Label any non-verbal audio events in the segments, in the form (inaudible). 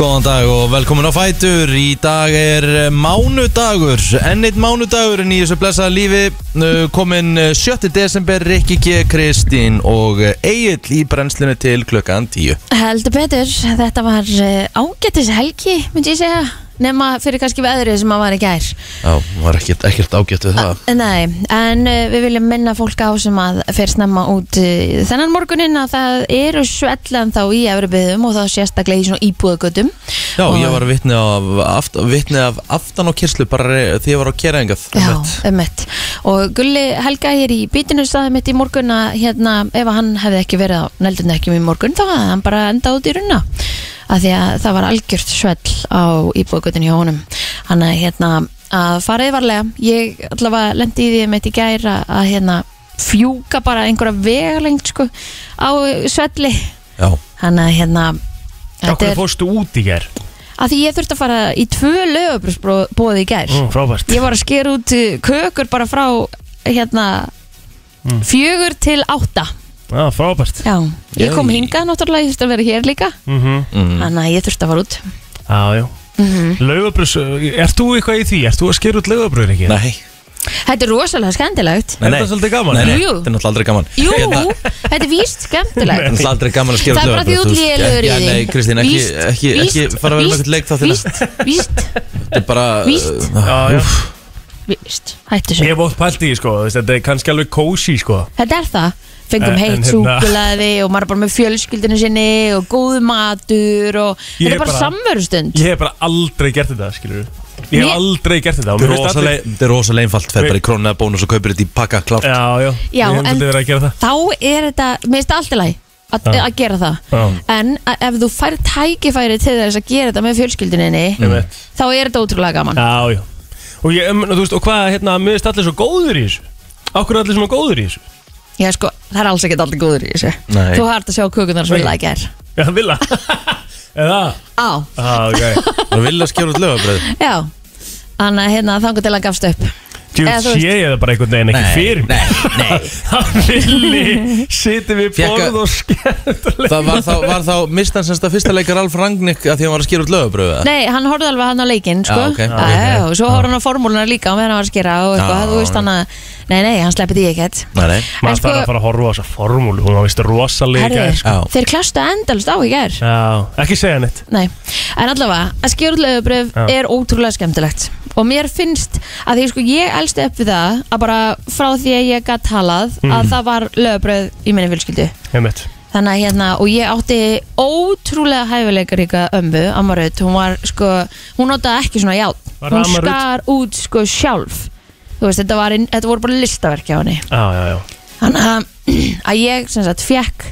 Góðan dag og velkomin á Fætur Í dag er eh, mánudagur Enn eitt mánudagur í þessu blessaða lífi Eh, Kominn eh, 7. desember Rikki G, Kristín og Egil í brennslinu til klukkan 10 Heldur betur, þetta var eh, ágætis helgi, myndi ég segja nema fyrir kannski veðrið sem að var í gær Já, var ekkert, ekkert ágætt við það Nei, en eh, við viljum minna fólk á sem að fer snemma út eh, þennan morguninn að það eru svellan þá í efribyðum og þá sérstaklega í svona íbúðagötum Já, ég var vitni af, aft, vitni af aftan og kyrslu bara re- því ég var á keraðingað Já, ummitt Og Gulli Helga hér í bítinu staði mitt í morgun að hérna, ef að hann hefði ekki verið á neldundekkjum í morgun þá hafði hann bara endað út í runna af því að það var algjört svell á íbúðgötun hjá honum hann að hérna að faraði varlega ég allavega lendi í því mitt í gæra að hérna fjúka bara einhverja vegalengt sko á svelli Já, hann að hérna þetta Akkur er, fórstu út í ger að því ég þurfti að fara í tvö lögabrúsbóði í gær mm, Frábært Ég var að skera út uh, kökur bara frá hérna Mm. fjögur til átta Já, Frábært Já, ég kom Jæj. Mm. hingað náttúrulega, ég þurfti að vera hér líka Mhm. Þannig að ég þurfti að fara út Já, já Mhm. Laugabröðs, ert þú eitthvað í því? Ert þú að skera út laugabröður ekki? nei, Þetta er rosalega skemmtilegt Er þetta svolítið gaman? Nei, nei, Jú. þetta er náttúrulega aldrei gaman Jú, Hérna- þetta er víst Það er skemmtilegt náttúrulega aldrei gaman að skera Það er bara því lögabröð, út þú veist. lélegur í Já, því Nei, Kristín, ekki, Víst, ekki, ekki víst, fara að vera með víst, eitthvað leik þá til Víst, víst, Þetta er bara Víst. Já, Ah, já. úff. víst Hættu Ég svo, hef oft pælt í, því, sko, þú veist, þetta er kannski alveg kósi, sko þetta er það En- Fengum en heitt hérna- súkulaði og maður er bara með fjölskyldinu sinni og góð matur og Ég þetta er er bara bara- samverustund Ég hef bara aldrei gert þetta, skilur Ég hef Mér- aldrei gert þetta og mér Þetta er finnst allir- rosalega- þetta er rosalega einfalt Fer bara í krónuða bónus og kaupir þetta í pakka klárt Já, já, Já, ég hef en- aldrei verið að gera það þá er þetta, mér finnst það allt í lagi að, Já. að gera það Já. Mm. en að, ef þú fær tækifæri til þess að gera þetta með fjölskylduninni Einmitt. þá er þetta ótrúlega gaman Já, já Og ég, um, þú veist, og hvað, hérna, mér finnst allir svo góður í þessu Akkur er allir svona góður í þessu Já, sko, það er alls ekkert aldrei góður í þessu Nei. þú hært að sjá kökunar sem Nei. vil að gera Já, vilja (laughs) Eða á, Já, ok Það vil að skjóra út lögabröð já þannig að hérna þangu til að hann gafst upp Jú, Eða, þú veist- sé ég það bara einhvern veginn ekki Nei, fyrir mér. nei, nei. (laughs) Hann villi sitið við Fékk að- borð og skemmt Það var þá, var þá mistan semst að fyrsta leikar Alf Rangnick að því hann var að skera út lögabröð eða? nei, hann horfði alveg hann á leikinn sko. Já, ok. Já, já, já, og svo horfði hann á formúluna líka og meðan hann var að skera og eitthvað, Já, þú veist já. hann að nei, nei, hann sleppið því ekkert Nei, nei En Maður sko- þarf að fara að horfa á þessa formúlu Hún var vist rosalega í Herðir, gær. sko. Já. þeir klastu endalist á í gær Já, ekki segja neitt Nei, en allavega að skjórnlegubröf Já. er ótrúlega skemmtilegt og mér finnst að því sko ég elst upp við það að bara frá því að ég gat talað að Mhm. það var lögabröð í minni fjölskyldu Einmitt. þannig að hérna og ég átti ótrúlega hæfileikaríka ömmu Amarut, hún var sko hún notaði ekki svona játn, Var hún það Amarut? skar út sko sjálf þú veist þetta, var, þetta voru bara listaverki á henni Já, já, já þannig að, (clears throat) að ég sem sagt fekk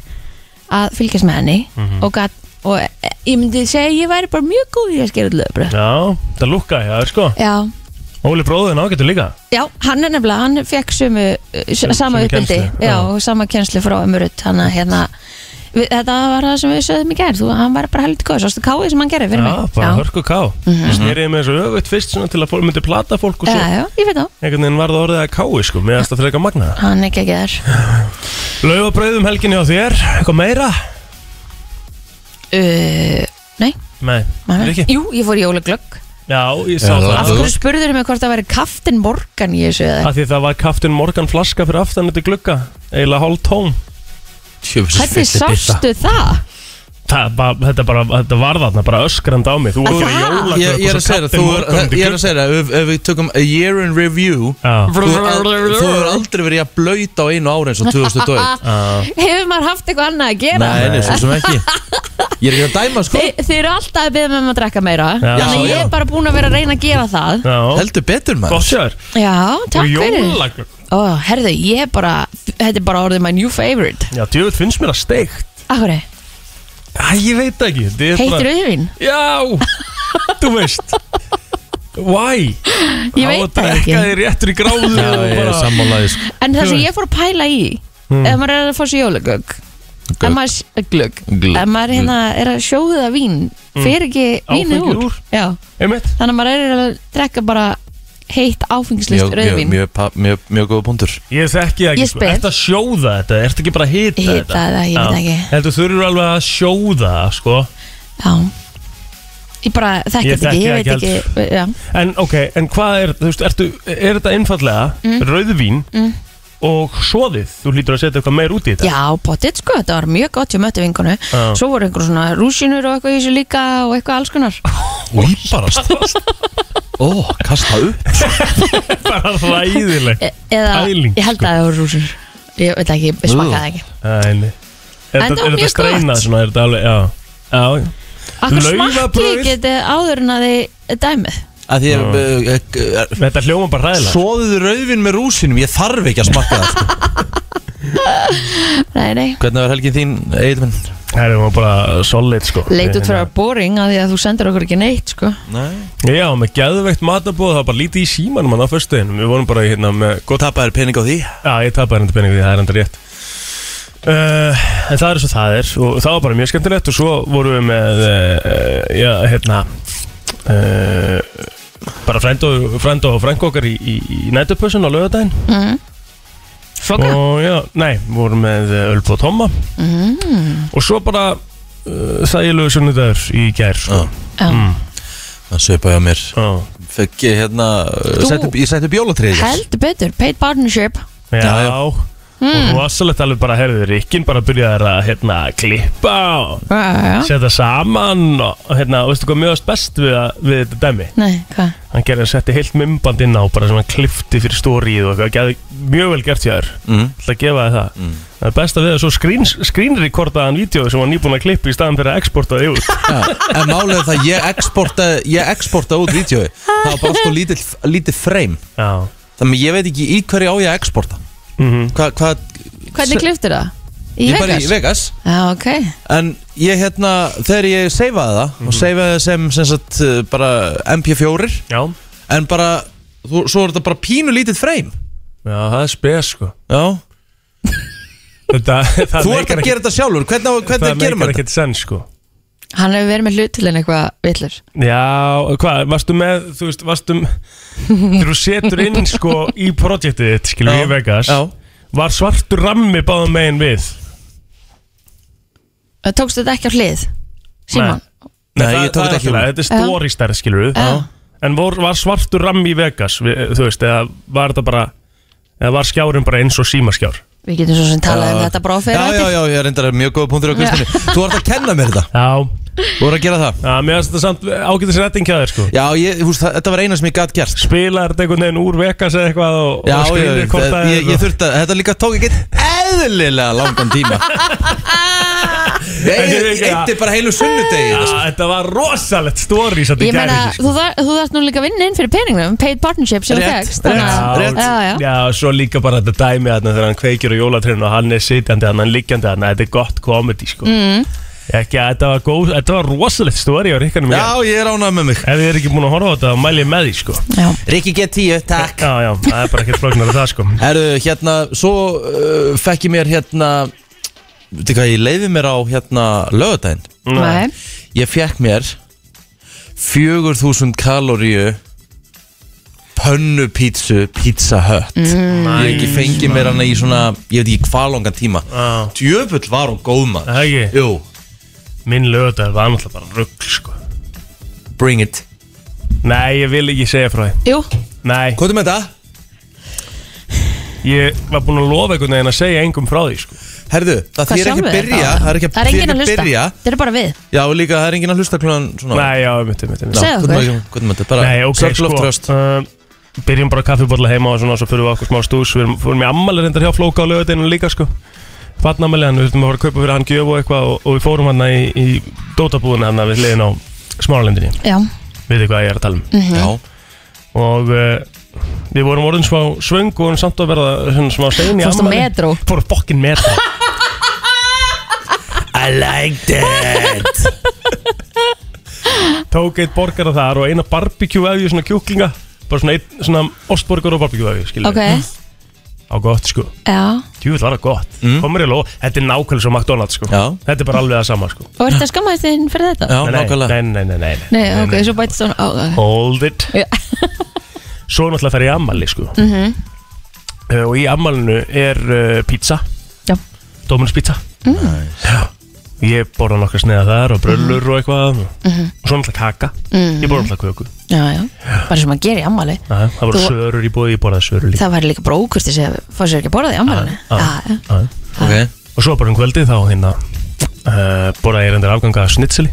að fylgjast með henni Mhm. og, gat, og e, ég myndi segja að ég væri bara mjög góð í að skera út lögabröð Já, það lukka, já, sko já. Óli bróðin ágættu líka já, hann er nefnilega, hann fekk sumu, Sum- sumu sama sömu uppbyldi kennslu, já, já. og sama kjenslu frá ömurut hann að hérna við, þetta var það sem við sögðum í gær þú, hann var bara heldur góð, sástu káið sem hann gerði fyrir Já, mig bara já. Mhm. hörku ká Sneriði með þessu öfutt fyrst svona til að fólk myndi plata fólk og já, svo já, ég veit á, Einhvern veginn var það orðið að kái, sko Mér finnst það frekar magna hann er ekki ekki (laughs) þar Laufabrauð um helginni á þér, eitthvað meira? uh, nei, Nei, nei, nei. er ekki? jú, ég fór í óleglögg Já, ég sá Já, það það- af hverju spurður mig hvort það væri kaftin morgan í þessu eða Af því það var kaftin Morgan flaska fyrir aftan þetta glugga Eiginlega hálf tóm hvernig sástu það? Það, var- þetta, bara, þetta var þarna, bara öskrand á mig Þú Að voru í það? jólagögg Ég, ég er að segja það, þú er, ég er að segja það, ef, ef við tökum a year in review Þú er al- þú hefur aldrei verið að blöyta á einu ári eins (laughs) og (laughs) 2021 Hefur maður haft eitthvað annað að gera? Nei, nei, svo sem ekki Ég er ekki að dæma sko, Þi, (laughs) Þið eru alltaf að beða með maður að drekka meira Já, Þannig að já. ég er bara búin að vera að reyna að gera það Já, heldur betur maður gott sjöður Já, takk fyrir Jólagögg Ó, herðu, ég er bara Þetta er bara orðið my new favorite Já, djöfull finnst mér það steikt Akkurri, Æ, ég veit það ekki þetta er bara- heitir auðvín? Já, (laughs) þú veist Why? (laughs) Ég veit það ekki. Það er réttur í gráðu Já, ég er sammálaði sko En það sem ég fór að pæla í Hmm. Ef maður er að fá sér jólugögg Ef maður, s- glögg Glögg. Ef maður hérna Hmm. er að sjóða vín Fer ekki vínu Hmm. Áfengi úr. úr. Já, Einmitt þannig að maður er að drekka bara Heitt áfengslist Mjög, mjög, rauðvín mjög, pa- mjög, mjög góða punktur Ég þekki það ekki Ég spyr. Ertu að sjóða þetta? Ertu ekki bara að hita Hita þetta? það, ég veit Já. ekki. Heldur þú eru alveg að sjóða það, sko Já, Ég bara þekki Ég þetta þekki ekki, ég það veit ekki sko. ekki, já, En ok, en hvað er, þú veist, ertu, er þetta einfallega Mm. rauðvín og svoðið? Þú hlýtur að setja eitthvað meir út í þetta. já potið sko, þetta var mjög gott hjá möttu vinkonu Já. Svo voru einhver svona rúsinur og eitthvað í þessu líka og eitthvað alls konar Íbarast Ó, kasta upp (laughs) Bara ræðileg. E- Eða, Pæling, sko. ég held að það voru rúsinur Ég veit ekki, ég smakaði það ekki Æni. Er En það þetta var er þetta mjög streina gott. svona, er þetta alveg, já. Já, já. Akkur smakki Laufabrauð. geti áður en að þið dæmið Að því ég Þetta hljóma bara ræðilega. Svoðuðu rauðvin með rúsinum Ég þarf ekki að smakka það sko. Nei, nei Hvernig var helgin þín, Eilvin? Það er bara solid, sko. Leit út fyrir að boring að því að þú sendir okkur ekki neitt sko Nei Já, með geðveikt matabóð, það var bara lítið í símanum hann á föstuðinum. Við vorum bara í, hérna með Góð tapaðir pening á því Já, ég tapaði hendur peningi því það er hendur rétt uh, En það er svo það er og það var bara mjög skemmtilegt og svo vorum við með uh, já, hérna uh, bara frændu frændu og frængu okkar í, í, í nætupössun á laugardaginn mm. Flokka og já, nei, vorum með uh, Ölp og Tomma Mm. og svo bara uh, sægilegu sunnudagur í gær sko. Já. mm, Það söpaði á mér já. Fekk ég hérna uh, Þú- sett upp, Ég sett upp jólatrið Heldur betur, paid partnership Hmm. Já, Já, já. Mm. og rosalegt alveg bara herðið Rikkin bara byrjaði að hérna, klippa og Já, já, já setja saman og hérna, og veistu hvað mjögast best við, að, við þetta dæmi Nei, hvað? hann gerði að setja heilt mymband inn á bara sem hann klifti fyrir stórið og eitthvað gerði mjög vel gert hjá þér mm. Það gefa þér það Það er best að við það svo screen, screenrekordaðan vídeo sem var nýbúin að klippa í staðan fyrir að exporta þig út Já, en málið er það ég exporta ég exporta út vídjói það var bara alltaf lítið, lítið frame Já þannig að ég veit ekki í hverju á ég að exporta mm hva, hva, Hvernig kliftir það? Í ég Vegas? bara í Vegas Já, ok en ég hérna þegar ég seifaði það Mhm. og seifaði það sem, sem sagt, uh, bara MP4 Já en bara þú, svo er þetta bara pínu lítið frame Já, það er spes sko já Þetta, það þú ert að gera þetta sjálfur hvernig, á- Það hvernig gerum meikar við þetta ekkert senn sko Hann hefur verið með hlutilinn eitthvað villur Já, hvað, varstu með, þú veist, varstu Þegar þú setur inn sko í projektið þitt, skilur Já, í Vegas já. Var svartur rammi báðum megin við Tókst þetta ekki á hlið? Simon? Nei, það- ég tók það er þetta ekki allt í lagi, úr. Þetta er stóri stærð, skilur við Já. En vor, var svartur ramm í Vegas, við, þú veist, eða var þetta bara Eða var skjárin bara eins og símaskjár Við getum svo sem talað um þetta bara á fyrir já, já, já, ég er reyndar mjög góða punktur á Kristinni þú ert að kenna mér þetta Já, þú ert að gera það að, mér finnst þetta samt ágætis retting hjá þér, sko já, ég, þú veist, það- þetta var eina sem ég gæt gert Spilaði þetta einhvern veginn úr Vegas eða eitthvað og, Já, og já, skrinir hvort ég, ég, ég þurfti að, þetta líka tók ekkert eðlilega langan (laughs) tíma En Ég ég veit ekki eitti að- bara heilu sko. sunnudegi í Já, þessu. þetta var rosalegt stóri sem Ég þetta meina, gerði þú, þar, þú þarft nú líka að vinna inn fyrir peningum Paid partnership sem þú sko. Rétt, fegst rétt, að- rétt. Já, já, Já, svo líka bara þetta dæmi þarna þegar hann kveikir á jólatrinu og hann er sitjandi þarna, hann er liggjandi þarna, þetta er gott komedi sko. mm. Ekki að þetta var góð, þetta var rosalegt stóri á Ríkkanum Já, ég er ánað með mig Ef þið er ekki búin að horfa á þetta, þá mæl ég með því sko já. Rikki G10, takk Já, já, það er bara ekkert flóknar að það sko Herru, hérna, svo uh, fekk ég mér hérna Veitir hvað, ég leiði mér á hérna lögadaginn Nei. Ég fekk mér 4000 kaloríu pönnupítsu pizza hött Mm. Ég hef ekki fengið mér hana í svona, ég veit ekki hvað langan tíma Já. Djöfull var hún góð maður Það er ekki, Jú, minn lögðar var náttúrulega bara rugg sko bring it Nei, ég vil ekki segja frá því Jú, Nei, Hvað er með þetta? ég var búin að lofa einhvern veginn að segja engum frá því sko Herðu, hvað það þýr ekki sjálfur að byrja Það er ekki Það er þýðir enginn að ekki hlusta, byrja þetta er bara við Já, og líka það er enginn að hlusta klugan svona Nei, já, mitt, mitt, mitt Segðu okkur. Hvað er með þetta? Bara Nei, ok, circle of trust sko uh, Byrjum bara kaffibólla heima og svona Svo fyrir við okkur smá stús Við erum- fórum í ammali reyndar hjá Flóka á lögadeininu líka sko Fatnamali hann, við þurfum að fara að kaupa fyrir hann gjöf og eitthvað Og, og við fórum hann í, í dótabúðuna hann við liðin á smáralendinni Já, Mhm. Við þið hvað ég er að tala um Já, Og uh, við vorum orðin smá svöng og vorum samt að verða svona smá sein í Fórstu á ammali metró? Fórum fokkin metró I like that Tók eitt borgara þar og eina barbecue-vefju svona kjúklinga Bara svona, ein, svona ostborgar og barbecue-vefju skilur ok, Á gott sko já Júvill var það gott mm. Komur í lóð Þetta er nákvæmlega svo McDonalds sko Já. Þetta er bara alveg það sama sko Og ertu að skammaðist þinn fyrir þetta? Já, Nei, nákvæmlega Nei, nei, nei, nei, nei. Nei, ok, svo bætist hún á ok. Hold it Já. Svo náttúrulega fer ég í ammali sko mm Mhm, Eh, Og í ammalinu er uh, pizza Já. Mm. Dóminus pizza Nice. Já Ég borða nokkra sneiða þar og bröllur Mm. og eitthvað Og svo náttúrulega kaka Mhm. Ég borða náttúrulega köku já, já, bara sem að gera í ammali Aha, Það voru Þú- sörur í bóði, ég borðaði sörur líka það væri líka bara ókvist þess að fá sér ekki að borða því ammalinu Já, já. já, Aha. Ok Og svo bara um kvöldið þá hérna uh, Borðaði ég reyndar afganga af snitseli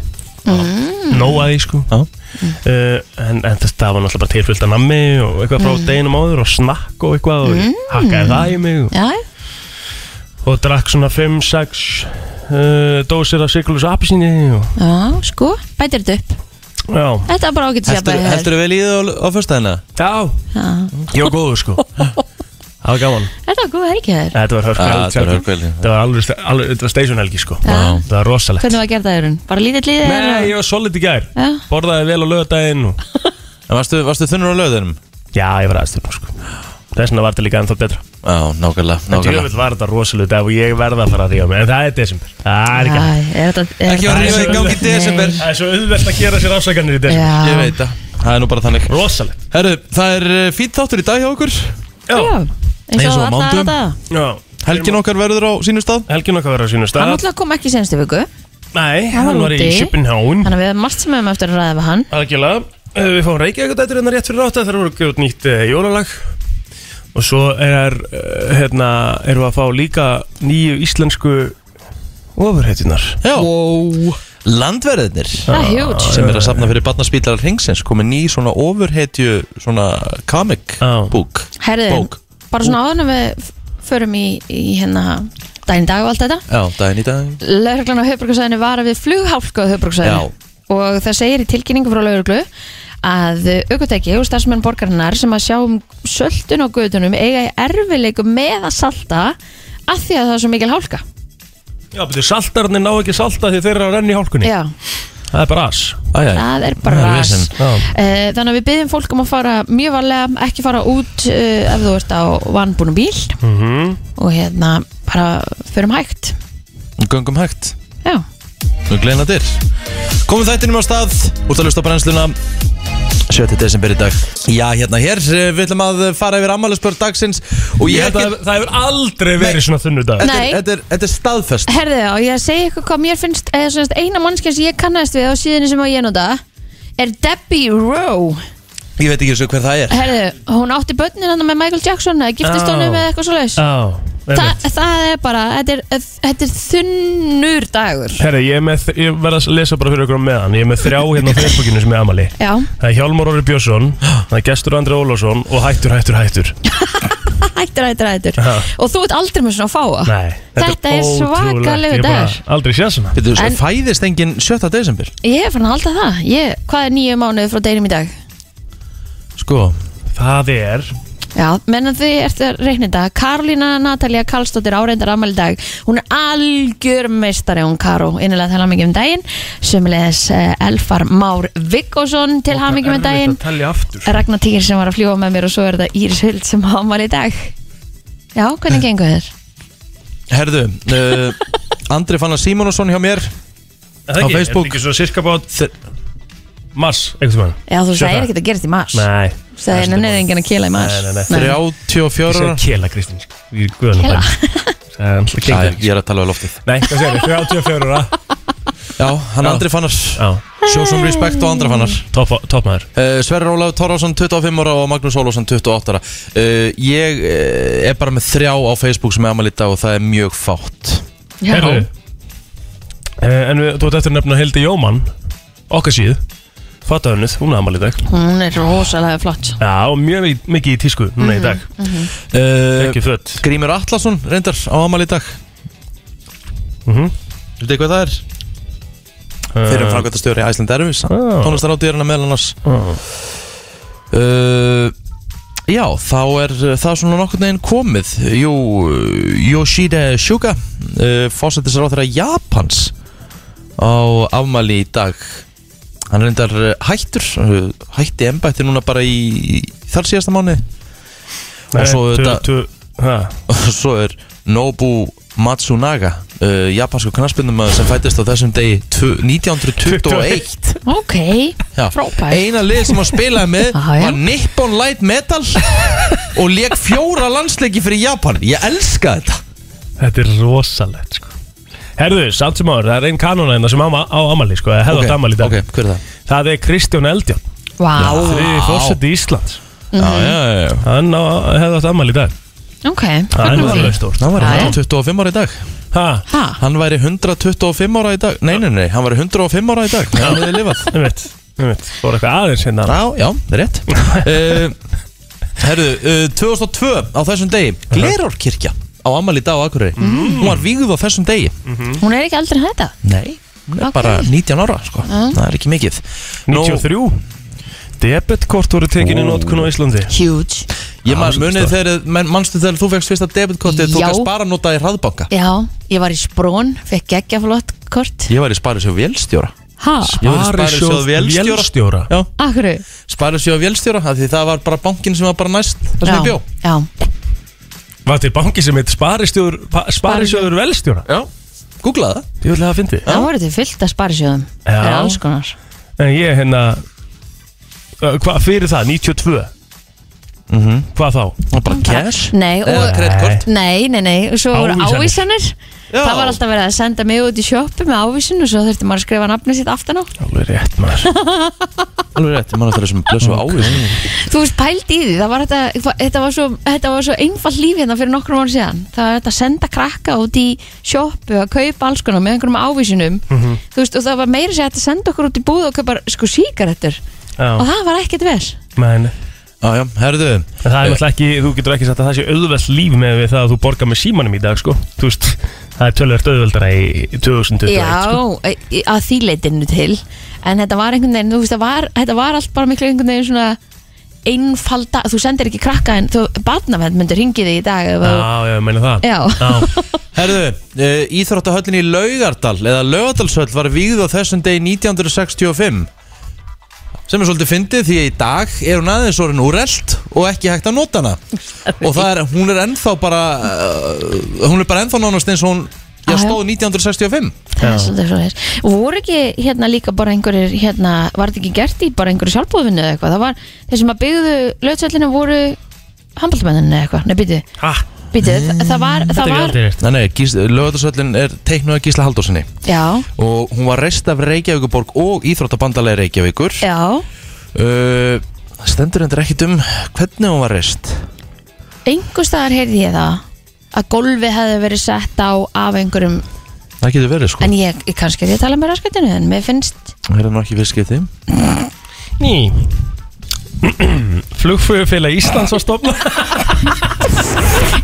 Mm. Nóaði sko Já. uh, En, en þetta var náttúrulega bara tilfyllt að nammi Og eitthvað Mm. frá deginum áður og snakk og eitthvað Og ég hakkaði það í mig og, já, já. og drakk svona 5-6 uh, Dósir af siklus apisíni og, já sko, bætir þetta upp Já, þetta er bara ágætt sér Heldur, heldur vel í það á, á fyrstæðina? já, ég var góður sko Það var gaman þetta er góð helgi þér Þetta var hörkvæl Já, Ah, þetta var hörkuhelg, já. Þetta var alveg, alveg þetta var station helgi sko Já. Það var rosalegt hvernig var gerðaðurinn, bara lítill líðið Nei, ég var solid í gær Já. Borðaði vel á lögadaginn og... En varstu, varstu þunnur á löðunum? Já, ég var aðstöðum sko Þess vegna var þetta líka ennþá betra Já, nákvæmlega, nákvæmlega Djöfull var þetta rosalegt dag og ég verða að fara að ríða mig En það er desember Það er ekki hægt. er þetta er Ekki þetta- var rífa í gangi í Nei. desember Það er svo auðvelt að gera sér afsakanir í desember já, Ég veit það Það er nú bara þannig Rosalegt Herru, það er eh, fínn þáttur í dag hjá okkur já, Eins eins og og á alla mánudögum. þetta Já Helgin okkar verður á sínum stað Helgin okkar verður á sínu hann stað alltaf kom ekki í senstu viku Nei, hann var hann var í úti. Sjöpenhán þannig að við hefum margt sem við hefum eftir að ræða við hann Algjörlega, Eh, við fáum Reykjavíkudættur hérna rétt fyrir átta þar voru gefið út nýtt uh, jólalag og svo er uh, hérna, erum við að fá líka nýju íslensku ofurheitunar Já wow. Landverðinir það Ah, er hjút sem er að safna fyrir barnaspílar hringsins komið ný svona ofurhetju svona comic Já. búk Bók. Herðið, bara svona áðan að við förum í, í hérna daginn í dag og allt þetta Já, daginn í dag Lauruglan á höfbruksæðinu var við flughálku á höfbruksæðinu og það segir í tilkynningu frá lauruglu að aukutæki og starfsmenn borgarinnar sem að sjá um söldun á gödunum eiga í erfileikum með að salta af því að það er svo mikil hálka Já, betur saltarnir ná ekki salta því þeir eru að renna í hálkunni Já, Það er bara as Æja það er bara Það er ras vesen. Já, Eh, Þannig að við byggjum fólk um að fara mjög varlega, ekki fara út uh, ef þú ert á vannbúnum bíl mm og hérna bara förum hægt Göngum hægt Já, Nú gleyna þér Komum þættinum á stað Úr að lusta brennsluna 7. desember í dag Já, hérna hér eh, Við ætlum að fara yfir ammælisbörn dagsins Og ég Ég held held að það- það hefur aldrei verið svona þunnu dag Nei. Þetta er- Þetta er- þetta er staðfest herðu já, ég segi ykkur hvað mér finnst eða svona eina mannskja sem ég kannast við á síðinni sem að ég nota er Debbie Rowe Ég veit ekki eins og hver það er Herðu, hún átti börnin hann með Michael Jackson eða giftist Já. honum eða eitthvað svo leis Já, Þa, Ah. einmitt Það er bara, þetta er, þetta er þunnur dagur Herra, ég, er með, ég verð að lesa bara fyrir ykkur á meðan Ég er með þrjá hérna á Facebookinu sem er amali Já, Það er Hjálmar Orri Björnsson, það er Gestur Andri Ólásson og hættur, hættur, hættur hættur, hættur, hættur Já. Og þú ert aldrei með svona fáa Nei, Þetta er ótrúlegt. svakalegur Ég bara dagur. Aldrei séð svona Þetta er svo En- fæðist enginn 7. desember Ég er farin að halda það ég, Hvað er nýju mánuði frá deginum í dag? Sko Það er Já, menn að þið ert að reikna þetta Karolína Natalía Karlsdóttir áreindar afmæli í dag Hún er algjör meistari hún Karó, innilega til hamingjum daginn Sömulegis uh, Elfar Már Viggosson til hamingjum daginn telja aftur Ragnar Týr sem var að fljúa með mér og svo er þetta Íris Huld sem á afmæli í dag Já, hvernig gengur þér? Herðu uh, (laughs) Andri Fannar Simonsson hjá mér Það Á ekki, er Facebook. þetta ekki svo cirka bát Mars, einhvern veginn Já, þú Sjö sagði það. ekkert að gerast í mars Nei Það er nennið enginn að kela í mars Nei, nei, nei. 34 Ég ára segi kela Kristín sko. Í guðanum Kela. bænum Æ, Kela Ég er að tala við loftið Nei, hvað segir þið? 34 ára Já, hann Já. Andri Fannar Já, Sjósum respekt og Andri Fannar topp top maður Uh, Sverrir Ólaf Torfarsson 25 ára og Magnús Ólafsson 28 ára uh, Ég uh, er bara með þrjá á Facebook sem er amal í dag og það er mjög fátt Já, Heyrðu, eh, En við, þú ert eftir að nefna Hildi Jómann Okkar síð Fattahönnuð, hún er aðmæli í dag hún er rosalega flott Já, og mjög mi- mikið í tísku núna í dag uh, Ekki fött Grímur Atlasson reyndar á amal í dag Mhm. Þú veit hvað það er? Eh. Fyrir um framkvæmtastjóri í Æsland Erfis Já. Tónlistaráttíðurinn að meðlan hans Ah. uh, Já, þá er uh, það svona nokkurn veginn komið Jú, uh, Yoshida Shuga uh, Fósættisráþara Japans á afmæli í dag Hann er reyndar uh, hættur uh, hætti embætti núna bara í, í þar síðasta mánu og svo Eh, þetta- (laughs) og svo er Nobu Matsunaga uh, japansku knarsbyndum sem fættist á þessum degi tvö- 1921 Ok, Já. frábært eina lið sem hann spilaði (laughs) með Já, já. var Nippon Light Metal og leik fjóra landsleiki fyrir Japan ég elska þetta Þetta er rosalegt sko Herðu, samt sem áður, það er einn kanónæðina sem á, á amali sko, eða hefði átt amali í dag ok, hver er það? Það er Kristján Eldjón, Vá, þriði fórseti Íslands Já, já, já, já Hann á- hefði átt amali í dag Mhm. ok Það er nú fögnum því. alveg stórt Hann væri Já, já. 125 ára í dag Ha, Ha, Hann væri 125 ára í dag Nei, nei, nei, hann væri 105 ára í dag Hann hefði (laughs) lifað ég veit, ég veit Fór eitthvað aðeins hérna Já, já, það (laughs) er rétt uh, Herðu, uh, 2002 á þessum degi Glerárkirkja á ammali dag á Akureyri Mm. Hún var víguð á þessum degi Mhm. hún er ekki aldrei en þetta Nei, hún er Ok. bara 19 ára sko. Já. Það er ekki mikið Nú, 93 Debetkort voru tekinni Ó. notkun á Íslandi Huge Ég man, Já, munið þegar, menn, manstu þegar þú fegst fyrsta debitkortið Þú Já. gæst bara nota í hraðbanka Já, ég var í Sprón, fekk geggja flott kort Ég var í sparisjóð vélstjóra Ha, Ég var í sparisjóð vélstjóra. vélstjóra Já, akkur sparisjóð vélstjóra af Því það var bara bankin sem var bara næst Það sem ég bjó já, Var til banki sem heit sparistjóður Sparisjóður velstjóra Já, googlaði það Ég vil að það fyndi það voru þetta fullt að sparisjóðum Já. Það er alls konar En ég hérna uh, Hvað fyrir það? 92 Hvað þá? Það var Mhm. bara cash Nei, Eða og kreditkort Nei, nei, nei, og svo voru Ávísanir. ávísanir Það var alltaf verið að senda mig út í sjoppu með ávísun og svo þurfti maður að skrifa nafnið sitt aftan á Alveg rétt maður Alveg rétt, ég man eftir þessum blessu ávís Þú veist, pælt í því, það var þetta, þetta var svo, þetta var svo einfalt líf hérna fyrir nokkrum ára síðan Það var þetta að senda krakka út í sjoppu að kaupa alls konar með einhverjum ávísunum Hm. Þú veist, og það var meira sér að senda okkur út í búð og kaupa sko sígarettur Já, og það var ekkert ves menn Já, já, herðu Eh. En það er náttúrulega ekki, þú getur ekki sagt að það sé auðvelt líf með við það að þú borgar með símanum í dag, sko. Þú veist, það er tölvöld auðveldara í 2021, Já, sko. e- að því leitinu til En þetta var einhvern veginn, þú veist, það var, þetta var allt bara miklu einhvern veginn svona einfalda, þú sendir ekki krakka en þú, barnavenn myndur hringið þig í dag ef þú- Já, já, ég meina það. Já. (laughs) Já, Herðu, uh, Íþróttahöllin í Laugardal eða Laugardalshöll var vígð á þessum degi 1965 sem er svolítið fyndið því að í dag er hún aðeins orðin úrelt og ekki hægt að nota hana og það er, hún er ennþá bara uh, hún er bara ennþá nánast eins og hún já, Já, já. stóð 1965 Það er svolítið svo þess Og voru ekki hérna líka bara einhverjir hérna, var þetta ekki gert í bara einhverju sjálfbóðvinnu eða eitthvað, það var, þeir sem að byggðu lötsöllinu voru handbóltamenninni eða eitthvað, nei býtu, ha, býtu mm, það var, þetta það er var, aldrei rétt. Nei, nei, gís, Laugardalshöllin er teiknuð að Gísla Haldósinni já, og hún var reist af Reykjavíkuborg og Íþróttabandalegi Reykjavíkur já uh, stendur hendur ekkit um hvernig hún var reist einhvers staðar heyrði ég það að golfi hefði verið sett á af einhverjum, það getur verið sko en ég, ég kannski er ég að tala með raskatinu, en mér finnst Það er nú ekki viðskipti Ný Flugfugufélag Íslands var stofna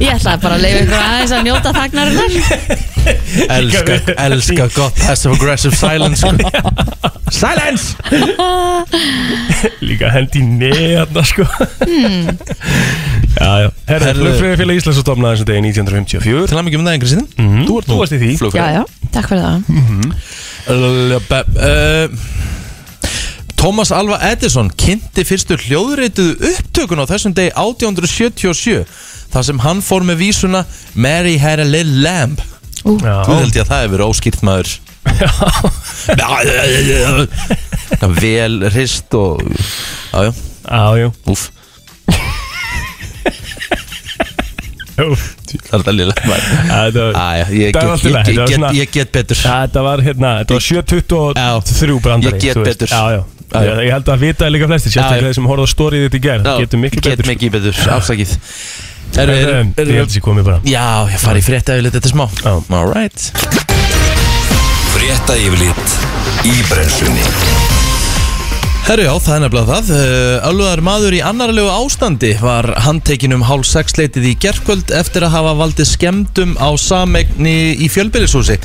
ég ætlaði bara að leifa ykkur aðeins að njóta þagnarinnar Elska, elska gott passive aggressive silence (laughs) sko. Silence Líka hendi í neðna sko Já, já Herra, Herðu. Flugfugufélag Íslands var stofna þessu degi 1954 Til að mikið um það yngri síðan Mhm. Þú varst í því. já, já, takk fyrir það Mhm. flugfröð eh, Thomas Alva Edison kynnti fyrstu hljóðrituðu upptökun á þessum degi 1877 þar sem hann fór með vísuna Mary had a little lamb Ú, Þú Já, held ég að það hefur verið óskýrt maður Það (laughs) vel hrist og Já, já, já, já (laughs) úf Jú, Það er það lilla maður þetta var- Æja, ég, Það er allt í lagi, það get- ég, ég, var get- svona- ég get betur Þetta var hérna, þetta var 723 brandari Ég get þú veist. betur. Já, já, Já, já. Ég, ég held að vita það líka flestir, Já, já. sérstaklega þeir sem horfðu á stórið þitt í gerð Já, Getur mikið get betur mikið betur, afsakið er, Herra, er, Ég er, held að ég komið bara Já, ég fari í frétta yfirleitt þetta smá Já. All right Frétta yfirlit í brennslunni Herru já, það er nefnilega það Uh, Ölvaðar maður í annarlegu ástandi var handtekinn um hálf sex leitið í gerkvöld eftir að hafa valdið skemmdum á sameigni í fjölbyrðishúsi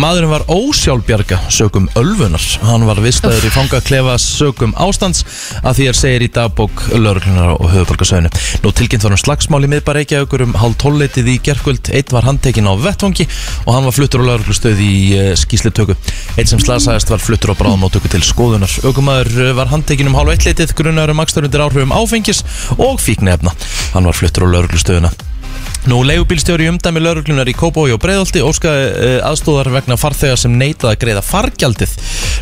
Maðurinn var ósjálfbjarga sögum ölvunar Hann var vistaður í fangaklefa sögum ástands að því er segir í dagbók lögreglunar og höfubalkasöðinu Nú tilkynnt var um slagsmáli miðbar Reykjavíkur um hálf tólleitið í gerkvöld Einn var handtekinn á vettvangi og hann var fluttur á lauruglustöð í eh, skýrslutöku Einn sem slasaðist var fluttur á bráðamóttöku til skoðunar Ökumæður var handtekinn um hálf eittleitið grunnar um akstur undir áhrifum áfengis og fíknefna Hann var fluttur á lauruglustöðuna Nú, leigubílstjóri í umdæmi eh, lauruglunar í Kópói og Breiðolti óskaði uh, aðstóðar vegna farþega sem neitaði að greiða fargjaldið.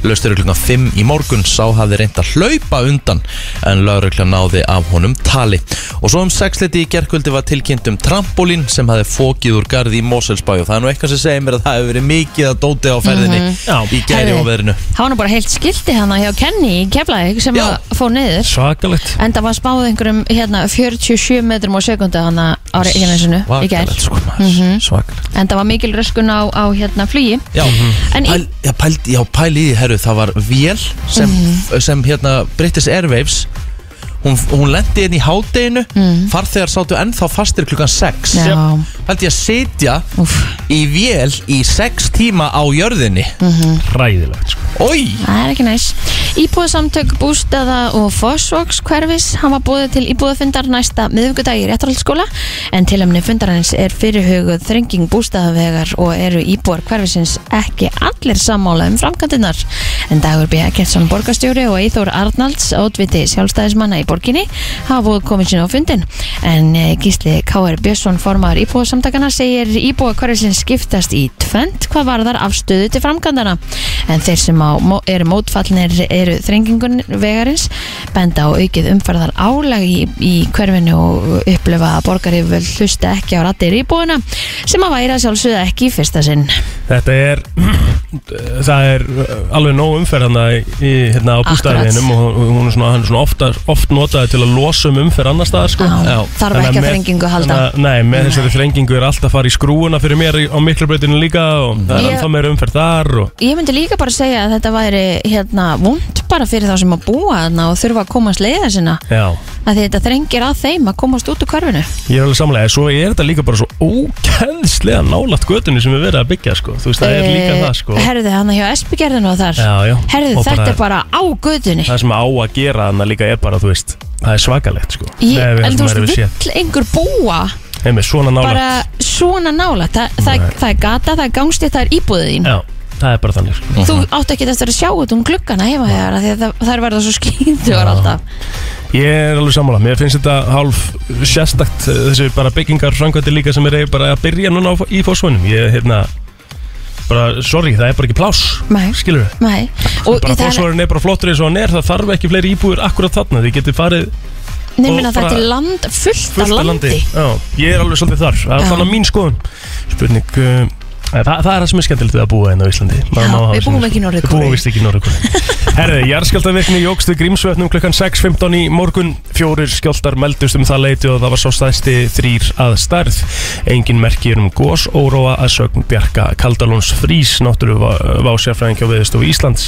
Laustur klukkan 5 í morgun Sá hafði reynd að hlaupa undan En lauruglan náði af honum tali Og svo um sexleiti í gerkvöldi var tilkynnt um trampolín Sem hafði fókið úr garði í Moselsbæ Og það er nú eitthvað sem segir mér að það hefur verið mikið að dóti á ferðinni Já. Í gæri Herðu, og veðrinu Það var nú bara heilt skilti hana hjá Kenny í Keflavík sem Já. að fór niður Svakalegt Enda var spáð einhverjum hérna, 47 metrum á sekundu hana á Reykjanesinu í gær Mhm. Svakalegt, sko, maður. Svakalegt. Enda var mikil röskun á, á hérna flugi Já, En í, Pæl, já, pæl, já, pæl í því, herru, það var vél sem, sem hérna British Airwaves hún, hún lendi inn í hádeginu farþegar sátu ennþá fastir klukkan 6 já, Pældi ég að sitja úf í vél í 6 tíma á jörðinni Ræðilegt sko. Oi, Það er ekki næs. Íbúðsamtök bústæða og fósvoks hverfis hafa búið til íbúðafundar næsta miðvíkudag í réttarhaldsskóla en tilhemni fundarins er fyrirhugð þrenging bústæðavegar og eru íbúar hverfisins ekki allir sammála um framkantinnar. En Dagur B. Gjertsson borgarstjóri og Íþór Arnalds átviti sjálfstæðismanna í borginni hafa komið sinna á fundin en eh, Gísli K.R. Björnsson formar íbúðsamtakana segir íbúa hverfisins skiptast í tvönd hvað varðar afstöðu til framkantana en þeir sem á, mó- eru mótfallnir eru þrengingun vegarins benda á aukið umferðar álag í, í hverfinu og upplifa að borgari vel hlusta ekki á rattir íbúana sem að væra sjálfsögða ekki í fyrsta sinn Þetta er (clears throat) Það er uh, alveg nóg umferð hana í, hérna, á bústæðinum og og hún er svona, hann er svona ofta, oft notaði til að losa um umferð annar staðar sko. Já, Já. þarf Þannig ekki að með- þrengingu að halda þannig að- Nei, með þessari þrengingu er alltaf að fara í skrúuna fyrir mér í- á miklubrautinu líka og það er Ég- ennþá meira umferð þar og Ég myndi líka bara segja að þetta væri hérna vond bara fyrir þá sem að búa þarna og þurfa að komast leiða sinna Já, að þetta þrengir að þeim að komast út úr hverfinu ég er alveg samlega Svo er þetta líka bara svo ókæðslega nálatt götunni sem við verðum að byggja sko. Þú veist, það er líka það sko. Eh, Herðu hann hjá Esbyggerðinu og þar Já, já. Herðu Og þetta bara- er bara á gödunni Það sem á að gera þannig líka er bara, þú veist Það er svakalegt sko. Ég, Nei, við- en þú maður hefur veist, séð. vill einhver búa Nei, með svona bara nálatt svona nála Þa, það, Nei. það er gata, það er gangstétt, það er íbúðið þín Já, það er bara þannig sko. Þú átt ekki þess að sjá út um gluggana heima hér því að það, það er verða svo skýndur alltaf Ég er alveg sammála, mér finnst þetta hálf sérstakt eh, þessi bara byggingar framkvæmdi líka sem er eiginlega bara að byrja núna á, í fósvönum Ég, hérna, bara, sorry, það er bara ekki pláss Nei. Skilur við? Nei, og Bara það er fósvörin er bara flottur eins og hann er, það þarf ekki fleiri íbúður akkurat þarna Þið getið farið nefnir og að það er bara- til land fullt af fullt af landi landi Já, Ég er alveg svolítið þar, það Já. er þannig mín skoðun Spurning, uh, það, það er það sem er skemmtilegt við að búa hérna á Íslandi Maður Já, má hafa við sínar búum ekki í Norður-Kóreu. Við búum vist ekki í Norðurkóri (laughs) Herði, jarðskjáltavirkni jógst við Grímsvötnum klukkan 6.15 í morgun Fjórir skjáltar meldust um það leiti og það var svo stæsti þrýr að stærð Engin merki er um gós óróa að sögn Bjarka Kaldalóns frís náttúru vásjafræðing hjá viðstofu Íslands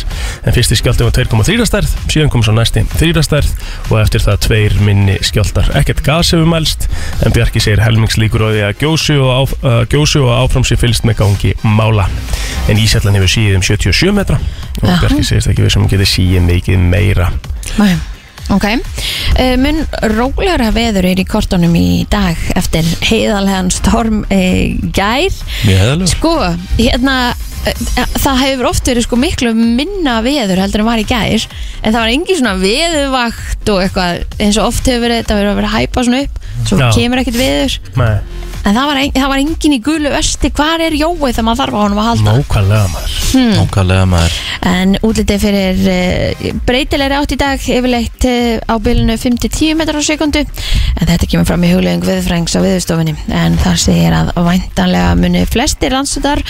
En fyrsti skjálti var 2,3 að stærð, síðan kom svo næsti 3 að stærð og eftir það tveir minni skjáltar Ekkert gas hefur mælst en Bjarki segir helmingslíkur á því að gjósu og, áf uh, gjósu og áfram sér fylst með gangi mála. En Ísjallan hefur síðið um 77 metra og Jaha. Bjarki segist ekki við sem getur síðið mikið meira. Nei. Ok, uh, mun rólegra veður er í kortunum í dag eftir heiðalhegan storm uh, gær mjög heðalur Sko, hérna, uh, það hefur oft verið sko miklu minna veður heldur en var í gær En það var engin svona veðurvakt og eitthvað eins og oft hefur verið, þetta verið að vera að hæpa svona upp Svo Já. kemur ekkert veður Nei, En það var, en, það var engin í gulu östi, hvar er Jói þegar maður þarf á honum að halda? nákvæmlega maður. Nókalega maður En útlitið fyrir uh, breytilegri átt í dag yfirleitt uh, á bylunu 5-10 metrar á sekundu en þetta kemur fram í huglegum viðfrængs á viðstofinni en það segir að væntanlega muni flestir landsutar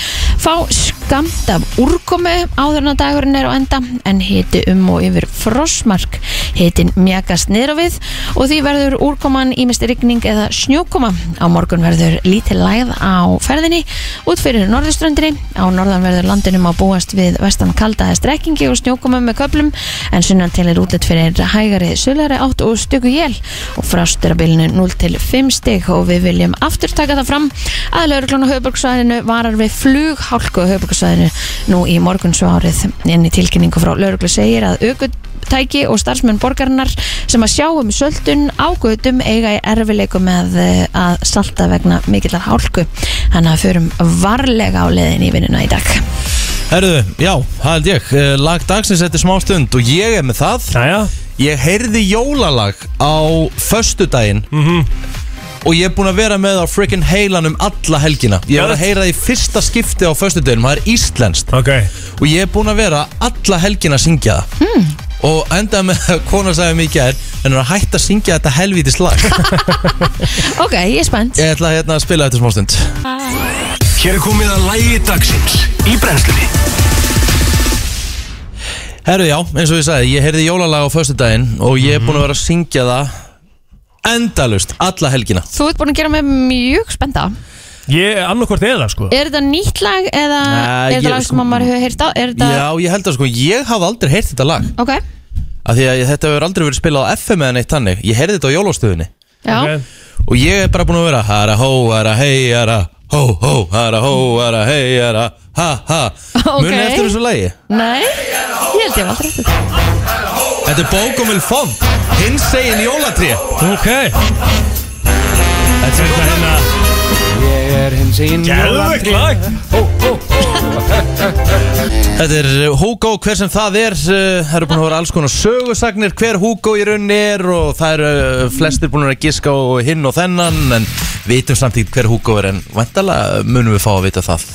fá skamt af úrkomu áður en að dagurinn er á enda en hiti um og yfir frosmark hitin mjagast niður á við og því verður úrkoman ímest rigning eða snjókoma á morgun verður lítið læð á ferðinni út fyrir norðuströndinni á norðan verður landinu má búast við vestan kalda eða strekkingi og snjókoma með köplum en sunnan til er útlitt fyrir hægari sulari átt og stöku jél og frástur að bylnu 0 til 5 stig og við viljum aftur taka það fram að lauruglun á höfuborgsvæðinu varar við flughálku á höfuborgsvæðinu nú í morgun svo árið inn í tilkynningu frá lauruglu segir að aukut tæki og starfsmenn borgarinnar sem að sjá um söldun á gödum eiga í erfileikum með eh, að salta vegna mikillar hálku þannig að förum varlega á leðin í vinnuna í dag Herðu, já, það held ég Eh, Lag dagsins eftir smá stund og ég er með það Næja, Ég heyrði jólalag á föstudaginn og ég er búin að vera með það á frickin' heilanum alla helgina Ég var að heyra það í fyrsta skipti á föstudeginum, það er íslenskt Ok, Og ég er búin að vera alla helgina að syngja það hmm. Og enda með að (laughs) kona sagði mig í gær En hún er að hætta að syngja þetta helvítis lag Ok, ég er spennt Ég ætla hérna að spila þetta smástund Hér er komið að lægi dagsins í brennslunni Herru já, eins og ég sagði, ég heyrði jólalag á föstudaginn Og ég er Mhm. búin að vera að syngja það endalust, alla helgina Þú ert búin að gera mig mjög spennta ég er annarkvort eða sko Er þetta nýtt lag eða Nei, er þetta ég- lag sem maður hefur heyrt á? Er þetta... Já, ég held að sko, ég hafði aldrei heyrt þetta lag Ok, Af því að ég- þetta hefur aldrei verið spilað á FM eða neitt þannig Ég heyrði þetta á jólastöðinni já Ok. Og ég er bara búin að vera Hara hó, hara hei, hara Hó, hó, hara hó, hara hei, hara Ha, ha (laughs) (laughs) Ok. Muna eftir þessu lagi Nei, ég held ég hef aldrei eftir Þetta er um Bókumil Fond Hinsegin jólatrí Ok Þetta er þetta hérna Ég er hins einn Gæðvegt lag Þetta er uh, Hugo, hver sem það er uh, Það eru búin að vera alls konar sögusagnir Hver Hugo í rauninni er Og það eru uh, flestir búin að giska á hinn og þennan En vitum samtíkt hver Hugo er En vandalega munum við fá að vita það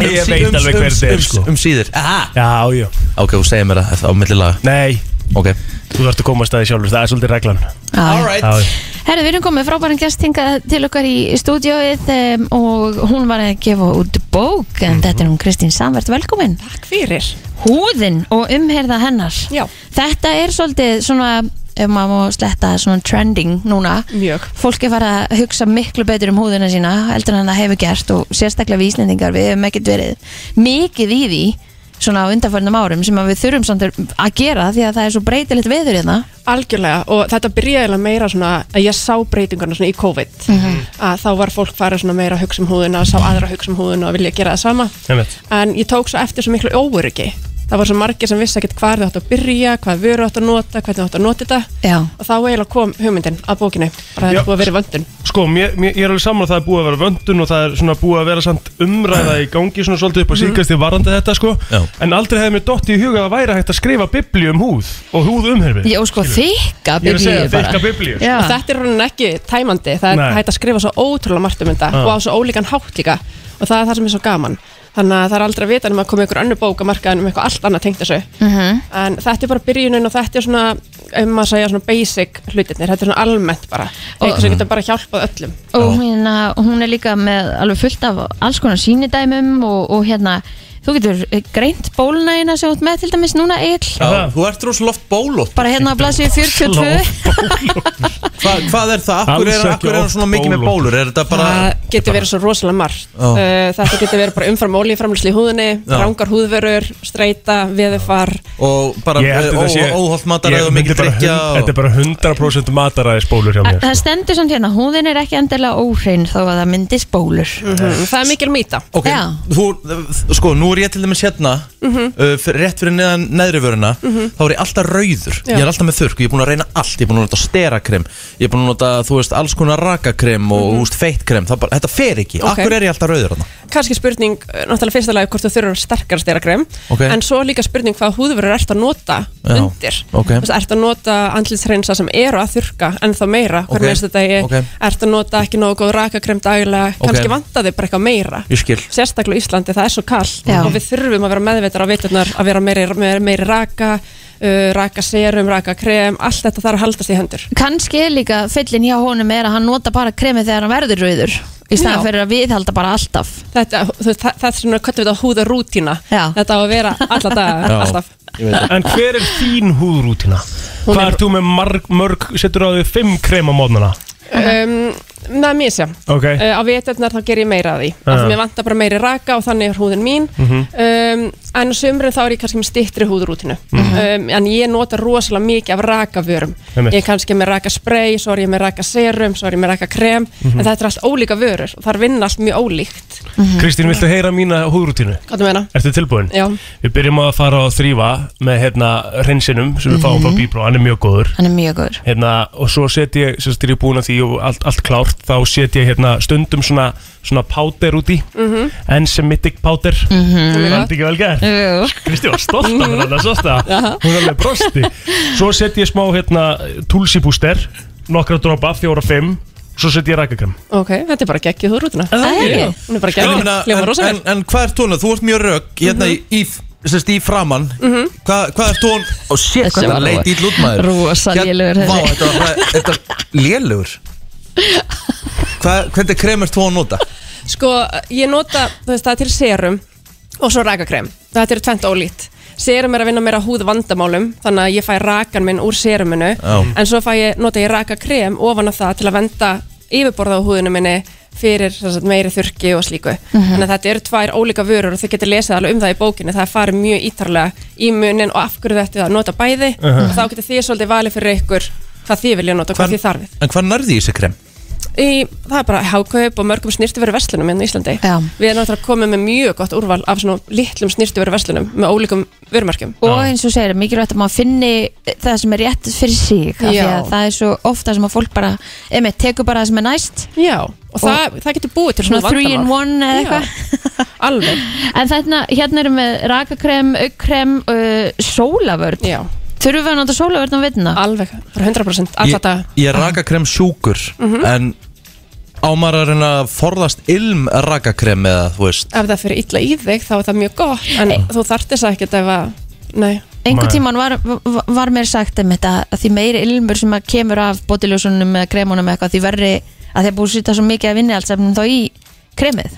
Ég veit alveg hver þetta er sko um síðir Aha. Já, já Ok, þú segir mér það á millilaga Nei, Ok þú þarfst að komast að því sjálfur Það er svolítið reglan All Já, já. Herri, við erum komið frábæran gest hingað til okkar í stúdióið um, og hún var að gefa út bók en þetta er hún Kristín Samvert, velkomin Mhm. Takk fyrir. Húðin og umherða hennar Já. Þetta er svolítið svona ef maður má sletta svona trending núna Mjög. Fólk er farið að hugsa miklu betur um húðina sína heldur en það hefur gert og sérstaklega við Íslendingar við hefum ekkert verið mikið í því svona á undanförnum árum sem að við þurfum samt að gera því að það er svo breytilegt veður hérna Algjörlega og þetta byrjaði eiginlega meira svona að ég sá breytingarna svona í COVID að þá var fólk farið svona meira að hugsa um húðuna sá aðra að hugsa um húðuna og vilja gera það sama Einmitt. en ég tók svo eftir svo miklu óöryggi það var svo margir sem vissi ekkert hvað þau áttu að byrja hvað vöru áttu að nota, hvernig þau áttu að nota þetta Já. og þá eiginlega kom hugmyndin að bókinu bara það Já. er búið að vera í vöndun Sko, mér, mér, ég er alveg saman að það er búið að vera vöndun og það er svona búið að vera samt umræða í gangi svona svolítið Mhm. upp á síkast í varandi þetta sko Já. en aldrei hefði mér dottið í huga að það væri hægt að skrifa biblíu um húð og húð umherfi Já, sko, þykka Ég er að segja biblíu bara þykka biblíu sko. Já. og þetta er raunin ekki tæmandi það er Nei. hægt að skrifa svo ótrúlega margt um þetta Já. og á svo ólíkan hátt líka og það er það sem er svo gaman þannig að það er aldrei að vita nema að koma ykkur önnur bók að marka um eitthvað allt annað tengt þessu -hmm. en þetta er bara byrjunin og þetta er svona um að segja svona basic hlutirnir þetta er svona almennt bara eitthvað sem getur bara hjálpað öllum og hérna, hún er líka með alveg fullt af alls konar sínidæmum og, og hérna, þú getur eh, greint bólnægina sem þú ert með til dæmis núna ill, Já, þú ert rosalega oft bólótt bara hérna á blaðsíðu 42 Hva, Hvað er það? Akkur er, Alls ekki akkur er hann oft svona mikið með bólótt. bólur? Er þetta bara það getur verið svo rosalega margt Já. uh, þetta getur verið bara umfram ólíframlisli í húðinni Já. rangar húðverur, streita, veðufar og bara Ég held að þetta sé óholt Ég mataræð og myndi mikið bara drikja hund- og... Þetta er bara 100% mataræði spólur hjá mér (laughs) það stendur samt hérna, húðin er ekki endilega óhrein þó að það myndist bólur Mhm, það er mikil mýta Ok, Já. þú, sko, nú er ég til dæmis hérna Mhm. uh, fyr- rétt fyrir neðan neðri vöruna þá er ég alltaf rauður, Já. ég er alltaf með þurrk ég er búin að reyna allt, ég er búin að nota sterakrem ég er búin að nota, þú veist, alls konar rakakrem og mm -hmm. feitkrem, það bara, þetta fer ekki Mhm. Ok. Akkur er ég alltaf rauður þarna? kannski spurning, eh, náttúrulega fyrsta lagi hvort þú þurfur sterkara styrakrem Ok. en svo líka spurning hvað húðverur ert að nota Já, undir, ok. Þú veist, ert að nota andlitsreinsa sem eru að þurka ennþá meira Ok, hver meðstu degi, ok. ert að nota ekki nógu góð rakakrem dagilega, Ok. kannski vantar þig bara eitthvað meira Ég skil sérstaklega á Íslandi, það er svo kallt Já. og við þurfum að vera meðveitar á viturnar að vera meiri, meiri, meiri raka uh, raka serum, raka krem allt þetta þarf að haldast í hendur kannski er líka fyllin hjá honum er að hann nota bara kremið þegar hann verður rauður í staðan Já. fyrir að viðhalda bara alltaf þetta, þú veist, það, það er svona köttum við þetta húðarútína Já. þetta á að vera alla daga, Já. alltaf En hver er þín húðrútina? Hún Hvað er- er þú með marg, mörg, setur á því fimm krem á mótnana? um, Nei, mér sé Ok. uh, Á veturnar þá ger ég meira Já. að því Mhm. af því mér vantar bara meiri raka og þannig er húðin mín um, En á sumrin þá er ég kannski með stittri húðrútinu um, En ég nota rosalega mikið af rakavörum Mhm. Einmitt. Ég er kannski með raka spray, svo er ég með raka serum, svo er ég með raka krem Mhm. En þetta er allt ólíka vörur og það er vinna allt mjög ólíkt Mhm. Kristín, viltu heyra mína húðrútinu? Hvað þú meina? Ertu tilbúin? Já. Við byrjum á að fara að þrýfa með hérna hreinsinum sem við fáum frá Bíbró, hann er mjög góður Mhm. hann er mjög góður hérna, og svo set ég, sem styrir búin að því og allt, allt klárt, þá set ég hérna stundum svona, svona páter út í Mhm. enzymatic páter mm -hmm. það er ekki vel gert Jú. Kristi var stolt af mér þarna, sástu það hún alveg brosti svo set ég smá hérna tulsi booster nokkra dropa, fjóra, fimm Svo set ég rækakrem Ok, þetta er bara geggið úr rútuna Það er ekki. Sko, Hún er bara Já, geggið, menna, hljóma en, rosa en, vel en hvað er tónu? Þú ert mjög rögg hérna í, í, sérst, í framann Hva, Hvað er tón? Ó shit, Þessi hvað var það leit rosa- í lútmaður rosa lélegur þessi. Hérna, Vá, þetta var bara- þetta var lélugur Hvernig krem er tón nota? Sko, ég nota, þú veist, það er til serum og svo rakakrem. Þetta eru tvent ólíkt. Serum er að vinna meira húð vandamálum, þannig að ég fæ rakan minn úr seruminu, Já. en svo fæ ég, nota ég rakakrem ofan að það til að venda yfirborða á húðinu minni fyrir sem sagt, meiri þurki og slíku. Þannig að þetta eru tvær ólíka vörur og þau getur lesið alveg um það í bókinu. Það er farið mjög ítarlega í munin og af hverju þetta að nota bæði Mhm. og þá getur þið svolítið valið fyrir ykkur hvað þið vilja nota og hvað þið þarfið En hvað nærði í þessi krem? í í, það er bara hákaup og mörgum snýrtiföru verslunum hérna í Íslandi. Já. Við erum náttúrulega komið með mjög gott úrval af svona litlum snýrtiföru verslunum með ólíkum vörumarkjum. og eins og segir, mikilvægt að maður finni það sem er rétt fyrir sig af því Já. að það er svo ofta sem að fólk bara emitt, tekur bara það sem er næst Já, og, það, það getur búið til svona svona 3 in vandamál. 1 eða eitthvað Alveg, en þarna, hérna erum við rakakrem, aukkrem uh, sólavörn já, þurfum við að nota sólavörn á vitna alveg, bara 100% alltaf Ég, þetta. ég er rakakrem sjúkur En ámar að reyna að forðast ilm rakakrem eða þú veist Ef það fyrir illa í þig þá er það mjög gott, en þú þarft þess að ekkert ef að, nei, einhver Nei. tíman var, var, var mér sagt um þetta að því meiri ilmur sem að kemur af botiljósunum eða kremunum eða eitthvað því verri að þeir búið að sýta svo mikið að vinni alls efnum þá í kremið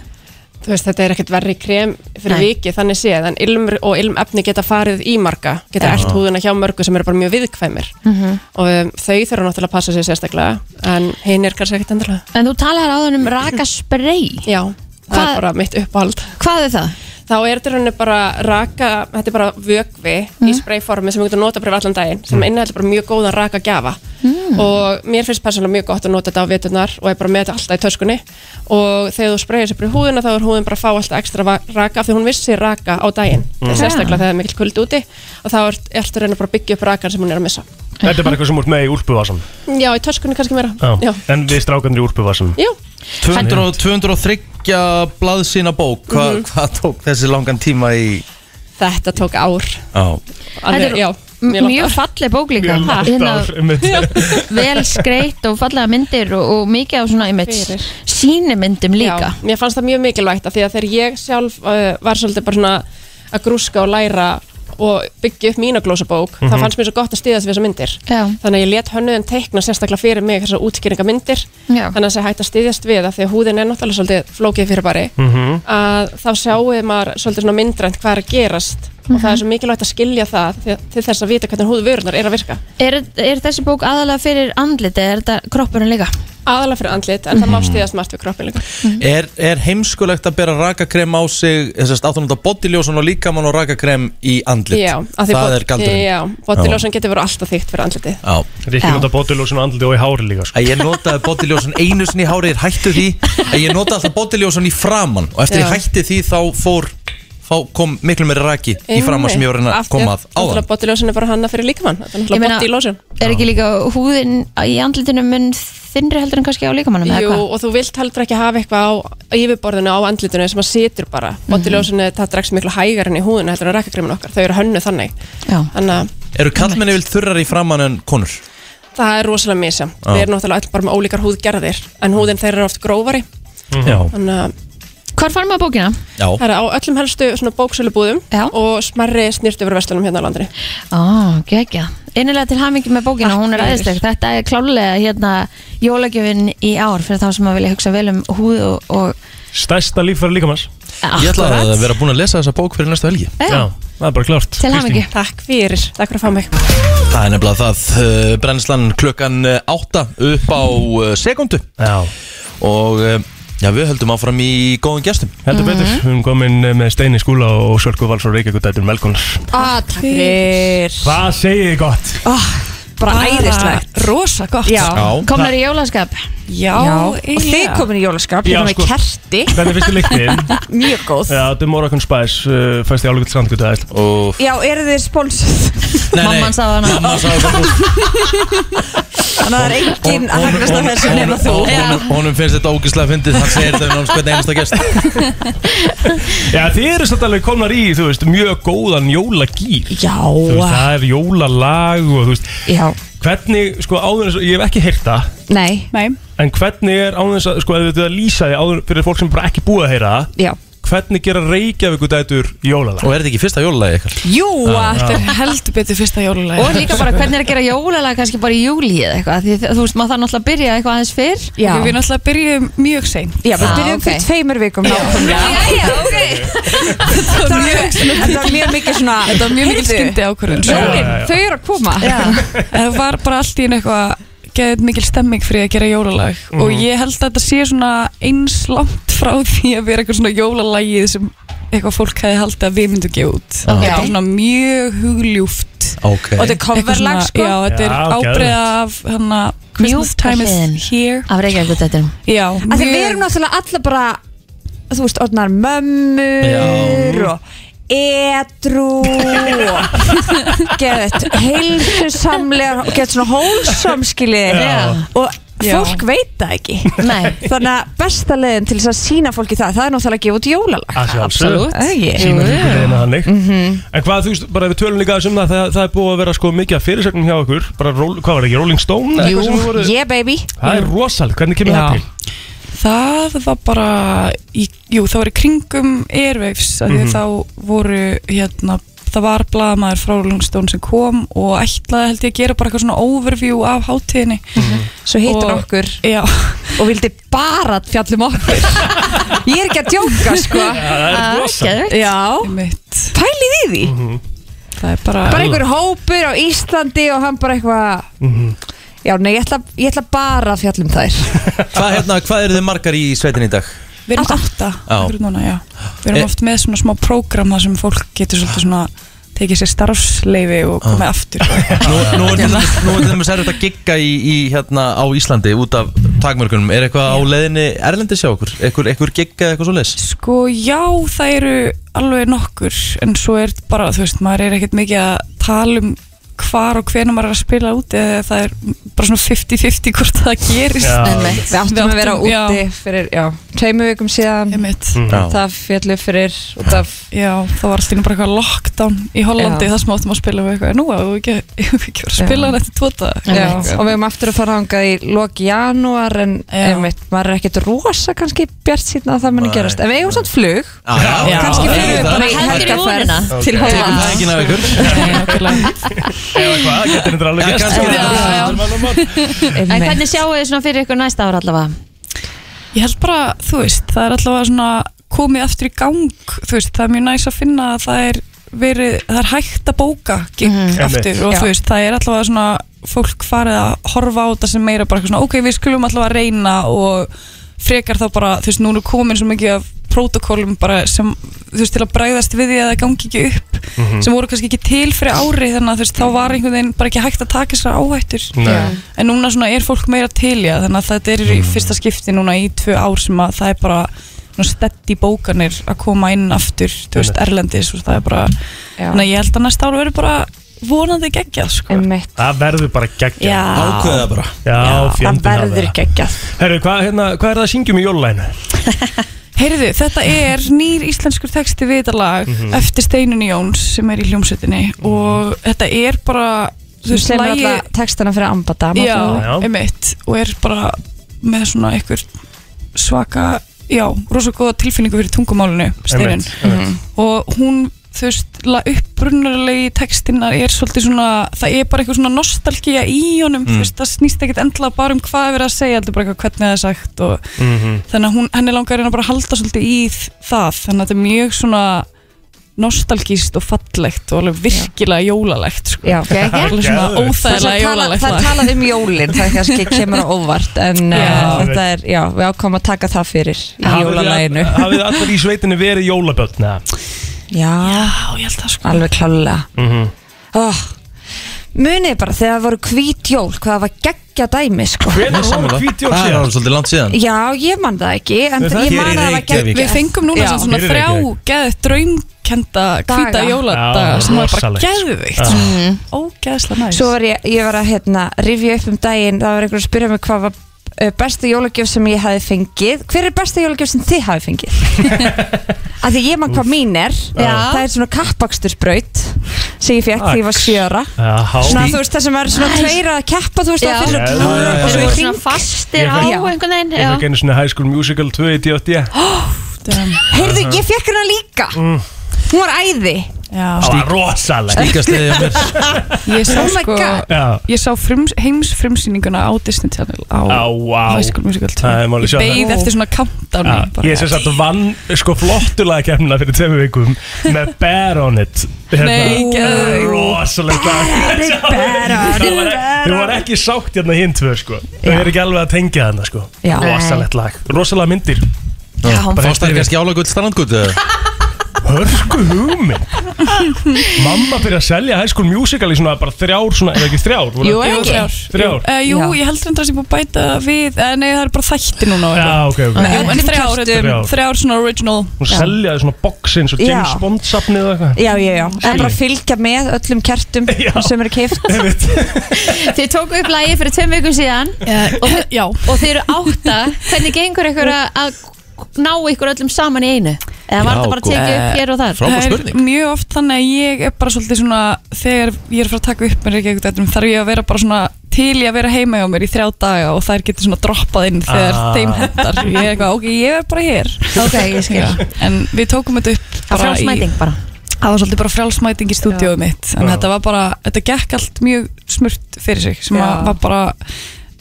þú veist, þetta er ekkert verri krem fyrir Nei. vikið, þannig séð, en ilmur og ilmefni geta farið í marga, geta ert húðuna hjá mörgu sem eru bara mjög viðkvæmir Mhm. og um, þau þurfa náttúrulega að passa sér sérstaklega, en hinn er kannski ekkert endurlega. en þú talaðar á um rakasprey Já, það Hvað- er bara mitt uppáhald hvað er það? Þá er þetta rauninni bara raka, þetta er bara vögvi í sprayformi sem við getum nota bara allan daginn sem mm. innihaldur bara mjög góðan raka gjafa Mm. og mér finnst persónulega mjög gott að nota þetta á veturnar og ég bara með þetta alltaf í töskunni og þegar þú sprayir sér bara í húðina þá er húðin bara að fá alltaf ekstra va- raka af því hún vissi raka á daginn sérstaklega þegar það er mikill kvöld úti og þá er þetta rauninni bara að byggja upp rakan sem hún er að missa Þetta er bara eitthvað sem úr með í úlpuvasan Já, í töskunni kannski meira Já, En við strákandur í úlpuvasan Já. 200, 203 blaðsýna bók Hva, Hvað tók þessi langan tíma í þetta tók ár á, Þetta Alveg, er já, mjög mjög, langt ár. mjög falleg bók líka Ha, hérna, vel skreitt og fallega myndir og, og mikið á svona image Fyrir. sýnimyndum líka Já, mér fannst það mjög mikilvægt af því að þegar ég sjálf uh, var svolítið bara svona að grúska og læra og byggja upp mína glósabók þá fannst mér svo gott að stíða þessi við þessar myndir Mhm. Já. þannig að ég let hönnuðin teikna sérstaklega fyrir mig þessar útskýringa myndir Já. þannig að þessi hægt að stíðjast við af því að húðin er náttúrulega svolítið flókið fyrir bari að þá sjáum maður svolítið svona myndrænt hvað er að gerast og Mhm. það er svo mikilvægt að skilja það til- til þess að vita hvernig húðvörunar er að virka er, er þessi bók aðalega fyrir andlit eða er þetta kroppurinn líka? Mhm. aðalega fyrir andlit en það má stíðast margt við kroppin líka er, er heimskulegt að bera rakakrem á sig þessast áttunanda bodiljósun og líkamann og rakakrem í andlit Já, af því Það bod- er galdurinn Já, botiljósan getur verið alltaf þykkt fyrir andlitið Já. Rikki Já. nota bótiljósun og andliti og í hári líka sko. Að ég notaði bodiljósun einu sinni í hárið hættu því að ég notaði alltaf bodiljósun í framann og eftir Já. ég hætti því þá fór þá kom miklu meiri raki í framann sem ég var að reyna að koma að áðan Náttúrulega botiljósin er bara hanna fyrir líkamann Þetta er Ég náttúrulega meina, botiljósin er ekki líka húðin í andlitinu mun þinnri heldur en kannski á líkamannum eða Jú, hvað? og þú vilt heldur ekki hafa eitthvað á yfirborðinu á andlitinu sem að situr bara Mhm. Botiljósin, það dregst miklu hægar enn í húðinu heldur en rækagrimin okkar, þau eru hönnu þannig Já. Þannig að Eru kallmenni vil þurrar í framann en konur? það er rosalega misja Við erum náttúrulega öll bara með ólíkar húðgerðir en húðin þeir eru oft grófari Já, Ah, Þannig að Hvar fann maður bókina? Já. það er á öllum helstu svona bóksölubúðum Já. og smerri snýrtöfurverslunum hérna á landri Á, ah, geggja. Innilega til hamingi með bókina, Takk hún er fyrir. aðeinsleg. Þetta er klálega hérna jólagjöfin í ár fyrir þá sem að vilja hugsa vel um húð og... og Stærsta líffæri líkamanns Ég ætlaði að vera búin að lesa þessa bók fyrir næsta helgi Já, Það er bara klárt til Kristín. hamingi. Takk fyrir, takk fyrir að fá mig Það er nefnilega það, uh, brennslan klukkan 8 upp á uh, sekundu Já, og uh, já, við höldum áfram í góðum gestum heldur betur Mhm. Við erum komin eh, með Steini Skúla og Sjölku Vals og Reykjavík Dættur Melkunar Ah, takk fyrir Hvað segið þið gott? Bara Bara- æðislegt Rosa gott Já, Komnar í jólaskap? Já, og þið komin í jólaskap Ég Já, kom með sko. kerti, Hvernig finnst þið lyktin? mjög góð Já, The Moroccan Spice uh, fæst í álíka til strandgötu aðeins og... (laughs) Já, eru þið sponsor Mamman sagði hana. Mamman sagði það Þannig að það er enginn að hagnast af þessu nema þú honum, (laughs) honum, honum finnst þetta ógislega fyndið hann segir þetta um hans hvernig einasta (laughs) gest Já, þið eru satt alveg komnar í, þú veist, mjög góðan jólagýr Þú veist, Já, það er jólalag og þú veist já, Hvernig, sko, áður en svo, ég hef ekki heyrt það nei Nei, En hvernig er án þess að, sko, ef þetta lýsa því áður fyrir fólk sem er bara ekki búið að heyra það Já. Hvernig gera Reykjavíku dætur jólalag? Og er þetta ekki fyrsta jólulagi ykkar? Jú, Ah. þetta er heldur betur fyrsta jólulega Og líka bara hvernig er að gera jólalag kannski bara í júli eða eitthvað Því þú veist, maður þarf náttúrulega að byrja eitthvað aðeins fyrr Já, Við náttúrulega byrjuðum mjög seint já við Ah, byrjum ok. fyrir tveimur vikum nákvæmlega. Jæja, ok Þetta var mjög- þetta var mjög mikið svona Þetta var mjög mikil Heyrðu, skyndi ákvörðun Jólin, Já, já, já. þau eru að koma Það var bara allt í einu eitthvað geðið mikil stemming fyrir að gera jólalag og Mhm. ég held að þetta sé svona eins langt frá því að vera eitthvað svona jólalagið sem eitthvað fólk hefði haldið að við myndum gefa út Ah. Þetta er svona mjög hugljúft Ok Og þetta er Eitthvað coverlag svona- sko Já, þetta er Já, ábreiða af hana, Christmas time hliðin. is here Af Reykjavík þetta Já, Af því við erum náttúrulega alla bara þú veist, orðnar mömmur Já. og edru og (laughs) geðið heilsusamlegar og geðið svona hólsamskilið Já. og Já. fólk veit það ekki Nei, þannig að besta leiðin til þess að sína fólki það það er náttúrulega að gefa út jólalag Að sjálfsögðu. absolutt Æi. Jú, Sýnum jú. ykkur leina þannig Mhm. En hvað þú veist, bara ef við tölum líka þessum það, það Það er búið að vera sko mikið af fyrirsögnum hjá okkur Bara, roll, hvað var það ekki, Rolling Stone? eða Jú, eitthvað sem þið voruð- yeah baby Það er rosalega, hvernig kemur það Já. til? Það var bara í, Jú, það var í kringum Airwaves af því Mhm. mm þá voru hérna, það var blaðamaður frá Rolling Stone sem kom og ætlaði held ég að gera bara eitthvað svona overview af hátíðinni Mhm. svo hittur Og- okkur Já, og vildi bara fjallum (laughs) okkur ég er ekki að djóka sko Það er rosalega Geðveikt. já, mitt pælið í því Það er bara, bara einhver hópur á Íslandi og hann bara eitthvað Mhm. já, nei, ég ætla, ég ætla bara að fjalla um þær Hvað, hérna, hvað eru þið margar í sveitin í dag? Við erum átta akkurat núna, já. Við erum Eh. oft með svona smá prógram þar sem fólk getur svolítið svona tekið sér starfsleifi og Ah. komið (laughs) aftur Nú, nú er þetta nú er þetta erfitt að gigga í, í hérna á Íslandi út af takmörkunum Er eitthvað á leiðinni erlendi sjá okkur? Ekkur, ekkur gigga eða eitthvað svo leis? Sko já, það eru alveg nokkur en svo er bara, þú veist, maður er ekkert mikið að tala um hvar og hvenær maður er að spila úti eða það er bara svona 50-50 hvort það gerist Já, við áttum að vera já. úti fyrir, já, tveimu vikum síðan Einmitt. Mm. Já, það fjallu fyrir út af Já, það var alltaf bara eitthvað lockdown í Hollandi Já. þar sem áttum að spila við eitthvað nú að við ekki, eigum við ekki verið að spila hann eftir tóta já, og við höfum aftur að fara hangað í loki janúar en Já. einmitt, maður er ekkert rosa kannski bjart síðan að það muni Nei. gerast en við eigum samt flug já, já kannski það er fyrir við það. bara í Heldur í helgaferð vonina. til Tekur það Holland enginn af (laughs) ykkur? eða hvað, getur þetta alveg Já, gæst kannski er það. um En hvernig sjáu þið svona fyrir ykkur næsta ár allavega? Ég held bara, þú veist, það er allavega svona komið aftur í gang, þú veist, það er mjög næs að finna að það er verið, það er hægt að bóka gig Mhm. aftur og þú veist, það er allavega svona fólk farið að horfa á þetta sem meira bara eitthvað svona, ok, við skulum allavega að reyna og frekar þá bara, þú veist, núna er komin svo mikið af protokólum bara sem, þú veist, til að bræðast við því að það gangi ekki upp sem voru kannski ekki til fyrir ári þannig að þú veist, þá var einhvern veginn bara ekki hægt að taka sér áhættur Nei. en núna svona er fólk meira til já, þannig að þetta er í fyrsta skipti núna í tvö ár sem að það er bara svona steddi bókanir að koma inn aftur þú veist, Erlendis og það er bara þannig að ég held að næsta ár verður bara vonandi geggjað sko. einmitt, Það verður bara geggja Ákveða bara Já, það fjandinn að verður geggjað Herru, hvað, hérna, hvað er það að syngjum í jólalæginu? Heyrðu, þetta er nýr íslenskur texti vitalag mm -hmm. eftir Steinunni Jóns sem er í hljómsveitinni og þetta er bara þú þú veist, sem lagið- alltaf textana fyrir ambata má já, þú- Já. einmitt og er bara með svona einhver svaka, já, rosa góða tilfinningu fyrir tungumálinu, Steinun og hún, þú veist, upprunnarlegi textinnar er svolítið svona, það er bara eitthvað svona nostalgía í honum, þú veist, það snýst ekkert endla bara um hvað er verið að segja, heldur bara eitthvað hvernig það er sagt og Mhm. þannig að hún, henni langar að reyna bara að halda svolítið í þ- það, þannig að þetta er mjög svona nostalgíst og fallegt og alveg virkilega jólalegt sko. (laughs) Já, geggjað. Alveg svona Geðveikt. óþægilega jólalegt það lag. er talað um jólin það er kannski kemur á óvart en já. Já. þetta er, já, við ákomum að taka það fyrir í Hafið þið- jólalæginu Hafið þið allir í sveitinu verið jólabötn? já, Já, ég held það sko alveg klálega Mm -hmm. oh. munið bara þegar það voru hvít jól hvað það var geggja dæmi sko. Hvernig voru Sammála. hvítjól Það er síðan? alveg svolítið langt síðan já, ég man það ekki en Nei, það ég hér man í að það var Reykjavík. geggja Við fengum núna Já. samt svona Fyrir þrjá Reykjavík. geðið draumkenda hvita Daga. jóladaga Já, sem var bara rosalegt. sko. geðvikt Ógeðslega næst Mm. svo var ég, ég var að hérna, rifja upp um daginn það var einhver að spyrja mig hvað var uh, besta jólagjöf sem ég hafi fengið hver er besta jólagjöf sem þið hafi (laughs) fengið af því ég mann hvað mín er Já. það er svona kappakstur braut sem ég fekk því ég var sjöra svona þú veist það sem er svona tveir að keppa þú veist Já. það Já, fyrir já, að já, já. klúra og Þeir svo voru í svona hring fastir á Já. einhvern veginn Ég fekk já. einu svona High School Musical 2 í D.O.D. Það heyrðu ég fekk hérna líka Mm. hún var æði Já, var rosalega Líka stiðið á mér ég sá Oh my sko God. Já, Ég sá frims, heimsfrumsýninguna á Disney Channel á, á wow High School Musical 2 Það er málið, Ég sjá það. beigð eftir svona Já, countdown Ég sem sagt vann sko flottulega kemna fyrir tveimu vikum með Bear on it hérna. Nei, geðveikt. Rosalega Þau var- þau var ekki sátt hérna hinn tvö sko Þau Já. eru ekki alveg að tengja þarna sko Já. Rosalegt lag, rosalega myndir Bara Fást það eftir- kannski álagull strandgutt (laughs) Hörku hugmynd Mamma byrja að selja High School Musical í svona bara þrjár svona, eða ekki þrjár voru- Jú, er ekki? Þrjár Þrjár? Eh, Jú, Já. ég heldur þetta sem búið að bæta við eh, Nei, það er bara þætti núna og Já, eitthvað. ok, ok Jú, en öllum þrjár, kjörstum. þrjár, þrjár svona original Hún seljaði svona boxin, svo James Já. Bond safnið og eitthvað já, já, já, Skilji. en bara fylgja með öllum kertum (laughs) Já. sem eru keift Þið tóku upp lægi fyrir tveim vikum síðan og, þi- Já, og þið eru átta Hvernig gengur ykkur að- að ná ykkur öllum saman í einu? Eða var Já, þetta bara góð. tekið upp hér og þar? Frábær Það er spurning. Eh, Mjög oft þannig að ég er bara svolítið svona þegar ég er að fara að taka upp með reykjagutættum þarf ég að vera bara svona til ég að vera heima hjá mér í þrjá daga og þær getur svona droppað inn þegar Ah. þeim hendar ég er eitthvað, ok, ég er bara hér Ok, ég skil Já, en við tókum þetta upp Það bara í, frálsmæting bara það var svolítið bara frjálsmæting í stúdíóið mitt en Já. þetta var bara, þetta gekk allt mjög smurt fyrir sig sem Já. að var bara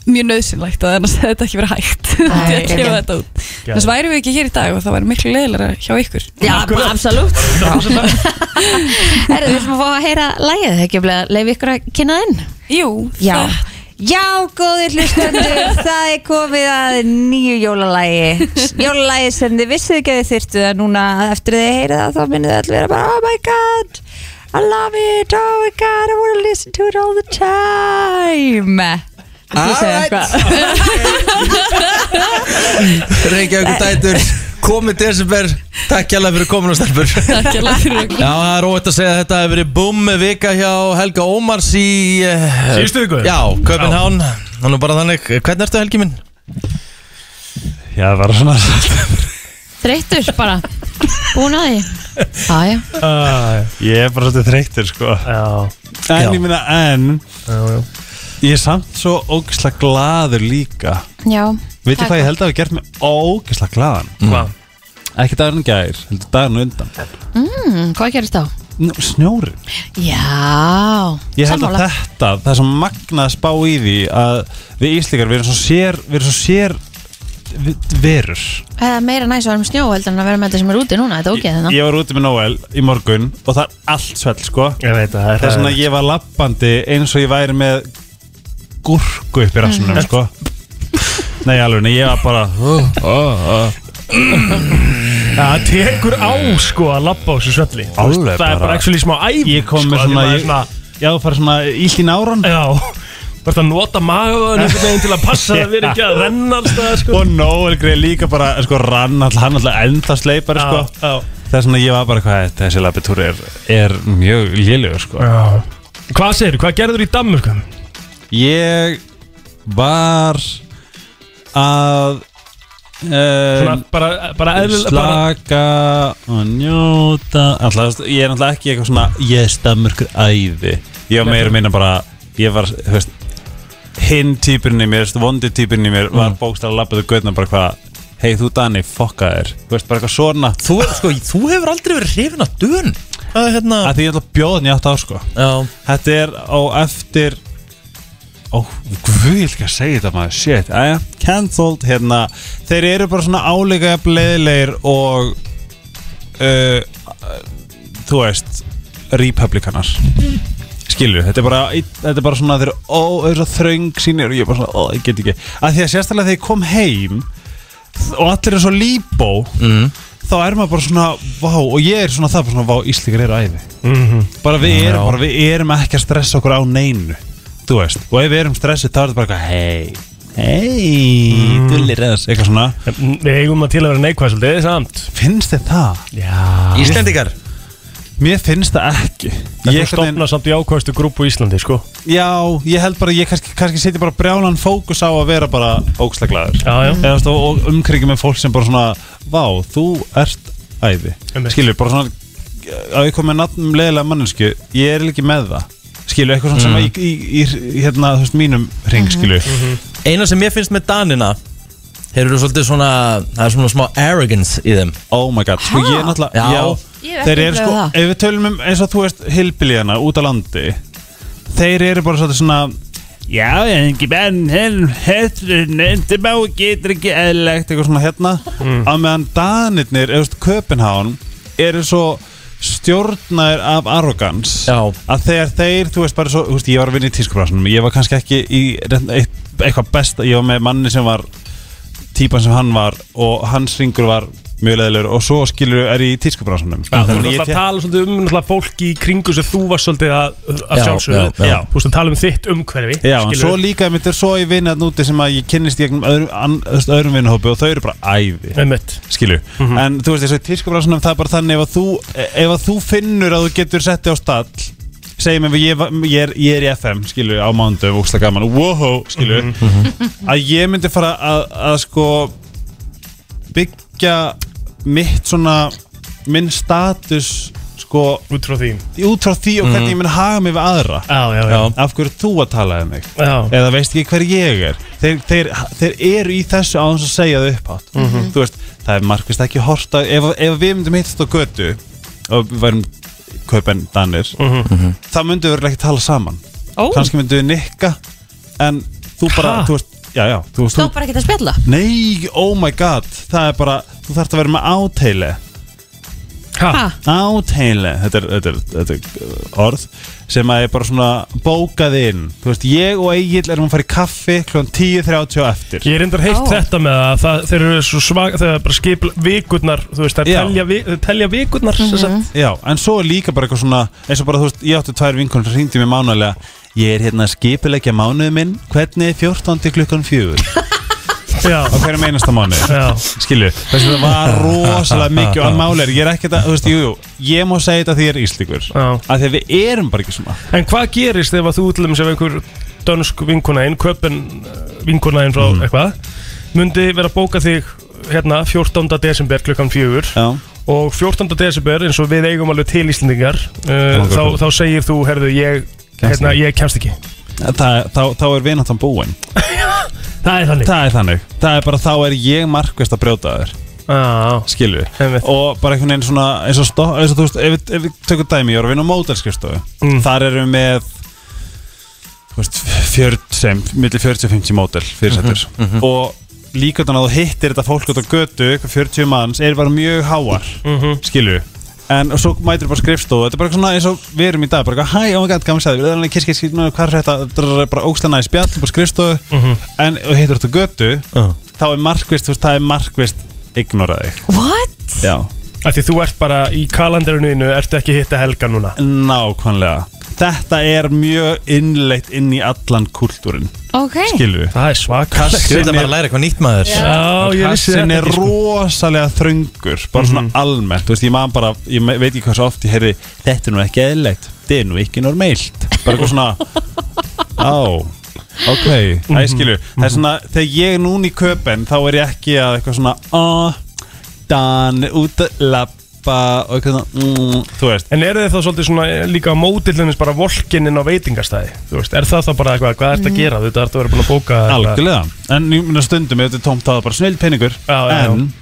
mjög nöðsynlegt að annars hefði (laughs) þetta ekki verið hægt til að gefa þetta út annars væri við ekki hér í dag og það væri miklu leðilega hjá ykkur Já, absolutt (laughs) Herðu, við ætlum að fá að heyra lægið ekki að leiði ykkur að kynna það inn Jú, já það- Já, góðir hlustendur, (laughs) það er komið að nýju jólalægi Jólalægi sem þið vissuð ekki að þið þyrftu það núna eftir þið heyrið það þá minnið þið allir vera bara Oh my god, I love it, oh my god, I wanna listen to it all the time Alright Eh. Reykjavík dætur komið desember Takk hjálpa fyrir komin (laughs) og stelpur Takk hjálpa fyrir Já, það er óvægt að segja að þetta hefur verið búm vika hjá Helga Ómars í eh, Síðustu viku? Já, Köpenhán Hann er bara þannig, hvernig ertu Helgi minn? Já, bara svona Þreyttur bara Búin að því Æja, Ah, Ég er bara svolítið þreyttur sko Já, En Já. ég minna, en já, já Ég er samt svo ógislega glaður líka já Vitið Takk. hvað ég held að hafa gert mig ógislega glaðan Hvað? Ekki dagurinn í gær, heldur dagurinn á undan mm, Hvað gerist þá? Nú, Snjórinn Já Ég held að þetta, það er svo magnað að spá í því að við Íslíkar, við erum svo sér, við erum svo sér vi- verur Eða meira næs að vera með snjó heldur en að vera með þetta sem er úti núna, þetta er hérna. ógeð Ég var úti með Noel í morgun og það er allt svell sko Ég veit að það er Það er svona að ég var lappandi eins og ég væri með gúrku upp í rassunum Mm. sko Nei alveg, nei, ég var bara uh, uh, uh. Það tekur á sko að labba á þessu svölli Alveg Það er bara bara- actually smá æfing Ég kom með sko, svona, því maður er ég, já, það fara svona illt í náran Já Þú ert að nota magaðan einhvern veginn til að (laughs) passa það verið ekki að renna alls það sko Og Noel greið líka bara, sko, rann all, hann alltaf enda sleipari sko Já, Það er svona að ég var bara hvað þessi lappitúr er, er mjög lélugur sko já. Hvað segir þú? Hvað gerður í Danmörku? Ég var að Svona uh, bara, bara eðlilega bara slaka og njóta Alltaf, þú veist, Ég er náttúrulega ekki eitthvað svona ég er stammurkur æði Ég var meira að minna bara ég var, þú veist hinn típurinn í mér, þú veist, vondi típurinn í mér Mm. var bókstæða að labbaðu göðna bara hvað hei þú Dani, fokka þér þú veist, bara eitthvað svona Þú, sko, þú hefur aldrei verið hrifin að dun Það er hérna að því ég ætla að bjóða hann í 8 ár sko Já, Þetta er á eftir Ó, guð, ég vil ekki að segja þetta maður Shit, aðja, cancelled hérna Þeir eru bara svona áleika Bleiðilegir og uh, Þú veist Republikanar Skilju, þetta er bara, þetta er bara svona Þeir eru ó, þess að þröng sínir og Ég er bara svona, ó, ég get ekki að Því að sérstælega þegar ég kom heim Og allir er svo líbó mm. Þá er maður bara svona, vá Og ég er svona það, bara svona, vá, Íslíkar eru æði bara við, erum, bara við erum ekki að stressa okkur á neinu þú veist, og ef við erum stressið þá er þetta bara eitthvað hei, hei, mm. dullir eðas eitthvað svona, Við eigum að til að vera neikvæð svolítið samt finnst þið það? Já Íslendingar Mér finnst það ekki Það ég, er hvernig, stofna samt í ákvæðstu grúpu í Íslandi sko Já, ég held bara, ég kannski, kannski setja bara brjálan fókus á að vera bara ógslaglaður Já, já. Eða, þú veist, og- og umkringi með fólk sem bara svona, vá, þú ert æði Einmitt. skilur, bara svona að ég kom með nafn um leðilega mannesku ég er ekki með það skilu, eitthvað Mhm. svona sem Mm. í, í, í, í hérna, þú veist, mínum ring, skilu Mhm. Eina sem ég finnst með Danina Þeir eru svolítið svona Það er svona smá arrogance í þeim Oh my god, sko ég er náttúrulega Já. Ég hef þeir ekki eru sko, upplifað það. ef við tölum um eins og þú veist hilbiljana út á landi þeir eru bara svolítið svona Já, ég er ekki benn, hefður, nefndi má, getur ekki eðlegt, eitthvað svona hérna Mm. að meðan danirnir, eða þú veist, Köpenhán eru svo stjórnaðir af arrogans Já. að þegar þeir, þú veist, bara svo, þú veist, ég var að vinna í tískubrásunum, ég var kannski ekki í reynd- eitt- eitthvað besta, ég var með manni sem var típan sem hann var og hans ringur var mjög leðilegur og svo skilur er ég í tískubrásunum Já, þú veist að tala svolítið um náttúrulega fólk í kringu sem þú var svolítið að, að Já, sjálfsögðu já, já. Þú veist að tala um þitt umhverfi Já, en skilurðu. svo líka mitt er svo í vinnan úti sem að ég kynnist gegnum öðrum, an, þú veist, öðrum vinahópi og þau eru bara æði Einmitt. Mhm. skilur, en þú veist þessu tískubrásunum það er bara þannig ef að þú, ef að þú finnur að þú getur setti á stall segjum ef ég, var- ég, er, ég er í FM skilur, á mándum, úksla gaman wow, skilur, Mhm, að ég myndi fara að, að sko byggja mitt svona, minn status sko, út frá þín út frá því og hvernig ég mun haga mig við aðra Mm. Já, já, já, Já. af hverju ert þú að tala um mig já. eða veist ekki hver ég er þeir, þeir, þeir eru í þessu á þess að segja þau upphátt Mhm. þú veist, það er markvist ekki horta ef, ef við myndum hittast á götu og við værum kaupen danir Mhm. þá myndum við örugglega ekki tala saman Ó. kannski myndum við nikka en þú bara, Ha? þú veist, já, já þú veist, Stóð þú, bara ekkert að spjalla nei, oh my god það er bara, þú þarft að vera með áteile Ha, áteile þetta er, þetta, er, þetta er orð sem að er bara svona bókað inn þú veist, ég og Egil erum að fara í kaffi kl. 10.30 og eftir Ég er reyndar heilt Ó. þetta með að það, þeir eru svo svag, þeir eru bara skipla vikurnar, þú veist, þeir Já. telja, vi, þeir telja vikurnar, mm -hmm. já, en svo er líka bara eitthvað svona eins og bara, þú veist, ég átti tvær vinkunum sem hringdi mér mánulega ég er hérna að skipulegja mánuðu minn hvernig er 14. klukkan 4 á já, hverjum einasta mánuði já, skilju, þess að það var rosalega mikið og að máli er, ég er ekkert að, þú veist, jú, jú ég má segja þetta því ég er íslíkur já að því að við erum bara ekki svona En hvað gerist ef að þú útlum sem einhver dönsk vinkona einn, köpen eh, vinkona einn frá Mhm. eitthvað myndi vera að bóka þig hérna 14. desember klukkan fjögur já, og 14. desember eins og við eigum alveg til Íslendingar uh, langar þá, kvöld. þá segir þú, herðu, ég hérna, ekki. ég kemst ekki það, þá, þá er vinantan búin (laughs) Það er þannig Það er þannig Það er bara þá er ég markvist að brjóta þér Já, Skilu einmitt. Og bara einhvern veginn svona eins og, stó, eins og þú veist Ef, við- ef við tökum dæmi Ég var að vinna á mótelskristofu Mm. Þar erum við með Þú veist 40 sem Millir 40 og 50 mótel Fyrirsettur Mhm, Og líka þannig að þú hittir þetta fólk út á götu eitthvað 40 manns Er bara mjög háar Mhm. Skilu En og svo mætir bara skrifstofu Þetta er bara svona eins og við erum í dag Bara eitthvað, hæ, oh my god, gaman sæði Við erum alveg kiss, kiss, kiss Hvað er þetta? Þetta er bara ógstlega næst spjall Bara skrifstofu Mhm. En og hittir þetta á götu Þá er markvist, þú veist, það er markvist Ignora þig What? Já Af því þú ert bara í kalandarinu ertu ekki að hitta helga núna Nákvæmlega Þetta er mjög innleitt inn í allan kultúrin Ok Skilu Það er svakalegt Þú veit að bara læra eitthvað nýtt maður Já, ég vissi Kassin þetta er ekki, sko. Mhm. rosalega þröngur Bara svona almennt Þú veist, ég man bara Ég me- veit ekki hvað svo oft ég heyrði Þetta er nú ekki eðlilegt Þetta er nú ekki normælt Bara eitthvað (laughs) svona Á Ok Mhm. Það er skilu Það er svona Þegar ég er núna í köpen Þá er ég ekki að eitthvað svona Á Dan Út að lappa Og eitthvað svona mm, Þú veist En eru þið þá svolítið svona eh, líka á mótillinins bara volkininn á veitingastæði? Þú veist, er það þá bara eitthvað, hvað Mm. ert að gera? Þetta ert að vera búin að bóka Algjörlega, en ég meina stundum ef þetta er tómt þá er það bara snill peningur Já, já, já. En,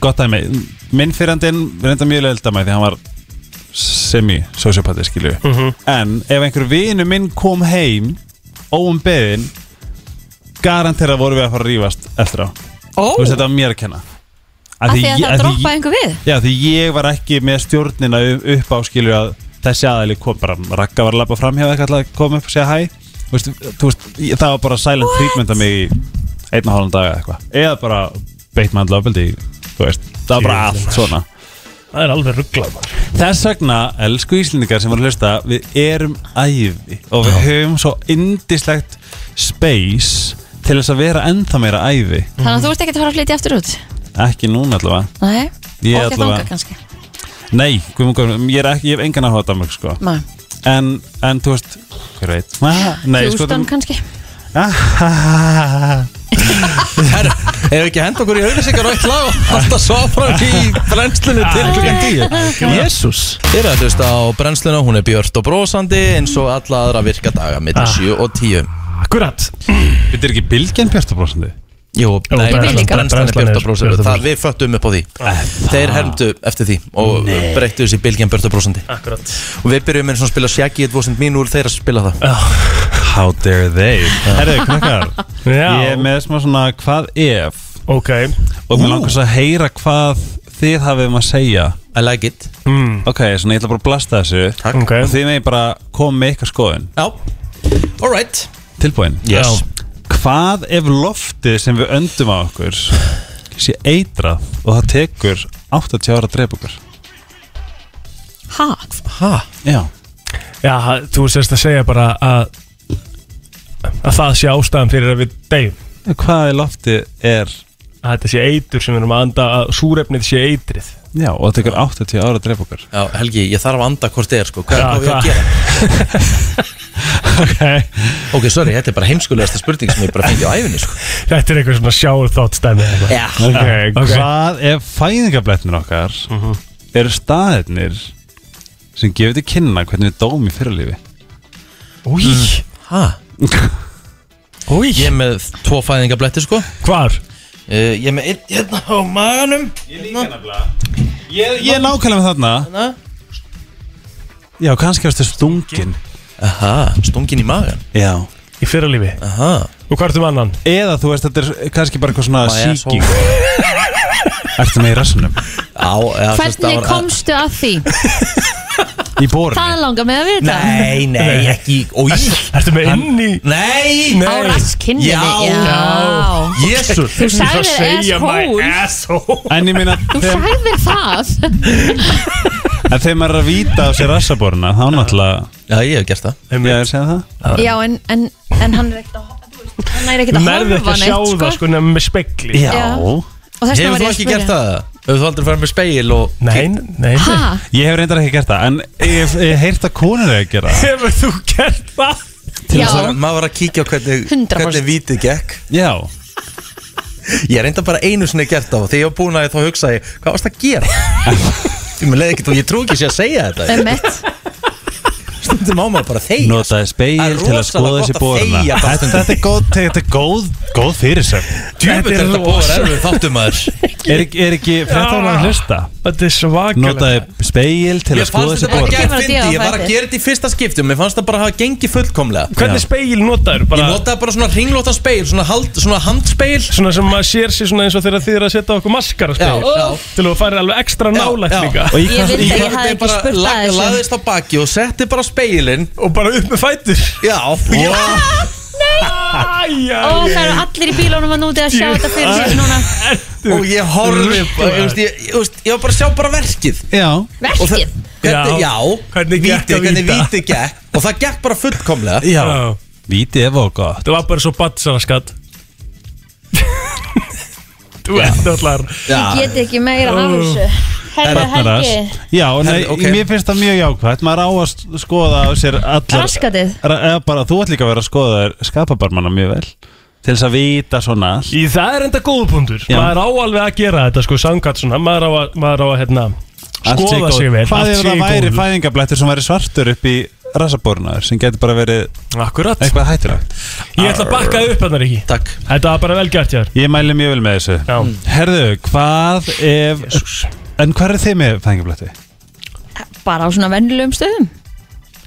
gott dæmi Minn fyrrandinn reynda mjög leil dæmi því hann var semi-sociopati skilju Mhm. En ef einhver vinu minn kom heim óum beðin garantera voru við að fara að rífast eftir á Ó, Þú veist, þetta var mér að kenna Af Af því að ég- það af því- droppaði einhver við Já, því ég var ekki með stjórnina u- upp á skilju að þessi aðali kom bara, Ragga var að labba fram hjá eitthvað að koma upp og segja hæ Þú veist, þú veist, ég- það var bara silent treatment að mig í einn og hálfum dag eða eitthvað eða bara beitt mann lofbeldi í- þú veist, það var bara Jöfull, allt maður. svona Það er alveg rugglað maður. Þess vegna, elsku Íslendingar sem voru að hlusta við erum æði og við höfum svo indislegt space til þess að vera ennþá meira æði Þannig að þú ert ekki að fara að flytja aftur út ekki núna allavega Nei Ég Og ekki allavega- þangað kannski Nei, guðmur, guðmur, ég, er ekki, ég hef engan áhuga á Danmark sko Nei. en, en þú veist hver veit ah, nei, sko, Hjústan kannski Herra, ef ekki henda okkur í auðlýsingar og eitt lag og alltaf svo áfram í brennslunni til klukkan (laughs) 10 Jésús Þið er að hlusta á brennsluna, hún er björt og brósandi eins og alla aðra virka daga millir 7 og 10 Akkurat Þetta er ekki bylgjan bjartabrósandi Jú, brennslan- nei, brennslan, brennslan er brennslan björt er og Ah. brósandi Björt og Það við föttum upp á því Þeir hermdu eftir því og breyttu þessi bylgjan björt og brósandi Akkurat Og við byrjum með svona að spila Shaggy 1.000 mín úr þeirra að spila það How dare they Herðu, knakkar Já, Ég er með smá svona hvað ef ok Og mér langar svo að heyra hvað þið hafið um að segja I like it mm, Ok, svona ég ætla bara að blasta þessu Takk Ok Og þið megin bara koma með ykkar skoðun Já, alright Tilbúin Yes Hvað ef loftið sem við öndum á okkur sé eitrað og það tekur 80 ára að drepa okkur Ha? Ha? Já Já, þú sérst að segja bara að að það sé ástæðan fyrir að við deyjum Hvað ef loftið er að þetta sé eitur sem við erum að anda að súrefnið sé eitrið Já, og það tekur 80 ára að drepa okkur Já, Helgi, ég þarf að anda hvort þið er sko Hvað Já, Ah, er hvað hvað? við að (laughs) gera? Ok Ok, sorry, þetta er bara heimskulegasta spurning sem ég bara fengi á æfinni sko. (laughs) Þetta er eitthvað svona sjáur þátt stæmi Já Ok, ok Hvað ef fæðingabletnir okkar eru staðirnir sem gefur til kynna hvernig við dóm í fyrirlífi Új, Hæ? új Mm. Ég er með tvo fæðingabletti sko uh, Hvar? Ég er með einn hérna á maganum Hérna. Ég er nákvæmlega með þarna Já, kannski varstu stungin Aha, stungin í magan Já Í fyrralífi Aha Og hvað ertu með annan? Eða þú veist, þetta er kannski bara eitthvað svona My asshole. síking (laughs) Ertu með í rassunum? Á, já, þú veist, það Hvernig var- komstu að því? Í borunni? Það langar mig að vita Nei, nei, ekki Ói Ertu með inn í Nei Á raskinninni Já. já. Jésús Þú sagðir asshole asshole En ég meina, Þú þegar, sagðir það en þegar maður er að víta á sér rassaboruna þá náttúrulega, Já, ég hef gert það ég er að segja það Já, en, en, en hann er ekkert að þú veist, Hann er ekkert að Nærði ekki horfa að sjá neitt það sko nefnum með spegli Já. Og þess vegna Hefur var ég þú að ekki spyrja. gert það? Hefur þú aldrei farið með speil og Nei, nei, nei Ha? Ég hef reyndar ekki gert það, en ég hef heyrt að konur er að gera það Hefur þú gert það? Til Já. þess að maður var að kíkja á hvernig 100%. Hvernig vítið gekk Já, (laughs) Ég reynda bara einu sinni gert það og Þegar ég var búin að því þá hugsaði ég, Hvað varst að gera? Ég mér leið ekkert og ég trú ekki sé að segja þetta Emmett Stundum á maður bara sko. þeir notaði speil til að skoða þessi boruna Þetta þetta er góð, þetta er góð, góð fyrir sem Djúpið er þetta bóður erfið þáttum maður Er ekki, er ekki fréttána að hlusta? Þetta er svakalegt Notaði speil til að Ég skoða fannst þessi þetta bara boruna gett Kemur að fyndi því á Ég var að fæti. gera þetta í fyrsta skiptum Mér fannst það bara að hafa gengið fullkomlega Hvernig spegil notaður? Bara Ég notaði bara svona ringlótan speil Svona, hald, svona handspeil svona sem maður sér sér svona eins og þegar þið er að setja okkur maskara spegil Já, já. Til að fara alveg ekstra Já, nálægt já. líka Og ég Ég kannast vildi í ekki, ég hafði Ég ekki bara spurt um- að þessu lag- lagðist á baki og setti bara speilin Og bara upp með fætur Já, já. Æja Ó, það eru allir í bílunum að núti að sjá þetta fyrir sér núna og ég horfi bara, ég, veist, ég, ég, veist, ég var bara að sjá bara verkið Já, Og það- Verkið Hvernig, Já. já, Hvernig gekk víti, að hvernig víta? víti gekk Og það gekk bara fullkomlega já Vítið er og gott Það var bara svo batsaraskatt Þú ert allar Ég get ekki meira af þessu Herra Barnaras. Helgi Já, nei, Herri, ok. mér finnst það mjög jákvæmt Maður á að skoða á sér allar Raskatið Ra- eða bara, Þú ætti líka að vera að skoða þér skapabarmanna mjög vel Til þess að vita svona allt Í það er enda góða punktur Já. Maður á alveg að gera þetta sko samkvæmt svona Maður á að, maður á að hérna Allt sé Skoða góð. sig vel Hvað allt ef sé í það væri góðu. fæðingablættur sem væri svartur upp í rassabornaður sem getur bara verið Akkurat eitthvað hættilegt Ég ætla að bakka þig upp hann ekki Takk Þetta var bara vel gert hjá þér Ég mæli mjög vel með þessu Já Herðu, hvað ef En hvað er þið með fæðingablætti? Bara á svona vennilegum stöðum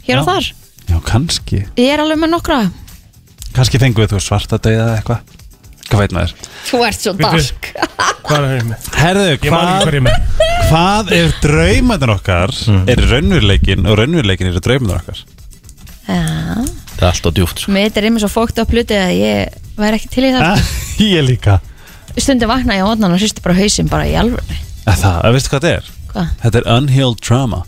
Hér og Já. þar Já, kannski Ég er alveg með nokkra Kannski fengum við þú svarta döiða eða eitthvað Hvað veit maður? Þú ert svo dark Hvað er það með? Herðu, Ég man ekki hvað, hverju (laughs) með hvað ef draumarnir okkar Mm. er raunveruleikin og raunveruleikin eru draumarnir okkar? Já. Það er alltaf sko. djúft Mér þetta er einmitt svo fókt upp hluti að ég væri ekki til í það Ah, (laughs) Ég líka Stundum vakna ég á odnan og hristi bara hausinn bara í alvörni Að Það, að veistu hvað þetta er? Hvað? Þetta er unhealed trauma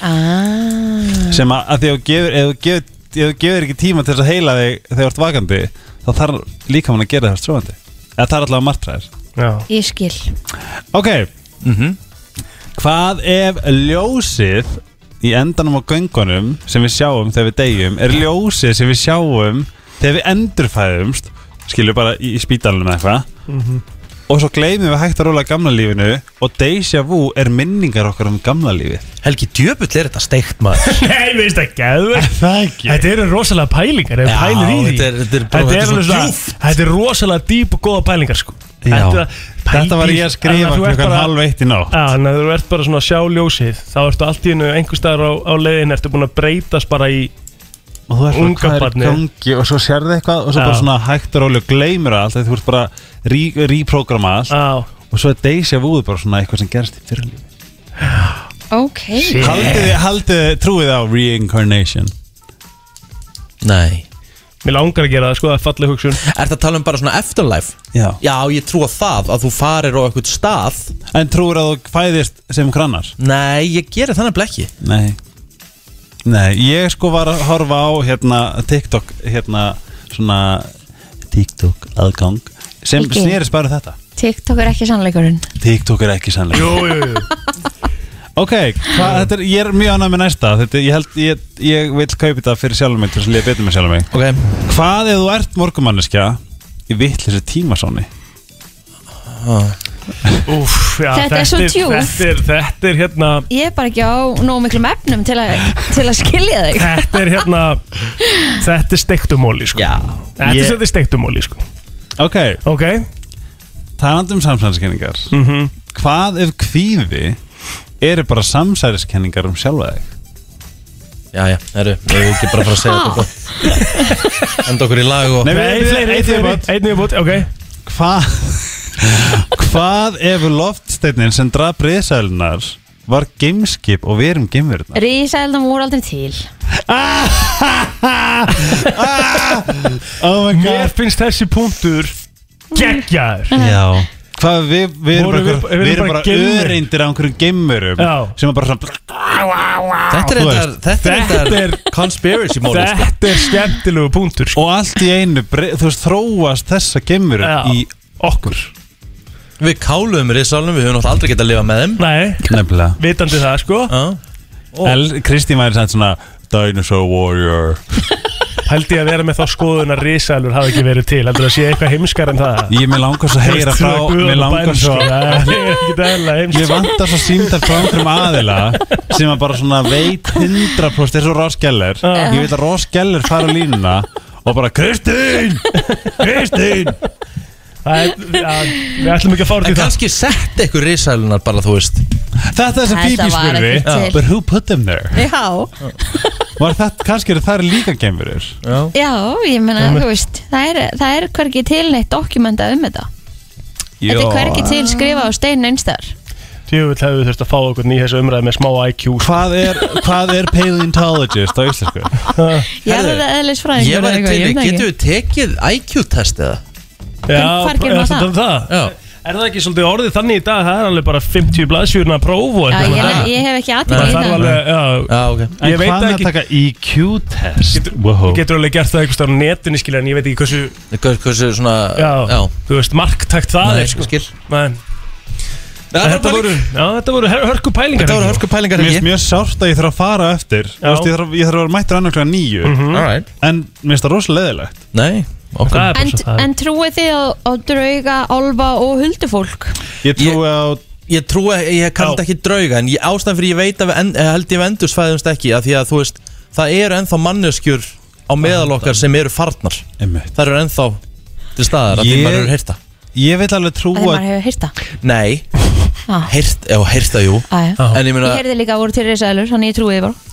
Ah. sem að, að því að þú gefur, ef þú gefur, ef þú gefur ekki tíma til þess að heila þig þegar þú ert vakandi þá þarf líka að gera það stróðandi eða það er allavega martræðir Já Ég skil Ok Mhm. Hvað ef ljósið í endanum á göngunum sem við sjáum þegar við deyjum er ljósið sem við sjáum þegar við endurfæðumst skilur bara í, í spítalunum eða eitthvað og svo gleymum við hægt að róla gamla lífinu og deja vu er minningar okkar um gamla lífið Helgi djöfull er þetta steikt maður Nei, veist það gæður Það ekki Þetta eru rosalega pælingar ef Já, pælir í því þetta er- þetta er- Þetta þetta er er svo alveg svona- djúpt. Þetta er rosalega dýp og góða pælingar sko. Já. Þetta, Þetta var ég að skrifa klukkan halv halv eitt í nótt Já, þannig að þú ert bara svona að sjá ljósið þá ertu allt í hennu einhver staðar á, á leiðin ertu búin að breytast bara í og þú ert bara Unga hvað er í barnið. gangi og svo sérðu eitthvað og svo Já. bara svona hægt og rólega gleymur allt þegar þú ert bara að re reprogramma allt á, og svo er deja vu bara svona eitthvað sem gerst í fyrirlífi Ok Haldið þið, haldið þið, trúið á reincarnation Nei mér langar að gera það sko, það er fallið hugsun Er þetta að tala um bara svona eftirlife? Já. Já, ég trúa það að þú farir á eitthvað stað En trúir að þú fæðist sem krannar? Nei, ég gerir þannig blekki Nei Nei, ég sko var að horfa á hérna TikTok, hérna svona TikTok aðgang sem Ekki. snerist bara um þetta TikTok er ekki sannleikurinn TikTok er ekki sannlega Jú, jú, jú Ok, hva, þetta er, ég er mjög annað með næsta þetta, ég, held, ég, ég vil kaupa þetta fyrir sjálfum mig til þess að liða betur með sjálfum mig Ok Hvað ef þú ert morgumanneskja í vitleysu tímasóni? Úf, já, Þetta er svo er- djúpt. þetta, er- þetta er hérna Ég er bara ekki á nóg miklum efnum til, a, til að skilja þig (laughs) Þetta er hérna Þetta er steiktumóli sko Já Þetta Ég- er þetta er steiktumóli sko Ok, Ok, Mhm. talandi um samsæriskenningar Hvað ef kvíði eru bara samsæriskenningar um sjálfa þig? Já, já, herru, ég er ekki bara að fara að segja (laughs) þetta gott. Enda okkur í lag og Nei, við Nei, erum fleiri, eitt fleiri, viðbót einn viðbútt Ok, Hvað Hvað ef loftsteinin sem draf breyðsælunar var gameskip og við erum gameverðnar? Rísældan voru aldrei (laughs) til Oh my mér finnst þessi punktur Geggjaður Já Hvað við, við erum Vorum bara, við- við, við erum bara geimverur. öreindir á einhverjum geimurum Já. sem er bara svona Þetta er Þú reyndar, þetta er þetta reyndar conspiracy móli sko. Þetta er skemmtilegu punktur sko og allt í einu brey- þú veist þróast þessa geimurur Já. í okkur Við káluðum risálum, við höfum náttúrulega aldrei getað að lifa með þeim Nei, Nefnilega vitandi það sko Já El, Kristín væri sann svona Dinosaur Warrior Hældi ég að vera með þá skoðun að risalur hafi ekki verið til Heldur það sé eitthvað heimskar en það Ég með langar svo að heyra frá Mér langar svo Það er ekki dæla Ég heimskar vantar svo símdar frá einhverjum aðila sem að bara svona veit 100% eins og Ross Geller Ég vil að Ross Geller fara á línuna og bara Kristín! Kristín! Það er- já, Við ætlum ekki að fara út En í það kannski sett eitthvað risálunar bara, þú veist Þetta er sem Þetta Phoebe var spurði ekki til. But who put them there? Já Var þetta, kannski eru þær líka geimverur Já Já, ég meina, þú veist Það er, það er hvergi til neitt dokumentað um þetta Þetta er hvergi til skrifað á stein einstar Tjöfull hefðu þurft að fá okkur í þessu umræði með smá IQ Hvað er, hvað er paleontologist á (laughs) íslensku? Ég er það eðlisfræðingur Ég eða væri eitthvað, til, ég veit það ekki. getum við tekið IQ-test eða? hvar gerum maður það? um það? Já Er það ekki svolítið orðið þannig í dag? Það er alveg bara 50 blaðsjúrna próf og Já, eitthvað ég, það. ég hef ekki Það aðtökk í þarf það alveg, já Já, ok En Ég veit hvað með ekki- að taka E EQ-test? Wow. Getur alveg gert það einhverstað á netinu skilja en ég veit ekki hversu Hvers- Hversu svona Já, þú veist, marktakt það Nei, er sko skil Nei, þetta voru, já, þetta voru hör- hörku pælingar Þetta voru hörku pælingar Mér finnst ekki mjög sárt að ég þarf að fara á eftir Þú veist, Ég þarf, ég þarf að vera mættur annað klokkan nýju Alright En mér finnst það rosalega leðilegt Nei, okkur Mhm. Það er bara En, svo það er. en trúið þið á, á drauga, álfa og huldufólk? Ég trúi á Ég trúi, ég Já. kann þetta ekki drauga En ég, ástæðan fyrir ég veit að við en, eh, held ég við endursfæðumst ekki að Því að þú veist, það eru ennþá manneskjur á meðal okkar sem eru farnar Einmitt. Það eru ennþá til staðar að því Ég- maður eru heyrta Ég vil alveg Þegar trúa maður hefur heyrt það Nei, ah, heyrt, já, heyrta jú ah, ja. En ég meina, Ég heyrði líka að voru til risaðlur, þannig ég trúið þið bara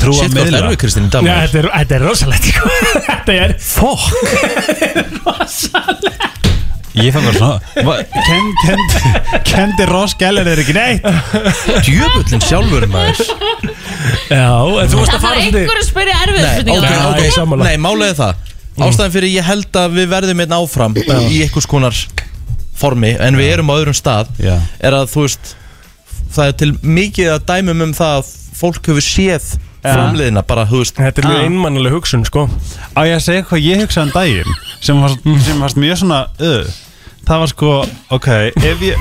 Trúa shit, hvað miðla erum við Kristín í dag? Já, maður? þetta er, þetta er rosalegt sko. Þetta er Fuck, Ég fann bara svona Va- Ken- ken- Kendi Ross Geller er ekki neitt djöfullin sjálfur maður Já, en (laughs) þú varst að Það er fara einhver að spyrja erfið Nei, ok, spurningar. ok, Mm. Nei, sammála. nei, málega það Ástæðan fyrir ég held að við verðum einn áfram í einhvers konar formi en við erum á öðrum stað Já. er að þú veist það er til mikið að dæmum um það að fólk hefur séð framliðina bara, þú veist Þetta er mjög Ah. einmannaleg hugsun sko Á ég að segja hvað ég hugsaði um daginn sem var, sem var mjög svona uh, Það var sko, ok Ef ég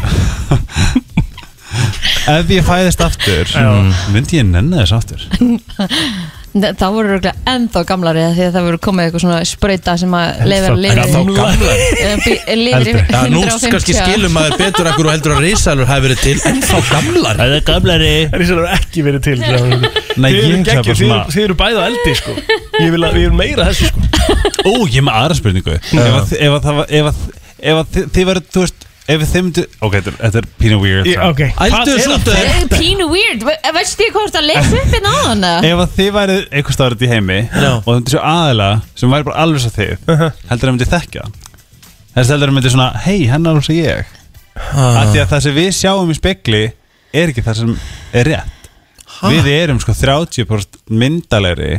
(laughs) Ef ég fæðist aftur mm, Já. (laughs) Myndi ég nenni þess aftur Ne- Það voru örugglega ennþá gamlari af því að það voru komið eitthvað svona sprauta sem að leifir að lifir Ennþá gamlari? Lifir eh, í Já, nú 150 kannski skilum maður betur akkur og heldur að risalur hafi verið til ennþá gamlar Það er gamlari Risalur hafi ekki verið (laughs) til Nei, Þið eru ég hugsa geggjur, bara þið svona eru- Þið eru bæði á eldi sko Ég vil, að, ég vil meira þessu sko Ó, ég er með aðra spurningu Ef að- ef að það var Ef að- ef að þið- þið verður, þú veist Ef þið myndu Ok, þetta er- þetta er pínu weird Ég- ok. Hvað er svolítið Það er pínu weird, Ve- eh, veistu ég hvort að lesa upp hérna á hana? Ef að þið værið einhver staðar út í heimi og það myndi svo aðila sem væri bara alveg svo þið heldur það myndi þekka þess heldur það myndi svona, hei, hennar hún sem ég ah. af því að það sem við sjáum í spegli er ekki það sem er rétt við erum sko 30% myndalegri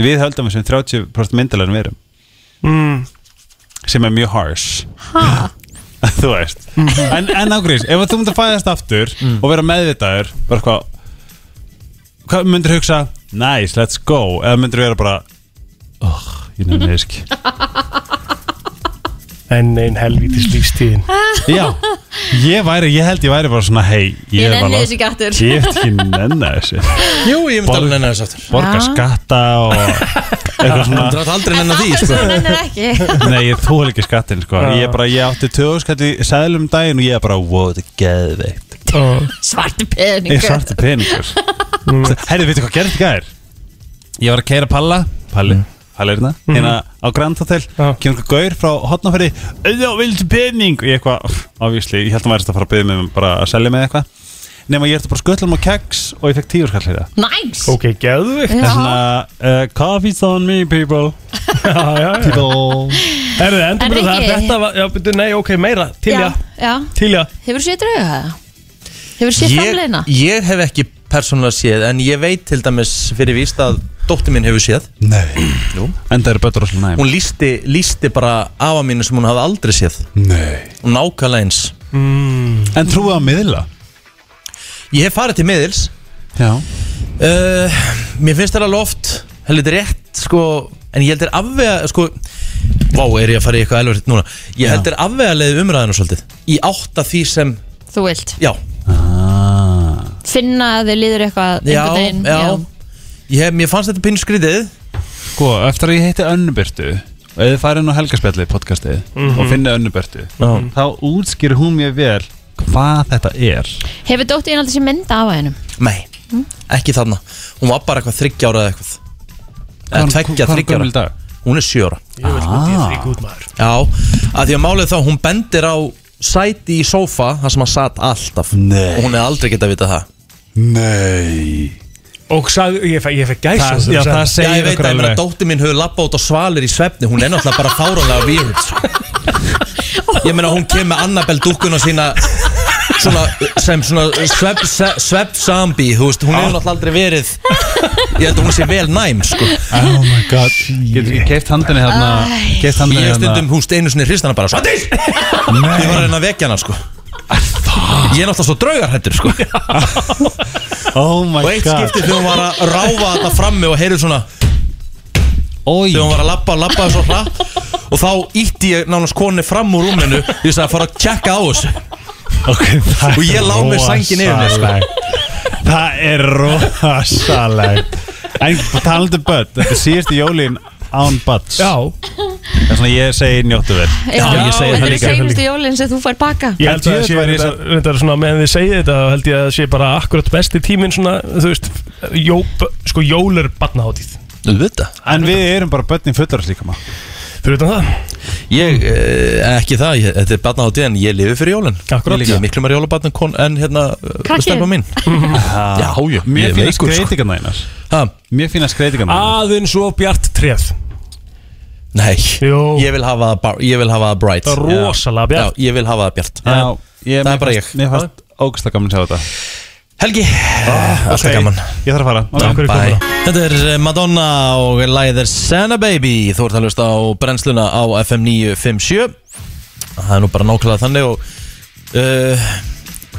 við höldum við sem 30% myndalegri við erum mm. sem er mjög harsh Ha? (laughs) þú veist en, en ágrís, ef að þú myndir fæðast aftur Mm. og vera meðvitaður bara hvað hvað myndir hugsa nice, let's go eða myndir vera bara oh, ég nefnir þess ekki (laughs) En ein helvítis lífstíðin já, ég væri, ég held ég væri bara svona hei, Ég er nenni bara- þessu ekki aftur. ég hef ekki nenni þessu Jú, ég myndi Borg- alveg nennan þess aftur borga Já. skatta (laughs) og eitthvað Þú svona drátt aldrei En nennan því það sko. sem nennir ekki (laughs) Nei, ég þól ekki skattin sko. Já. Ég, bara, ég átti töðuskall í sæðlum daginn og ég er bara, wow, þetta er geðveikt oh. (laughs) Svarti Ég peningur svarti peningur Mm. Herri, veitu hvað gerði gær? Ég var að keira Palla Palli, Palli er hérna Hérna á Grand Hotel Mm. Mm-hmm. Já. Kemur eitthvað gaur frá hotnaferði Auðvitað, viltu pening? Og Ég eitthvað, obviously, ég held að maður þetta að fara að byggja mig um bara að selja mig eitthvað Nefn að ég ætti bara sköllum á keks og ég fekk tíur skall hérna Næs Ok, geðvikt Það er Já. svona, uh, coffee's on me (laughs) people People Herðu, endur En bara það Rikki- Þetta var, já, byrju, nei, ok, meira Til já, Já, já til já Hefur séð drauga það? Hefur séð framleina? ég, ég hef ekki persónulega séð En ég veit til dæmis fyrir víst að Dóttir minn hefur séð Nei Jú. En það eru bötur rosalega næm Hún lísti, lísti bara afa mínu sem hún hafði aldrei séð Nei Mm. Og Nákvæmlega eins En trúið á miðla Ég hef farið til miðils Já uh, Mér finnst þetta alveg oft Helviti rétt sko En ég held er afvega sko, Vá, er ég að fara í eitthvað elverið núna Ég held er afvega leiði umræðinu svolítið Í átta því sem, Þú vilt já, ah. finna að þið líður eitthvað já, einhvern veginn, já. Ég, Mér fannst þetta pínu skrítið Sko, eftir að ég heiti Önnubirtu og eða farið inn á helgarspjallið podcastið og finna Önnubirtu Já. Mm, þá útskýr hún mér vel hvað þetta er Hefur dóttið einn aldrei sér mynda af hennum? Nei, ekki þarna Hún var bara eitthvað þryggja ára eða eitthvað Hvað Eða er- tveggja, hvað er þryggja gömul í ára dag? sko Hún er sjö ára Ég vil að ég þrýk út maður Já, að því að málið þá hún bendir á sæti í sófa þar sem hann satt alltaf Nei. og hún hefði aldrei getað vitað það Nei Og sag, ég fekk fe gæs Það- já, það Já, segir ég veit okkur að ég meina alveg. dóttir mín hefur labbað út á svalir í svefni hún er náttúrulega bara fárónlega weird (laughs) sko. Ég meina hún kemur með Annabelle dúkkuna sína svona, sem svona svepp svef zombie, þú veist, hún hefur náttúrulega aldrei verið ég held að hún sé vel næm sko. Oh my god Getur ekki keift handinni þarna Keift handinni Ég þarna stundum húst einu sinni hristana bara Svandís! Ég var að reyna að vekja hana sko Ég er náttúrulega svo draugarhættur sko Oh my Og eitt god skipti þegar hún var að ráfa þetta frammi og heyrðu svona Ói Þegar hún var að labba, labbaði svo hratt Og þá ítti ég nánast konni fram úr rúminu Ég sagði að fara að tjekka á þessu okay, það Og ég er lá með sængin yfir mér, sko. rosalegt. Það er rosalegt En talandi um börn Þetta er síðustu jólin án börns Já, Það er svona ég segi njóttu vel Já, ég segi það Þetta er líka. seinustu jólinn sem þú fær baka ég held að Ég það sé væri reyndar- reyndar svona meðan þið segið þetta þá held ég að það sé bara akkurat besti tíminn svona, þú veist, jó, sko jól er barnaháttíð Þú veit það En við erum bara börnin fullur líka maður Fyrir utan það, Ég, eh, ekki það, ég, þetta er batna á dýðan Ég lifi fyrir jólinn Akkurat. Ég lifi miklu meir jólabatn en hérna Krakkinn. Stelpa mín Já, já, Mér ég finnast veikur, sko. skreitingarna einar Ha, Ah. Mér finnast skreitingarna (laughs) einar aðeins og bjart treð Nei, Jú. ég vil hafa það bar- ég vil hafa það bright Það er Já. rosalega bjart. Já, ég vil hafa það bjart Já, ég, Það er bara mér fannst- ég. Mér fannst ógæslega gaman að sjá þetta Helgi, Ah, eh, alltaf Ok, gaman Ég þarf að fara Já. Ok. Hverju Bye. komuna? Þetta er eh, Madonna og lagið er Santa Baby Þú ert að hlusta á brennsluna á FM 957 Það er nú bara nákvæmlega þannig og uh,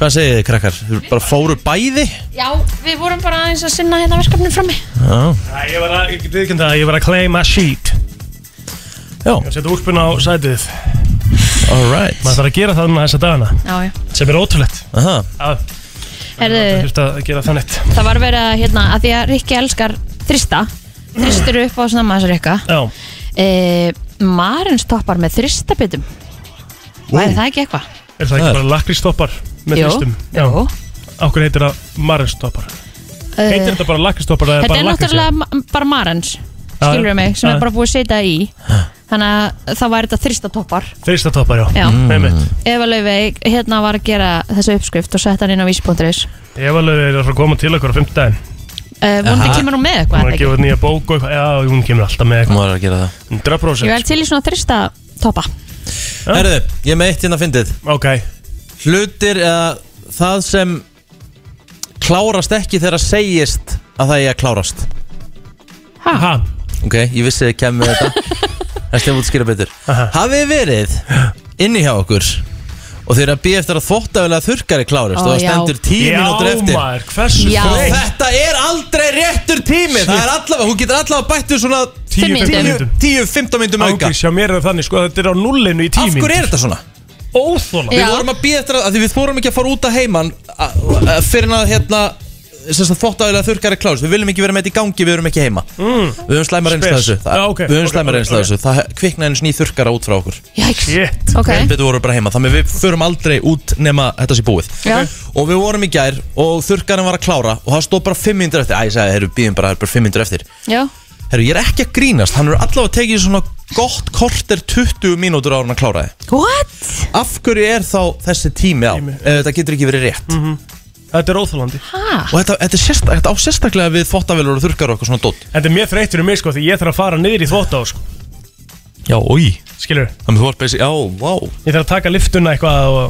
Hvað segið þið krakkar? Þau bara fóru bæði? Já, við vorum bara aðeins að sinna hérna verkefnin frammi Já, Æ, Ég var að, ég get ekki það, ég var að claim a sheet já Ég seti úlpun á sætið all right Maður þarf að gera það núna þessa dagana Já, já Sem er ótrúlegt Aha. Já, Herðu, þurft að gera þannig það var verið að, hérna, að því að Rikki elskar þrista þristur upp á svona masurikka Já. e, Marins toppar með þristabitum Væri það ekki eitthvað? Er það ekki bara lakristoppar með Jú, þristum? jú. Okkur heitir það marristoppar Heitir Eh, þetta bara lakristoppar eða Þetta er bara lakrís? náttúrulega ma- bara Marins Já, skilur mig, sem já. er bara búið að setja það í þannig að það væri þetta þristatoppar Þristatoppar, já, Mm. Já. Mm. einmitt Eva Laufey hérna var að gera þessu uppskrift og setta hann inn á vísi.is Ef alveg er að fara að koma til okkur á fimmtudaginn uh, vonandi Aha. kemur hún með Hún eitthvað er er að það ekki? gefa út nýja bók og eitthvað Já, hún kemur alltaf með Hún eitthvað var að gera það 100% ég vel til í svona þristatoppa Já. Herðu, ég er með eitt hérna að fyndið Ok, Hlutir eða það sem klárast ekki þegar segist að það er að klárast aha Ok, ég vissi þið kemur (laughs) með þetta Það stefum út að skýra betur Aha. Hafið þið verið inni hjá okkur og þeir eru að býja eftir að þvóttavilega þurrkari klárist Ó, og það já. stendur tíu Já, mínútur eftir maður, hversu Já. þreytt? Þetta er aldrei réttur tími Það er allavega, hún getur allavega bættu svona Fimm 10-15 mínútur. mínútum 10-15 myndum auka Ángriðs hjá mér er það þannig sko að þetta er á nullinu í Af tími hverju er þetta svona? Óþóla Já. Við vorum að býja eftir að, að því við vorum ekki að fara út að heiman að- að- fyrir en að hérna þvóttavilega þurrkari klárist Við viljum ekki vera með þetta í gangi, við erum ekki heima mm. Við höfum slæma reynsla Spes. þessu Það- Já, ok, Við höfum ok, slæma ok, reynsla ok. þessu Það kvikna einu sný þurrkara út frá okkur Jæks, Shit ok En betur vorum við bara heima Þannig að við förum aldrei út nema þetta sé búið Já. Og við vorum í gær og þurrkarinn var að klára Og það stóð bara 500 eftir Æ, ég sagði, herru, býðum bara, það er bara 500 eftir Já, Herru, ég er ekki að grínast Hann er allavega tekið svona gott korter 20 mínútur á hann að klára þið what? Af hverju er þá þessi tími á? Tími. Mhm. Tími. Það getur ekki verið rétt Þetta er óþólandi Ha? Og þetta, þetta, er sérstak, þetta á sérstaklega við þvottavelur og þurrkar og eitthvað svona dótt Þetta er mér þreytt fyrir mig sko því ég þarf að fara niður í þvótt á sko Já, oi Skilur, Það með þú varst basic, já, vá ég þarf að taka liftuna eitthvað og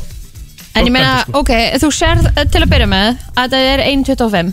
En ég meina, Þvottandi, ok, þú sérð eh, til að byrja með að það er 1.25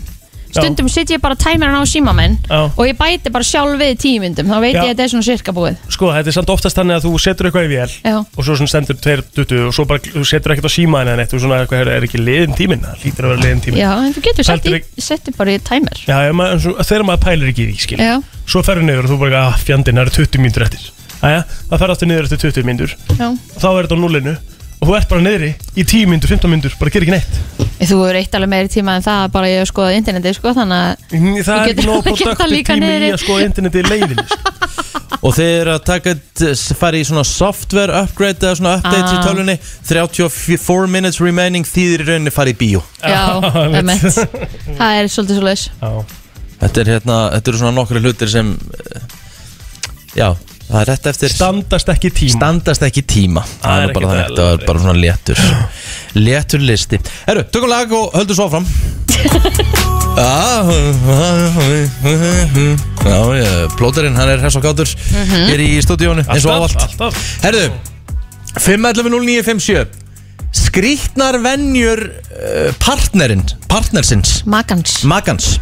Stundum sit ég bara tæmirinn á síma minn Já. og ég bæti bara sjálf við tímyndum þá veit Já. ég að þetta er svona sirka búið Sko, þetta er samt oftast þannig að þú setur eitthvað í vél Já. Og svo svona stendur 2.20 og svo bara þú setur ekkert á símaðin en eitt Og svona, hvað er, er ekki liðin tíminn? Það lítur að vera liðin tíminn Já, en þú getur sett, Heldur í, settir bara í tæmir Já, ef maður, en svo- þegar maður pælir ekki í því, skilur Já, Svo ferðu niður og þú bara, að fjandinn, það eru 20 mínútur eftir Æja, það ferðu aftur niður eftir 20 mínútur já Þá er þetta á nullinu Og þú ert bara niðri í 10 mínútur, 15 mínútur, bara gerir ekki neitt Þú hefur eitt alveg meiri tíma en það að bara ég hef skoðað internetið sko, þannig að Nei, Það er Þú ekki getur- nóg getur það produktiv líka tími í niður. að skoða interneti í leiðinni sko. Og þeir eru að taka, t- fara í svona software upgrade eða svona update í Ah. tölunni 34 minutes remaining þýðir í rauninni farið í bíó Já, (laughs) einmitt. emmett Það er svolítið svo leis Já. Þetta er hérna, þetta eru svona nokkru hlutir sem eh, Já, það er rétt eftir Standast ekki tíma Standast ekki tíma Það er er nú bara ekki þannig, það, þetta er bara svona léttur Léttur listi Herru, tökum lag og höldum svo áfram Já, ég- plóterinn, hann er hess og gátur Mhm. Hér í stúdíónu, eins og Alltaf, ávallt alltaf Herru, 5.11.09.57 Skrítnar venjur uh, partnerinn, partnersins, Magans magans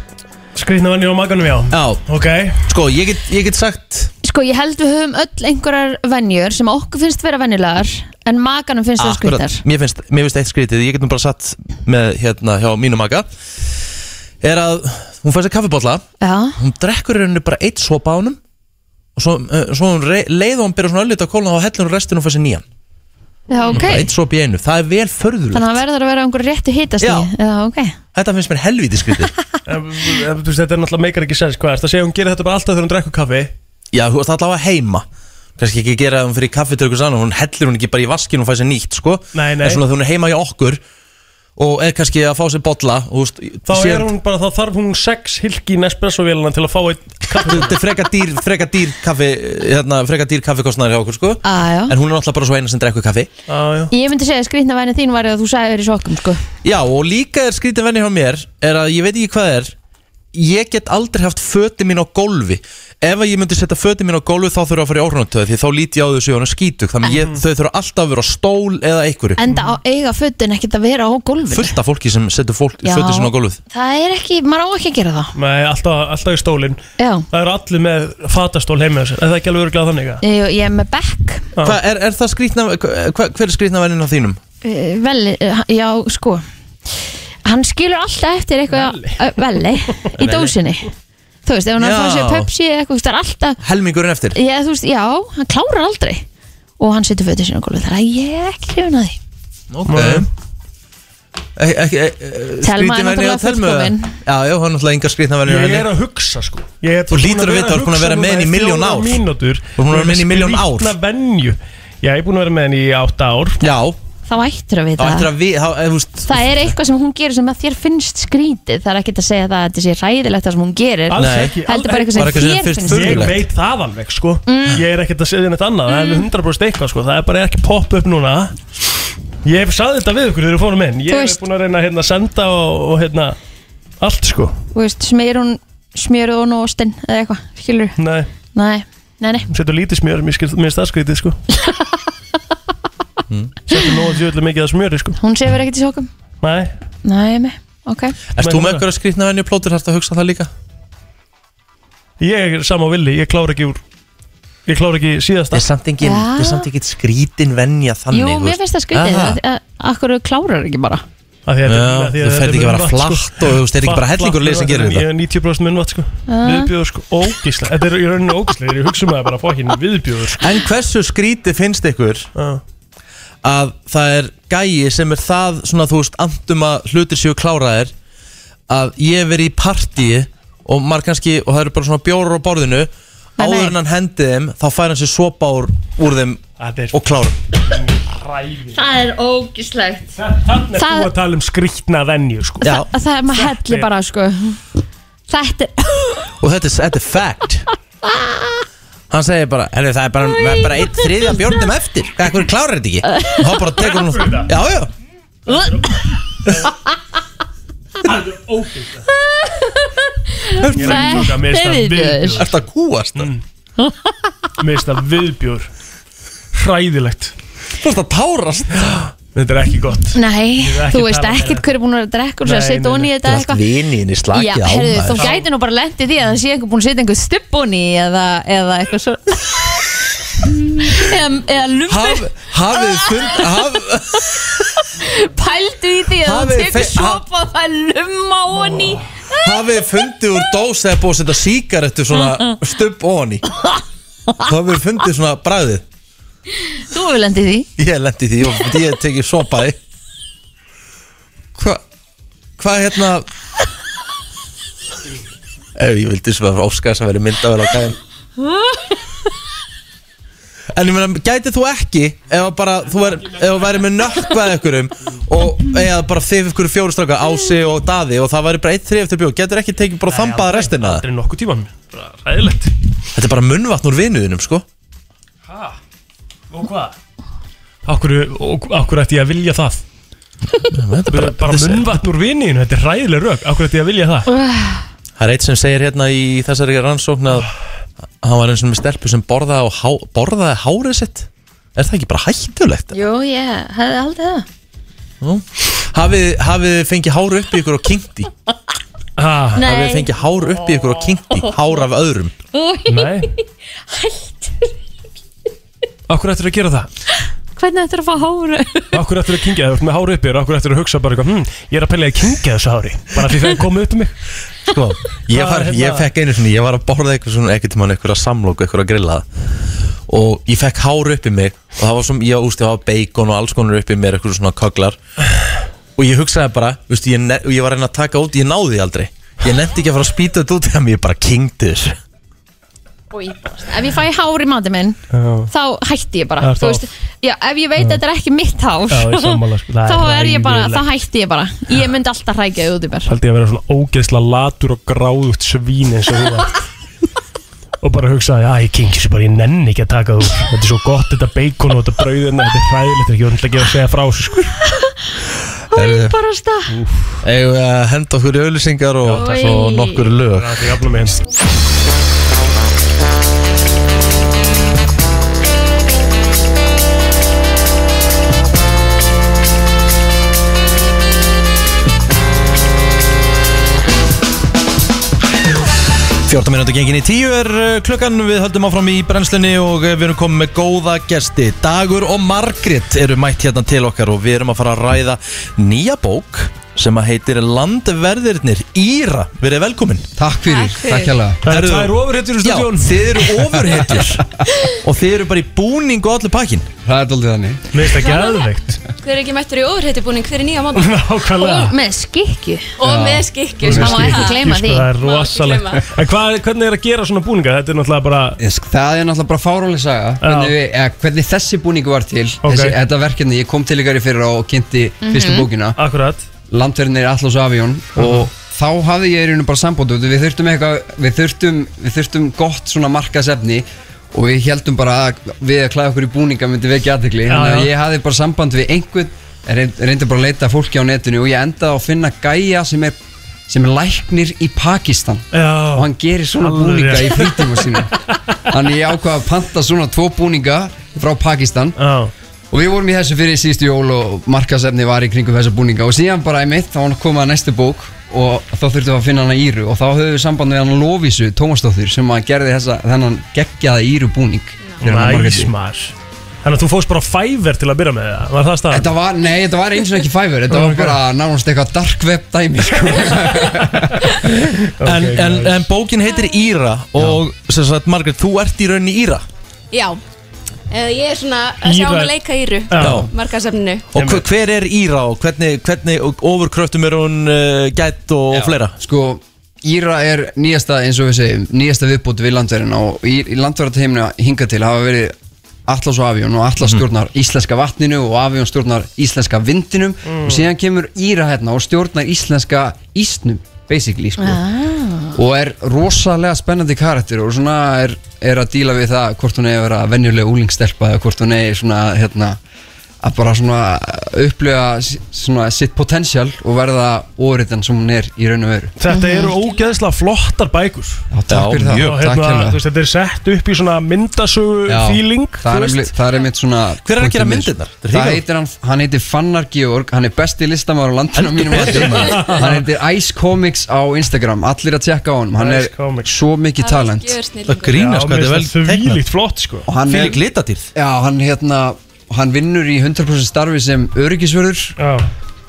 Skrýtna vann ég á maganum já Já, Ok sko, ég get, ég get sagt Sko, ég held við höfum öll einhverjar venjur sem okkur finnst vera venjulegar en maganum finnst það Akkurat, skvítar mér finnst, mér finnst eitt skrítið, ég get nú bara satt með hérna hjá mínu maka er að hún fær sér kaffibólla Já, hún drekkur í rauninni bara eitt sopa á honum og svo, uh, svo hún rey, leið og hún byrja svona öllita að kólna og hellur hún restin og fær sér nýjan já, ok bara eitt sopa í einu, það er vel förðulegt Þannig að verður að vera einhver réttu hittast í Já. Já, ok (laughs) þetta finnst mér (laughs) helvítið skrítið En, en, Þú veist þetta er náttúrulega meikar ekki sens Hvað er þetta að segja hún gerir þetta bara alltaf þegar hún drekkur kaffi já, þú veist allavega heima kannski ekki gera hún fyrir kaffitöku sann hún hellur hún ekki bara í vaskin og fær sér nýtt sko. Nei, nei. en svona þegar hún er heima hjá okkur og er kannski að fá sér bolla og, þú veist, Þá síðan- er hún bara, þá þarf hún sex hilki í Nespresso-vélana til að fá eitt Þetta er freka dýr, freka dýr kaffi hérna, freka dýr kaffikostnæður hjá okkur sko Á, já. en hún er náttúrulega bara svo eina sem drekku kaffi ah, já. Ég myndi segja að skrýtna væni þín var að þú sagði verið í sokkum sko. já og líka er skrítið venni hjá mér er að ég veit ekki hvað er ég get aldrei haft föti mín á gólfi ef að ég myndi setja föti mín á gólfi þá þurfa að fara í órnumtöð því þá líti ég á þessu hjónu skítug Mm. þannig að ég, þau þurfa alltaf að vera á stól eða einhverju Enda á eiga fötin ekkert að vera á gólfinu fullt af fólki sem setur fólk, Já. föti sín á gólfið Það er ekki, maður á ekki að gera það Nei, alltaf, alltaf í stólinn Já, Það eru allir með fatastól heima þessar Er það ekki alveg öruglega þannig að ég, ég er með bekk Já. Hva, er, er það skrítna, hva, hver er skrítna vennin á þínum? Eh, Velli, eh, já, sko Hann skilur alltaf eftir eitthvað eh, Velli, í dósinni Þú veist, ef hann er að fá Já. sér Pepsi eða eitthvað, það er alltaf helmingurinn eftir Já, þú veist, já, hann klárar aldrei Og hann setur fötin sín á gólfið Þannig að ég er ekki hrifin að því okay. ekki, ekki, Telma er skrítin náttúrulega venja á Telmu, eða? fullkomin. Já, já, hún er náttúrulega engar skrýtna verið Ég er að hugsa sko Ég er um Þú hlýtur að vita, þú ert búin að vera með henni í milljón ár. Mínútur Þú ert búin að vera með henni í milljón ár. Skrýtna venju Já, ég er búin að vera með henni í átta ár Já, Þá ættir að þá vita ættir það. að við, þá, eh, eða, þú veist Það er eitthvað sem hún gerir sem að þér finnst skrítið. Það er ekkert að segja það að þetta sé ræðilegt það sem hún gerir. Alls Nei. ekki Heldur bara alls- Bara eitthvað sem eitthvað sem þér finnst finnst Mm. Ég furðulegt. veit það alveg sko Ég er ekkert að segja neitt annað Það er 100% eitthvað sko Það er bara ekki popp upp núna Ég hef sagði þetta við ykkur þegar við fórum inn Ég Þú hef veist. búin að reyna að hérna, senda og, og hérna Allt sko Þú veist, smýr hún, smýr hún og ostinn eða eitthvað, skilur Nei, Nei, nei, nei. hún setur lítið smjör Mér skil- mér finnst það skrítið sko Mm. Setur nóg að djöðlega mikið að smjöri sko Hún sefur ekkert í sókum. Nei, Nei, nei, ok. Erst þú með einhverja skrýtna venju plótur, hægt að hugsa það líka? ég er sama á villi Ég klára ekki úr Ég klára ekki síðasta er samt engin, Já. þetta er samt engin skrítin venja þannig Jú, þú mér veist. finnst það skrítið. Aha. að- að- Akkur þú klárar ekki bara. Af því að- Já, af því að þú þetta er ferð ekki að vera munnvatn, sko. flatt og þú veist, er ekki bara Flatt, hellingur lið sem flatt, gerir þetta. Ég er 90% munnvatt sko Ah. Viðbjóður sko, ógíslega Þetta er í rauninni ógíslega Ég hugsa um það bara fokkin viðbjóður sko En hversu skrítið finnst ykkur Já. að það er gæi sem er það svona þú veist andum að hlutir séu kláraðir að ég veri í partíi og maður kannski, og það eru bara svona bjórar á borðinu Nei, nei. áður en hann hendi þeim þá fær hann sér sopa úr, úr þeim Þetta er og klára ræði Það er ógislegt. Þannig er Það- þú að tala um skrýtna venju sko Já, Að það er maður helli bara, sko. Þetta er... og þetta er, þetta er fact Hann segir bara, herri það er bara, það er bara einn þriðja bjórnum eftir Hvað, hvernig klárar þetta ekki? Og þá bara tekur hún Takk fyrir það. Já, já Það er ógíslega Ég er ekki Þetta tóka, mér finnst er það viðbjöður. viðbjóður Er það kúast það? Mér finnst það viðbjóður Mm. Hræðilegt Þú veist að tárast Þetta er ekki gott Nei, vil ekki þú veist tala ekkert meira. hver er búin að drekka og svo að Nei, setja nei, onni í nei. þetta eitthvað viniðin í Já, herðu, þú gæti nú bara lent í því að það sé einhver búin að setja einhver stubb onni eða, eða eitthvað svo eða, eða Haf, lumbu hafið fund haf, pældu í því að Hafið þú tekur fe- sopa og það er lumma onni hafið fundið úr dós eða búið að setja síkarettu svona stubb ofan í hafið fundið svona bræðið Þú hefur lent í því ég lendi því og ég hef tekið sopaði hvað hvað hérna ef ég vildi sem að óska þess að vera myndavel á gæðin en ég meina gætið þú ekki ef að bara þú er, ef þú væri með nökkvað ekkurum og eða bara þið ykkur fjóru stráka Ási og Daði og það væri bara eitt þrið eftir bjóð getur ekki tekið bara þambaða restina af Þetta er nokkuð tíman Bara Hræðilegt það þetta er bara munnvatn úr vinuðinum sko Hæ? Og hvað? Akkur, og, akkur ætti ég að vilja það þetta er bara, bara, bara munnvatn úr vininu, þetta er ræðileg rög Akkur ætti ég að vilja það Það er eitt sem segir hérna í þessari rannsókn að hann var eins og með stelpu sem borðaði, á há, borðaði hárið sitt Er það ekki bara hættulegt? Jú, ég hefði aldrei það Hafið hafið þið fengið hár upp í ykkur og kinkt í? ah, Hafið þið fengið hár upp í ykkur og kinkt í? Hár af öðrum Új, Nei Akkur ættir að gera það Hvernig ættir að fá háru? Akkur ættir að kingja það, þú ert með hári uppi þér, Akkur ættir að hugsa bara eitthvað hm, Ég er að pelja að kingja þessu hári Bara því það komið upp um mig Sko, ég, Það var, er hérna- ég fekk einu sinni, ég var að borða eitthvað svona ekkert mann, eitthvað samlóku, eitthvað að grilla og ég fekk hár upp í mig og það var svona, ég úst, það var bacon og alls konar upp í mér, eitthvað svona köglar og ég hugsaði bara, veistu, ég, ne- ég var að reyna að taka út, ég náði því aldrei ég nefndi ekki að fara að spýta þetta út þegar ég bara kingdi þessu Ef ég fæ hár í mati minn þá hætti ég bara Það er Þú þá- veist, já, ef ég veit að þetta er ekki mitt hár Já, ég (laughs) er sammála, sko. Það er þá er ég bara, hræðilegt. þá hætti ég bara Ég myndi alltaf hrækja út í mér Haldi ég að vera svona ógeðsla latur og gráðugt svín eins og þú vart Og bara hugsaði, að ég kingi þessu bara, ég nenni ekki að taka þú Þetta er svo gott, þetta bacon og þetta brauðina Þetta er hræðilegt, ég voru ekki að segja frá þessu sko. Herðu, bara stað eigum við að henda okkur í auðlýsingar og, takk. og nokkur lög Það er jafnum eins Fjórta minúti gengin í tíu er uh, klukkan, við höldum áfram í brennslunni og uh, við erum komið með góða gesti. Dagur og Margrét eru mætt hérna til okkar og við erum að fara að ræða nýja bók sem að heitir Landverðirnir Íra, verið velkomin Takk fyrir, Takk fyrir. takk hérlega Það eru tvær ofurhetjur í stúdíónu. Þið eru ofurhetjur (laughs) og þið eru bara í búning og allir pakkin Það er doldið þannig Mér finnst það geðveikt Hver er ekki mættur í ofurheitibúning hver er nýja mánu Nákvæmlega Og með skikju Og með skikju, sem má ekki gleyma því sko, Það er rosalegt gleyma. En hvað, hvernig er að gera svona búninga? Þetta er náttúrulega bara Esk, Það er náttúrulega bara fárálega saga hvernig, við, eða, hvernig þessi búningu var til þessi, Þetta verkefni, ég kom til ykkar í fyrra og kynnti fyrstu Mhm. bókina Akkurat Landverðinir Atlas Avion Og þá hafði ég í rauninu bara sambótu Við þurftum eitthvað, við þurftum, við þurftum gott svona markasefni Og við heldum bara að við að klæða okkur í búninga myndi vekja Já, aðtekli Þannig að já. ég hafði bara samband við einhvern reynd- Reyndi bara að leita að fólki á netinu Og ég endaði á að finna gæja sem er, sem er læknir í Pakistan Já, og hann gerir svona Alveg búninga rétt. í frítíma sínu þannig ég ákvað að panta svona tvo búninga frá Pakistan Já. og við vorum í þessu fyrir síðustu jól og markasefni var í kringum þessa búninga og síðan bara einmitt þá kom að næstu bók og þá þurftum við að finna hana Íru og þá höfum við samband við hann Lóvísu Tómasdóttur sem að gerði þessa, þennan geggjaða Íru búning fyrir hann að Næs markaðsefni. maður Þannig að þú fóst bara á Fiverr til að byrja með það Var það staðan? Þetta var, nei, þetta var eins og ekki Fiverr, þetta var bara nánast eitthvað dark web dæmi sko. en, en, en bókin heitir Íra og sem sagt Margrét, þú ert í rauninni Íra Já, Eh, ég er svona að sjá Íra- hann að leika íru Já. Markasefninu og hver, hver er Íra og hvernig, hvernig og ofurkröftum er hún uh, gætt og, og fleira Sko, Íra er nýjasta, eins og við segjum, nýjasta viðbúti við landverðina og í, í landverðateimina hinga til hafa verið Atlas og Avion og Atlas Mhm. stjórnar íslenska vatninu og Avion stjórnar íslenska vindinum Mm. og síðan kemur Íra hérna og stjórnar íslenska ísnum, basically, sko Ah. og er rosalega spennandi karakter og svona er, er að díla við það hvort hún er að vera venjuleg úlingstelpa eða hvort hún er svona hérna að bara svona upplifa s- svona sitt potential og verða óriðan sem hún er í raun og veru Þetta eru ógeðslega flottar bækur Mhm. Já, takk fyrir það. mjög. Og Takk hérna, fyrir það. þú veist, Þetta er sett upp í svona myndasögu Já, feeling það er, þú einmitt, veist. það er einmitt svona Hver er að gera punktur með myndirnar? þessu. Þetta er Það hrikalegt. heitir hann, hann heitir Fannar Georg Hann er besti listamæður á landinu á mínum betur landi maður. Hann heitir Ice Comics á Instagram Allir að tjekka á hann Hann er Ice Comics. svo mikið talent gjör snillingur. Það grínast, hvað þetta er vel teiknað. Þvílíkt flott sko Og hann Þvílík litadýrð Já, hann hérna Hann vinnur í 100% starfi sem öryggisvörður Já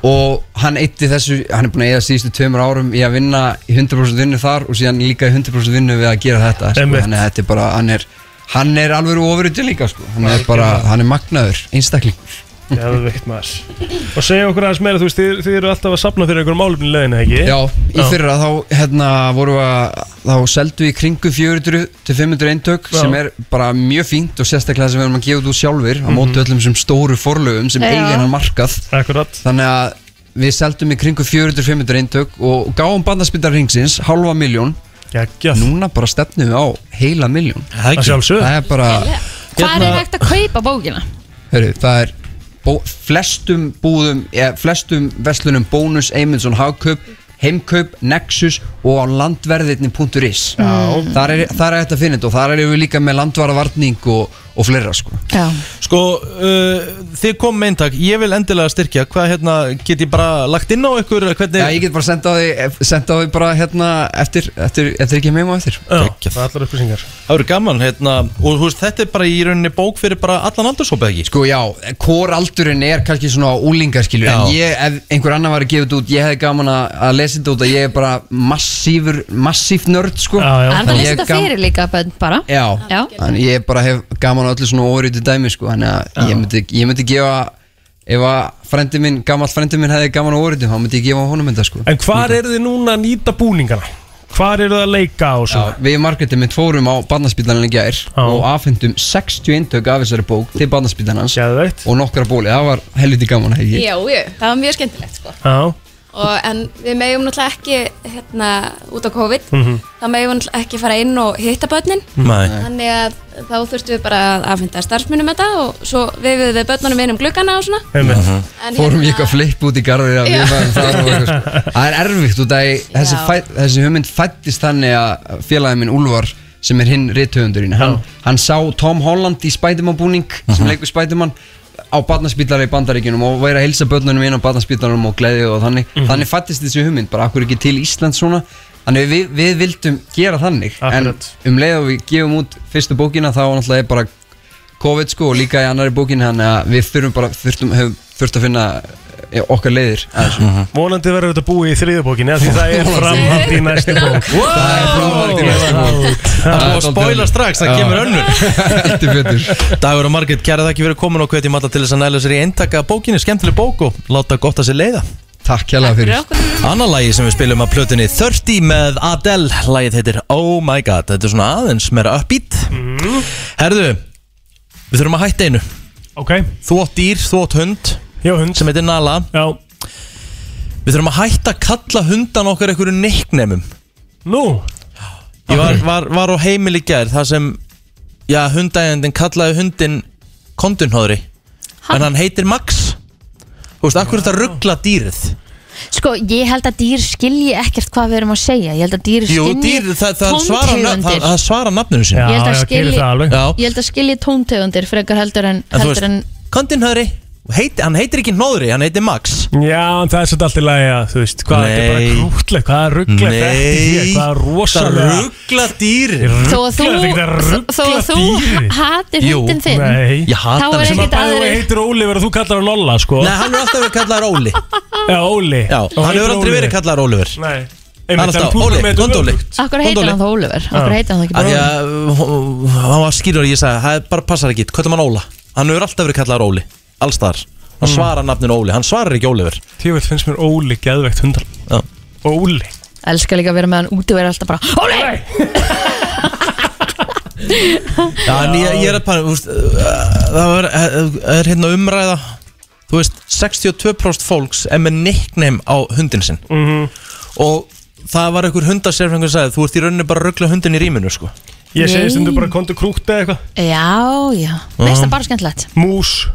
Og hann eitti þessu, hann er búin að eða síðustu tveimur árum í að vinna í 100% vinnu þar og síðan líka í 100% vinnu við að gera þetta sko. Einmitt. Þannig að þetta er bara, hann er, hann er alveg ofurutið líka sko. Hann er bara, hann er magnaður, einstaklingur Geðveikt maður Og segja okkur aðeins meira, þú veist, þið, þið eru alltaf að sapna fyrir einhverjum málefni í leiðinu, ekki? Já, í fyrra þá hérna vorum við að þá seldu við í kringum 400 til 500 eintök Já. sem er bara mjög fínt og sérstaklega það sem við erum að gefa út úr sjálfur á móti öllum sem stóru forlögum sem Já. eigin hann markað Mhm. Akkurat. Þannig að við seldum í kringum 400 til 500 eintök og gáum bandaspindar ringsins halva miljón Gægjað. Núna bara stefnum við á heila miljón Það ekki. Að sjálfsögðu. Það er bara Hvað Hérna- er hægt að kaupa bókina? Hörru, það er bó, flestum búðum, eða, flestum verslunum Bónus, Eymundsson, Hagkaup, Heimkaup, Nexus og á landverðirni.is Mm. Þar er þar er þetta að finna þetta og þar erum við líka með landvaravarning og, og fleira sko Já. Sko, uh, þið kom með eintak Ég vil endilega styrkja Hvað hérna, get ég bara lagt inn á ykkur hvernig... Já, ég get bara senda á því, senda á því bara hérna eftir, eftir, eftir ekki meim og eftir Já, allar upplýsingar Það verður gaman, hérna Og þú veist, þetta er bara í rauninni bók fyrir bara allan aldurshópið ekki Sko, já, hvor aldurinn er kannski svona úlingar skilur Já. En ég, ef einhver annar var að gefa þetta út Ég hefði gaman að, að lesa þetta út að ég er bara massífur, massíf nörd sko já. Það er það að Þannig lesa ég þetta gam- fyrir líka bönn bara Já, Já. þannig ég bara hef gaman á öllu svona óriðu dæmi sko Þannig að ég myndi, ég myndi gefa Ef að frendi minn, gamall frendi minn hefði gaman á óriðu Þá myndi ég gefa honum þetta sko En hvar eru þið núna að nýta (laughs) búningana? Hvar eru þið að leika og svona? Við Margréti mitt fórum á barnaspílaninn í gær Og afhendum 60 eintök af þessari bók Til barnaspílanans Og nokkra bóli, það var helviti gaman hegi Já, já, það var mjög skemmtilegt sko Já og, En við megum náttúrulega ekki hérna út á COVID Mhm. Þá megum við náttúrulega ekki fara inn og hitta börnin Nei. Þannig að þá þurftum við bara að afhenda starfsmunum þetta og svo vefið við börnunum inn um gluggana og svona En Mhm. hérna- fórum ég eitthvað flipp út í garður að Já. við (laughs) varum þar og eitthvað sko. það er erfitt út af því þessi, Já. fæ- þessi hugmynd fættist þannig að félagið minn Úlvar sem er hinn rithöfundurinn hann, hann sá Tom Holland í Spiderman búning Mhm. sem leikur Spiderman á barnaspílara í bandaríkjunum og væri að hilsa börnunum inn á barnaspílaranum og gleði og þannig þannig fættist þessi hugmynd, bara akkur ekki til Ísland svona þannig við, við vildum gera þannig en um leið og við gefum út fyrstu bókina þá náttúrulega er bara COVID sko og líka í annari bókin þannig að við þurfum bara þurftum, höfum, þurft að finna okkar leiðir Vonandi verður þetta búið í þriðubókinni Því það (laughs) er framhald í næstu bók Wow! Það er framhald í næstu bók Það er búið að spoila strax, það kemur (laughs) önnur Dagur og Margit, kæra þakki fyrir komin og hvetjum alla til þess að næla sér í eintaka af bókinni Skemmtileg bók og láta gott að sér leiða Takk hérlega fyrir Annað lagi sem við spilum af plötunni 30 með Adele Lagið heitir Oh My God Þetta er svona aðeins meira uppbít Mm. Herðu, við þurfum að hætta einu Ok Þú átt dýr, þú átt hund Já, hund Sem heitir Nala Já Við þurfum að hætta að kalla hundan okkar einhverju neiknemum Nú Ég var, var, var á heimil í gær þar sem Já, hundægjandinn kallaði hundin kondunhóðri En hann heitir Max Þú veist, akkur er þetta að ruggla dýrið Sko, ég held að dýr skilji ekkert hvað við erum að segja Ég held að dýr Jú, skilji dýr, það, það, svara, nöfn- það, tóntegundir það svara nafninu sín Ég held að skilji- Ég held að skilji tóntegundir frekar heldur en, En þú heldur veist, en Kondunhóðri, heit, hann heitir ekki Nóðri, hann heitir Max Já, en það er svolítið alltaf lægi að Þú veist, hvað þetta er bara Nei. krútleg Hvað er ruggleg þetta í þér, Hvað er rosalega Það ruggla dýrið Þó að þú, Rugglar þetta ekki, það þó að ruglar þú dýrið. hatir hundin þinn Nei Þá er Sem að ekkert bæði og aðri heitir Oliver og þú kallar hann Lolla sko Nei, hann er alltaf verið kallaður Óli Já, Óli Já, Og hann hefur heitir aldrei verið Oliver. kallaður Oliver Nei Hann er alltaf Óli, Gondóli Akkur heitir hann þá Oliver Akkur heitir hann þá ekki Af því bara að uh, hann var skýrur ég sagði, það er bara passar ekki, hvað er mann Óla? Hann hefur alltaf verið kallaður Óli, allstaðar Hann Mm. svarar nafninu Óli, hann svarar ekki Óliver Tjöfell finnst mér Óli geðvegt hundar Já. Óli Oliver Elskar líka að vera með hann úti og vera alltaf bara Óli! Já, en ég, ég er að panna, úst, uh, það er, er hérna umræða Þú veist, 62% fólks er með nickname á hundin sinn Mhm. Og það var einhver hundasérfengur sem sagði, þú ert í rauninni bara að ruggla hundin í rýminu, sko Ég Nei. segi stundu bara kontu krútt eða eitthvað Já, já, Mhm. veist það bara skemmtilegt Mús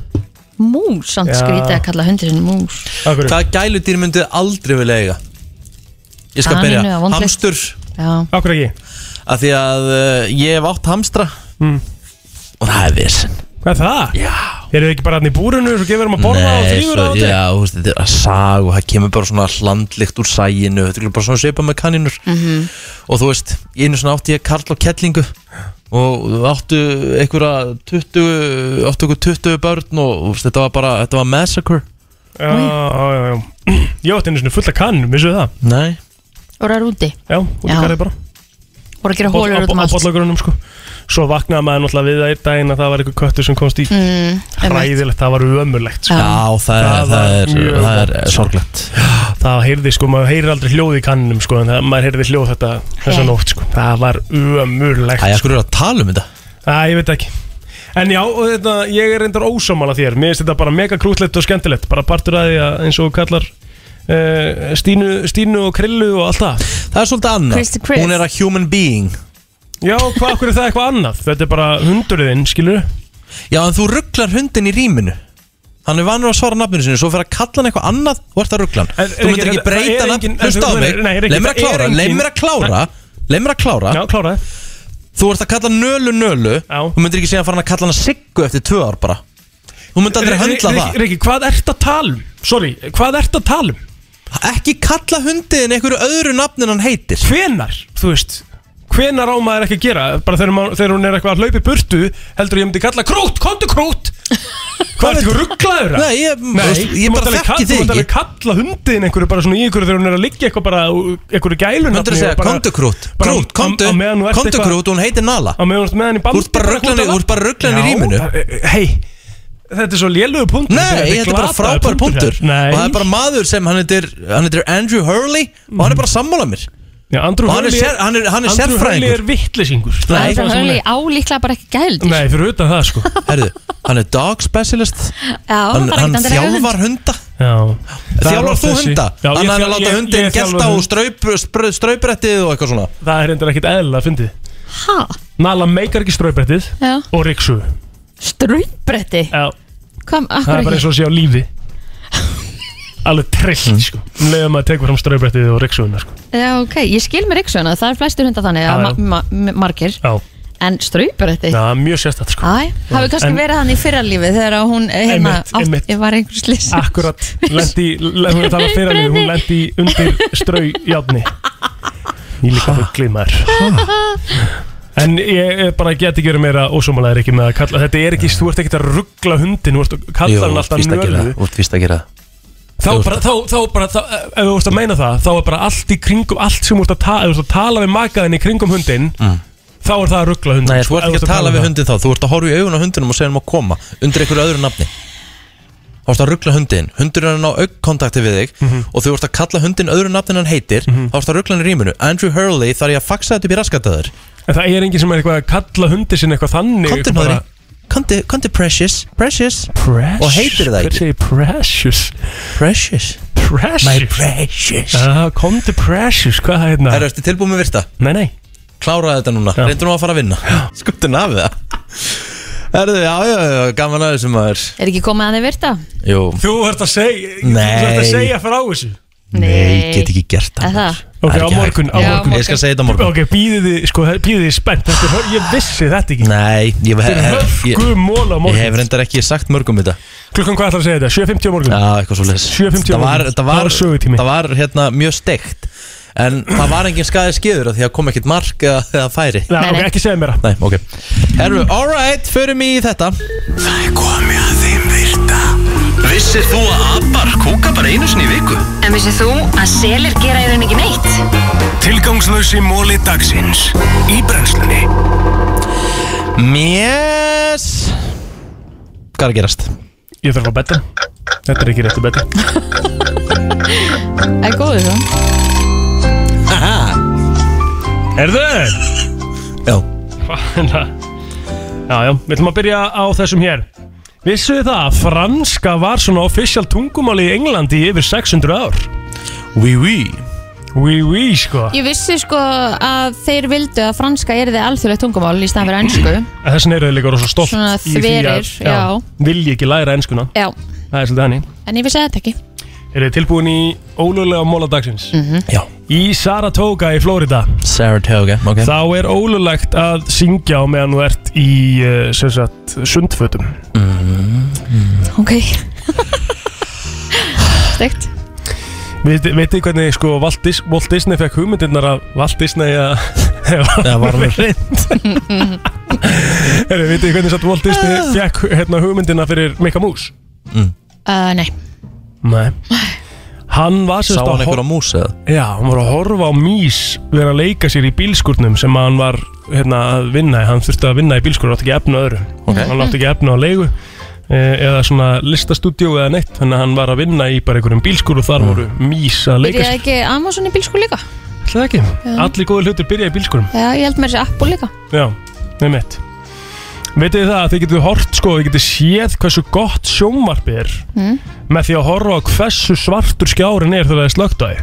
Mús, samt Já. skrítið að kalla hundin sinn mús Hvaða gæludýr myndu aldrei vilja eiga? Ég skal Kaninu byrja, eða vond list? hamstur Já Akkur ekki Af því að uh, ég hef átt hamstra Mm. Og það er vissinn Hvað er það? Já Eru þið ekki bara hann í búrinu og svo gefur hann að borða og þrýfur á svo, þetta? já, þú veist, þetta er að sag og það kemur bara svona hlandlikt úr sæginu Þetta er bara svona svipað með kaninur Mhm. Og þú veist, einu svona átti ég karl og kettlingu Og áttu einhverja 20, áttu einhver 20 börn og þú veist, þetta var bara, þetta var massacre Já, Ah, já, já, já Ég átti einu svona fulla kannum, vissu það? Nei Og það er úti Já, út í garði bara Voru að gera hólur út um allt Bollagrunum sko Svo vaknaði maður náttúrulega við það einn daginn að það var einhver köttur sem komst í Mm, einmitt. Hræðilegt, það var ömurlegt sko. Já, það er, það var er, mjög það er, vont, sko. sorglegt Það heyrði sko, maður heyrir aldrei hljóð í kanninum sko En það, maður heyrði hljóð þetta þessa Nei. nótt sko Það var ömurlegt sko. Æ, af hverju eru að tala um þetta? Æ, ég veit ekki En já, og þetta, ég er reyndar ósámála þér Mér finnst þetta bara mega krútlegt og skemmtilegt Bara partur að því að eins og þú kallar uh, Stínu, Stínu og Krillu og allt það Það er svolítið annað Chris the Chris. Hún er að human being Já, hvað okkur er það eitthvað annað? Þetta er bara hundurinn, skilur Já, en þú rugglar hundin í rýminu Hann er vanur að svara nafninu sinu Svo fyrir að kalla hann eitthvað annað Þú ert að ruggla hann Þú myndir ekki breyta nafn Hlusta á mig Leif mér að klára Leif mér að klára Leif mér að klára Já, klára Þú ert að kalla nölu nölu Þú myndir ekki segja að fara að kalla hann Siggu eftir tvö ár bara Þú myndir aldrei höndla það Riki, hvað ert að tala um? Sorry, hvað ert að tala um? Ekki kalla hundin einhverju öðru nafnin hann heitir Hvenar, þú veist Hvenar á maður ekki að gera Bara þegar, ma- þegar hún er eitthvað að hlaupa í burtu Heldur ég myndi kalla krút, kontu (laughs) krút Hvað ertu rugglaður Nei, ég- veist, ég bara þekki þig Þú ekki. ert alveg kalla hundin einhverju bara svona í einhverju Þegar hún er að liggja eitthvað bara Einhverju gælun Myndir að segja komdu krút Krút, komdu Komdu krút, hún heitir Nala Á meðan þú ert með hann í bandi Þú ert bara rugglan í- þú ert bara rugglan í Já, e- rýminu. það- Hei, þetta er svo lélugu punktur Nei, þetta er bara glataður frábær punktur Nei, Og það er bara maður sem hann heitir, hann heitir Andrew Hurley Og hann er bara sammála mér Já, Andrew Og hann er Hurley sér- hann er- hann er sérfræðingur. Andrew Hurley er vittlisingur Það er höllu á líklega bara ekki Mm. gæld Nei, fyrir utan það sko (laughs) Herðu, hann er dog specialist Já, Hann, bara ekkert hann endilega hund. þjálfar hunda Já Þjálfar þú þessi- hunda? Já, ég Hann hann er þjálfa- að láta ég- hundin ég þjálfa gelta á hund. straup, spr- straupbrettið og eitthvað svona Það er reyndar ekkit eðlilega að fyndið Ha? Nala meikar ekki ströybrettið Já. og riksu Ströybretti? Já Hvað, Það akkur er bara ekki? Hm. eins og að sé á lífi Alveg trillt sko Um leiðum maður tekur fram ströybrettið og riksuðuna sko Já, ok, ég skil mér ykkur svona, það er flestir hundar þannig Já, já. að ma- ma- ma- margir Já En ströypuretti? Það er mjög sérstætt sko Æ, hafi kannski En- verið hann í fyrralífi þegar að hún eh, hérna Einmitt, einmitt. Ah. átt, ég var einhvers lýs Akkurat, (laughs) lendi, hún er talað fyrir henni, hún lendi undir straujárni Ég líka bygglið maður En ég eh, bara get ekki verið meira ósómalæðir ekki með að kalla Þetta er ekki, þú ert ekkert að ruggla hundin, þú ert að kalla hann alltaf nölu Þú ert víst að gera það Þá bara, þá, þá bara, þá, eh, ef þú vorst að meina það Þá er bara allt í kringum, allt sem þú vorst að tala Ef þú vorst að tala við makaðin í kringum hundin Þá er það að um ruggla hundin Mm. Nei, þú ert ekki að tala við hundin þá Þú ert að horfa í augun á hundinum og segja hann að koma Undir einhverju öðru nafni Þá ert að ruggla hundin Hundurinn er á augkontakti við þig Mhm. Og þú ert að kalla hundin öðru nafnin hann heitir Þá ert að ruggla hann í rýminu Andrew Hurley þarf ég að faxa þetta upp í raskataður En það er enginn sem er eitthvað að kalla hundi sinni eitthvað þannig Komdu, eitthvað bara- Nóðri. Komdu, komdu Precious Precious Precious Og heitir það Hver ekki segir precious? Precious Precious My precious ah, Komdu precious, hvað það hérna? Herra, ertu tilbúin með virta? Nei, nei Kláraði þetta núna, reyndu nú að fara að vinna Skutin af það Herðu, já, já, já, gaman að þessum maður Er ekki komið að þeir virta? Jú Þú ert að segja Þú ert að Nei. segja frá þessu Nei, get ekki gert það Er það? Ok, Það er á ekki morgun, hægt. á Já, á morgun morgun. Ég skal segja þetta á morgun. Ok, býðið þið, sko, býðið þið spennt Þetta er, ég vissi þetta ekki Nei, ég, Þetta er ég, hörkumól á ég morgun hef reyndar ekki sagt mörgum þetta Klukkan hvað ætlar að segja þetta? 7.50 á morgun? Já, eitthvað svo leis 7.50 Það var, morgun. það Það var, var sögutími. það var hérna, mjög steikt En það var engin skaði skiður af Því að kom ekkit mark eða eða færi Nei, Nei, ok, nei. ekki segja mér Nei, ok Herru, alright, förum í þetta Það er komið að þeim virta Vissir þú að abar kúka bara einu sinni í viku? En vissið þú að selir gera í rauninni ekki neitt? Tilgangslösi móli dagsins Í brennslunni Mjess Hvað er að gerast? Ég þarf að betta Þetta er ekki réttu (laughs) betta Það er góður þá Erðu? Já Já, já, við ætlum að byrja á þessum hér Vissuð þið það að franska var svona official tungumáli í Englandi í yfir 600 ár? Oui, oui Oui, oui, sko Ég vissi sko að þeir vildu að franska erði alþjóðlegt tungumál í staðan fyrir ennsku En Þessin eru þið líka rosa stolt Svona í því að- þverir, já. Vilji ekki læra enskuna Já, Það er svolítið hannig en ég vissi þetta ekki Eru þið tilbúin í ólöglega móla dagsins? Mm Mhm. -hmm. Já Í Saratoga í Flórida Saratoga, ok Þá er ólulegt að syngja á meðan þú ert í eh, sem sagt, sundfötum Mhm. Ok Stegt Veit- Veitir hvernig sko Walt, Dis Walt Disney fekk hugmyndirnar af Walt Disney að (laughs) Það var vel. Veitir hvernig satt Walt Disney Ah. fekk hérna, hugmyndina fyrir Mikka Mús (laughs) uh, Nei Nei Hann var sem Sá sagt hann að hor- einhverja mús eða? Já, hann var að horfa á mís vera að leika sér í bílskurnum sem hann var hérna, að vinna í, hann þurfti að vinna í bílskurn hann átti ekki efna öðru, Ok. hann átti ekki efna á leigu eh, eða svona listastúdíu eða neitt, þannig að hann var að vinna í bara einhverjum bílskur og þar voru mís að leika Byrjaði sér ekki Amazon í bílsku líka? Það ekki, Já. allir góði hlutir byrja í bílskurum Já, ég held mér þessi Apple líka Já, nefnitt Vitið þið það að þið getur hort sko, þið getur séð hversu gott sjónvarpi er mm. með því að horfa á hversu svartur skjárin er þegar það er slögt á því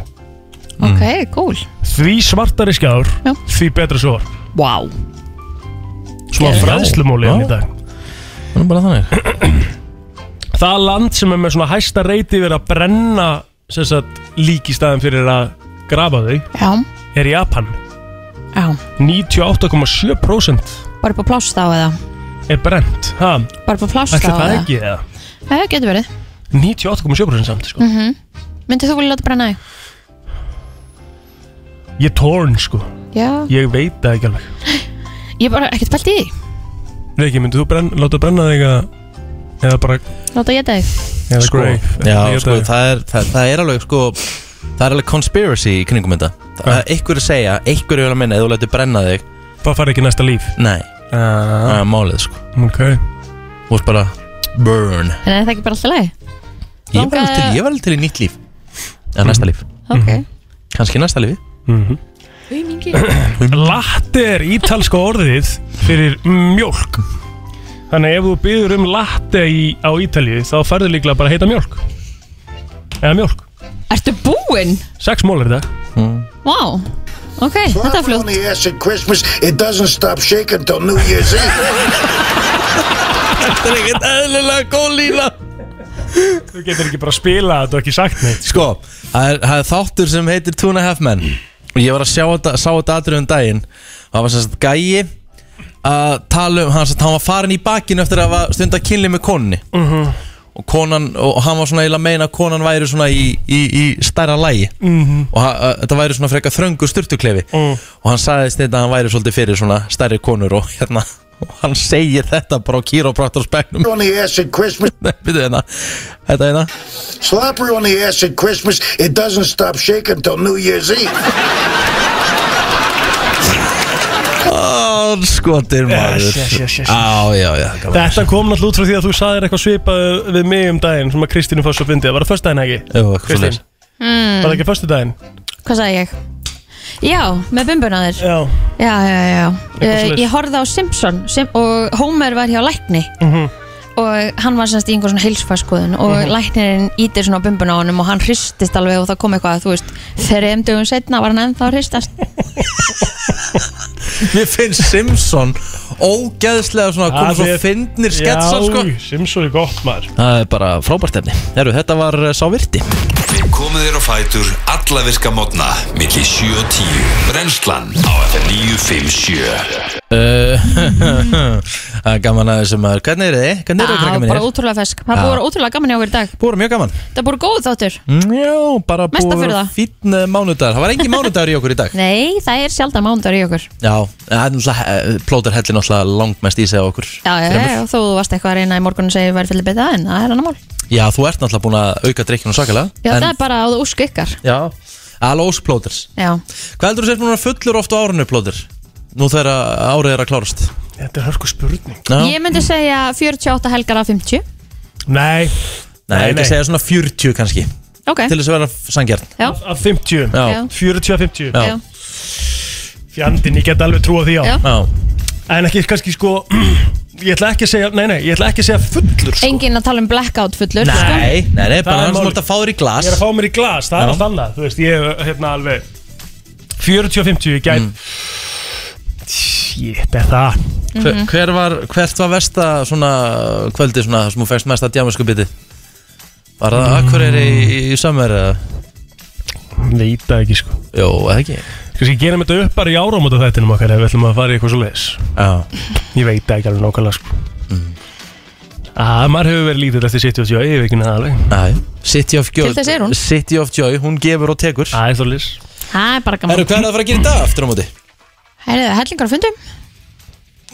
Mm. Ok, cool Því svartari skjár, Já. því betra sjór Vá wow. Svona Geðveikt. fræðslumóli enn í Já. dag Það er bara þannig Það land sem er með svona hæsta reyti verið að brenna sem sagt, lík í staðin fyrir að grafa þau Já, er Japan já 98,7% Bara upp á pláss þá eða er brent ha, Bara upp á pláss þá Ætli það eða ekki eða Já, getur verið 98,7% samt sko. mm Myndið þú vilja láta brenna þig? Ég er torn sko Já Ég veit það ekki alveg Ég bara ekkert pælt í því Riki, myndið þú brenn, láta brenna þig að eða bara Láta ég þig eða Sko, grey já, sko, það er, það, það er alveg sko Það er alveg conspiracy í kringum þetta Það er einhverju að segja, einhverju vil að minna Eða þú lætur brenna þig Það fari ekki næsta líf Nei, það er málið sko Ok Þú ert bara burn En er það ekki bara alltaf leið? Ég var alveg til, Langaði- ég var alveg til í nýtt líf Eða Mhm. næsta líf Ok Kanski næsta lífi Latte er ítalska orðið fyrir mjólk Þannig að ef þú byður um latte í, á Ítalíu þá færðu líklega bara að heita mjólk Eða mjólk Ertu búinn? Sex mól er þetta Mm. Vá Ok, þetta er fljótt the ass at Christmas, it doesn't stop shaking till New Year's Eve. Þetta er ekkert eðlilega góð lína Þú getur ekki bara að spila þetta og ekki sagt neitt Sko, það er, það er þáttur sem heitir Two and a Half Men Og ég var að sjá þetta, sá þetta atrið um daginn Og það var sem sagt gæi Að tala um, hann, sagt, hann var farin í bakinu Eftir að hafa stunda kynli með konni Mhm. Og konan, og hann var svona eiginlega að meina að konan væri svona í, í, í stærra lægi Mhm. Mm. Og hann- að- þetta væri svona frekar þröngu sturtuklefi Og hann sagðist þetta að hann væri svolítið fyrir svona stærri konur Og hérna, og hann segir þetta bara á kýrópraktorspeknum on the ass at Christmas. Þetta hérna Slap her on the ass at Christmas. It doesn't stop shaking till New Year's Eve. Hann skotir maður Yes, yes, yes, yes. Á, já, já Þetta kom náttúrulega út frá því að þú saðir eitthvað svipað við mig um daginn sem að Kristínu fannst svo fyndið. Það var það föstudaginn ekki? Jú, eitthvað Kristín, svoleiðis. var það mm, ekki föstudaginn? Hvað sagði ég? Já, með bumbuna þér Já, já, já, já. Eitthvað Eh, svoleiðis. Ég horfði á Simpson sem, og Homer var hjá lækni Mhm. og hann var semst í einhver svona heilsfarskoðun og Mhm. læknirinn ítir svona á bumbuna á honum og hann hristist alveg og það kom eitthvað þú veist, þreim dögum setna var hann ennþá að hristast Mér finnst Simpson ógeðslega svona komið svo fyndnir sketsar sko Já, Simpson er gott maður. Það er bara frábært efni Herru, þetta var eh, sá virti Við komum þér á fætur alla virka mótna millir 7 og 10 Brennslan á FM 957 Eh, (laughs) Það er gaman að þessum maður Hvernig eru þið? Hvernig eru Já, þið, krakkar bara mínir? ótrúlega fesk Það Já. búið að vera ótrúlega gaman hjá okkur í dag Búið mjög gaman Það búið góð þáttur Mm, Já, bara Mesta búið furða. fínn eh, mánudagur Það var engin mánudagur í okkur í dag Nei, það er sjaldan mándar í okkur Já, það er náttúrulega eh, Plóter hellir náttúrulega langmest í sig á okkur Já, já, Þremur. já, þú varst eitthvað að reyna í morgun og segja verið fyrir betið en það er annar mál Já, Já, þú ert náttúrulega búin að auka drikkinu sakalega það er bara á það úsk ykkar Já, alós plóters Já, Hvað heldur þú sér núna fullur oft á árinu plóter? Nú þegar að árið er að klárast Þetta er hörku spurning ég Mm. myndi segja 48 helgar af 50 Nei Nei, Nei, ég nei. myndi segja svona 40 kannski Ok, Til þess að vera sangjart já, Af 50. Já. 40 af 50. Já. Já. Fjandinn, ég get alveg trúa því á. Já. En ekki kannski sko, (clears throat) ég ætla ekki að segja, nei, nei, ég ætla ekki að segja fullur sko. enginn að tala um blackout fullur Nei, sko. nei, nei, Það er bara hann sem málið. þú ert að fá þér í glas Ég er að fá mér í glas, það Já. er allt annað Þú veist, ég hef hérna alveg 40 og 50, ég gæt Shit, er það Hver, Mhm. hver var, hvert var versta svona kvöldi svona sem þú fæst mest að djámisku biti? Var það Akureyri í, Mm. í samverð eða? Veit það ekki sko Jó, eða ekki Kanski gerum þetta upp bara í áramóta þættinum okkar ef við ætlum að fara í eitthvað svo leis Já Ah. Ég veit það ekki alveg nákvæmlega sko Að maður hefur verið lítið eftir City of Joy, ég hef ekki neða alveg Nei, City of Joy Til þess er hún. City of Joy, hún gefur og tekur Það er þorlis Það er bara gaman Herru, hvað er það að fara að gera í dag aftur á móti? Herru, hellingar á fundum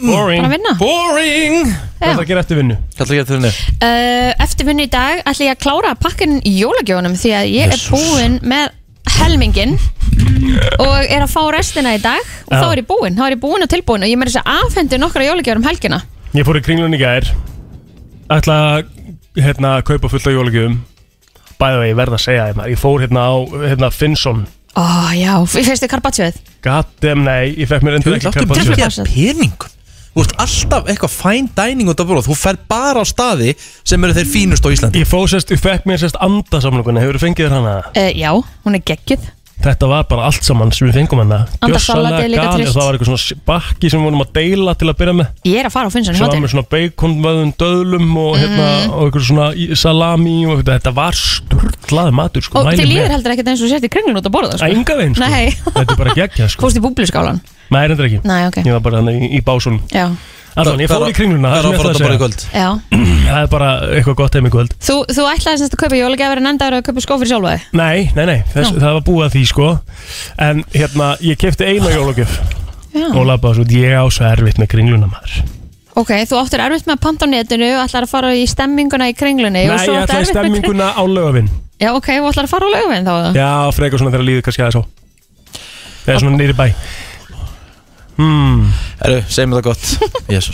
Boring Bara að vinna Mm. Boring Hvað ætla að gera eftir vinnu? Hvað ætla að gera eftir vinnu? Uh, eftir vinnu í dag ætla ég að klára pakkin í jólagjónum því að ég er búinn með helmingin og er að fá restina í dag og Já. þá er ég búinn, þá er ég búinn og tilbúinn og ég með þess að afhendi nokkra jólagjónum helgina Ég fór í kringlun í gær ætla að hérna, kaupa fullt af jólagjöfum Bæði og ég verð að segja þér maður Ég fór hérna á hérna, Finnsson Ó já, ég fyrstu karpatsjöð Goddamn, nei, ég fekk mér endur ekki Láttu karpaccio. mikið að peningum Þú veist alltaf eitthvað fine dining út af borð Þú fer bara á staði sem eru þeir fínust á Íslandi Ég fó sérst, ég fekk mér sérst andasamlokuna, hefur þú fengið þér hana? uh, Já, hún er geggjuð Þetta var bara allt saman sem við fengum hana Andasalat er líka trist. Og það var eitthvað svona bakki sem við vorum að deila til að byrja með Ég er að fara á finnsan í Mm. Svo var hátinn með svona beikonvöðum döðlum og, hérna, og eitthvað svona í- salami og eitthvað Þetta var sturglað matur sko, Og mæli til með. líður heldur ekkert eins og sért í kringlun út að borða sko. Að enga veginn, sko. Nei, Þetta er bara geggja sko fórst í búbluskálan Nei, reyndar ekki Nei, ok. Ég var bara hann í, í básunum Já, Allan, ég fór Hvað- í kringluna hvað er það sem ég áfram ætlaði þetta bara í að kvöld? segja. já (clears throat) Það er bara eitthvað gott heim í kvöld Þú, þú ætlaði semst að kaupa jólagjafir en endaður að kaupa skó fyrir sjálfaði Nei, nei, nei, þess, Nú. það var búið að því sko En hérna, ég kefti eina jólagjöf Já. Og labbaði svo, út, ég á svo erfitt með kringluna maður Ok, þú áttur erfitt með að panta á netinu ætlar að fara í stemminguna í kringlunni og Nei, svo ég áttu ætlaði erfitt með Ah. kring- stemminguna á lögavinn Já, ok, þú ætlar að fara á laugaveginn þá eða? Já, frekar svona þegar líður kannski aðeins á Það er svona nýri bæ (laughs) Hmm Herru, segjum þetta gott Jésus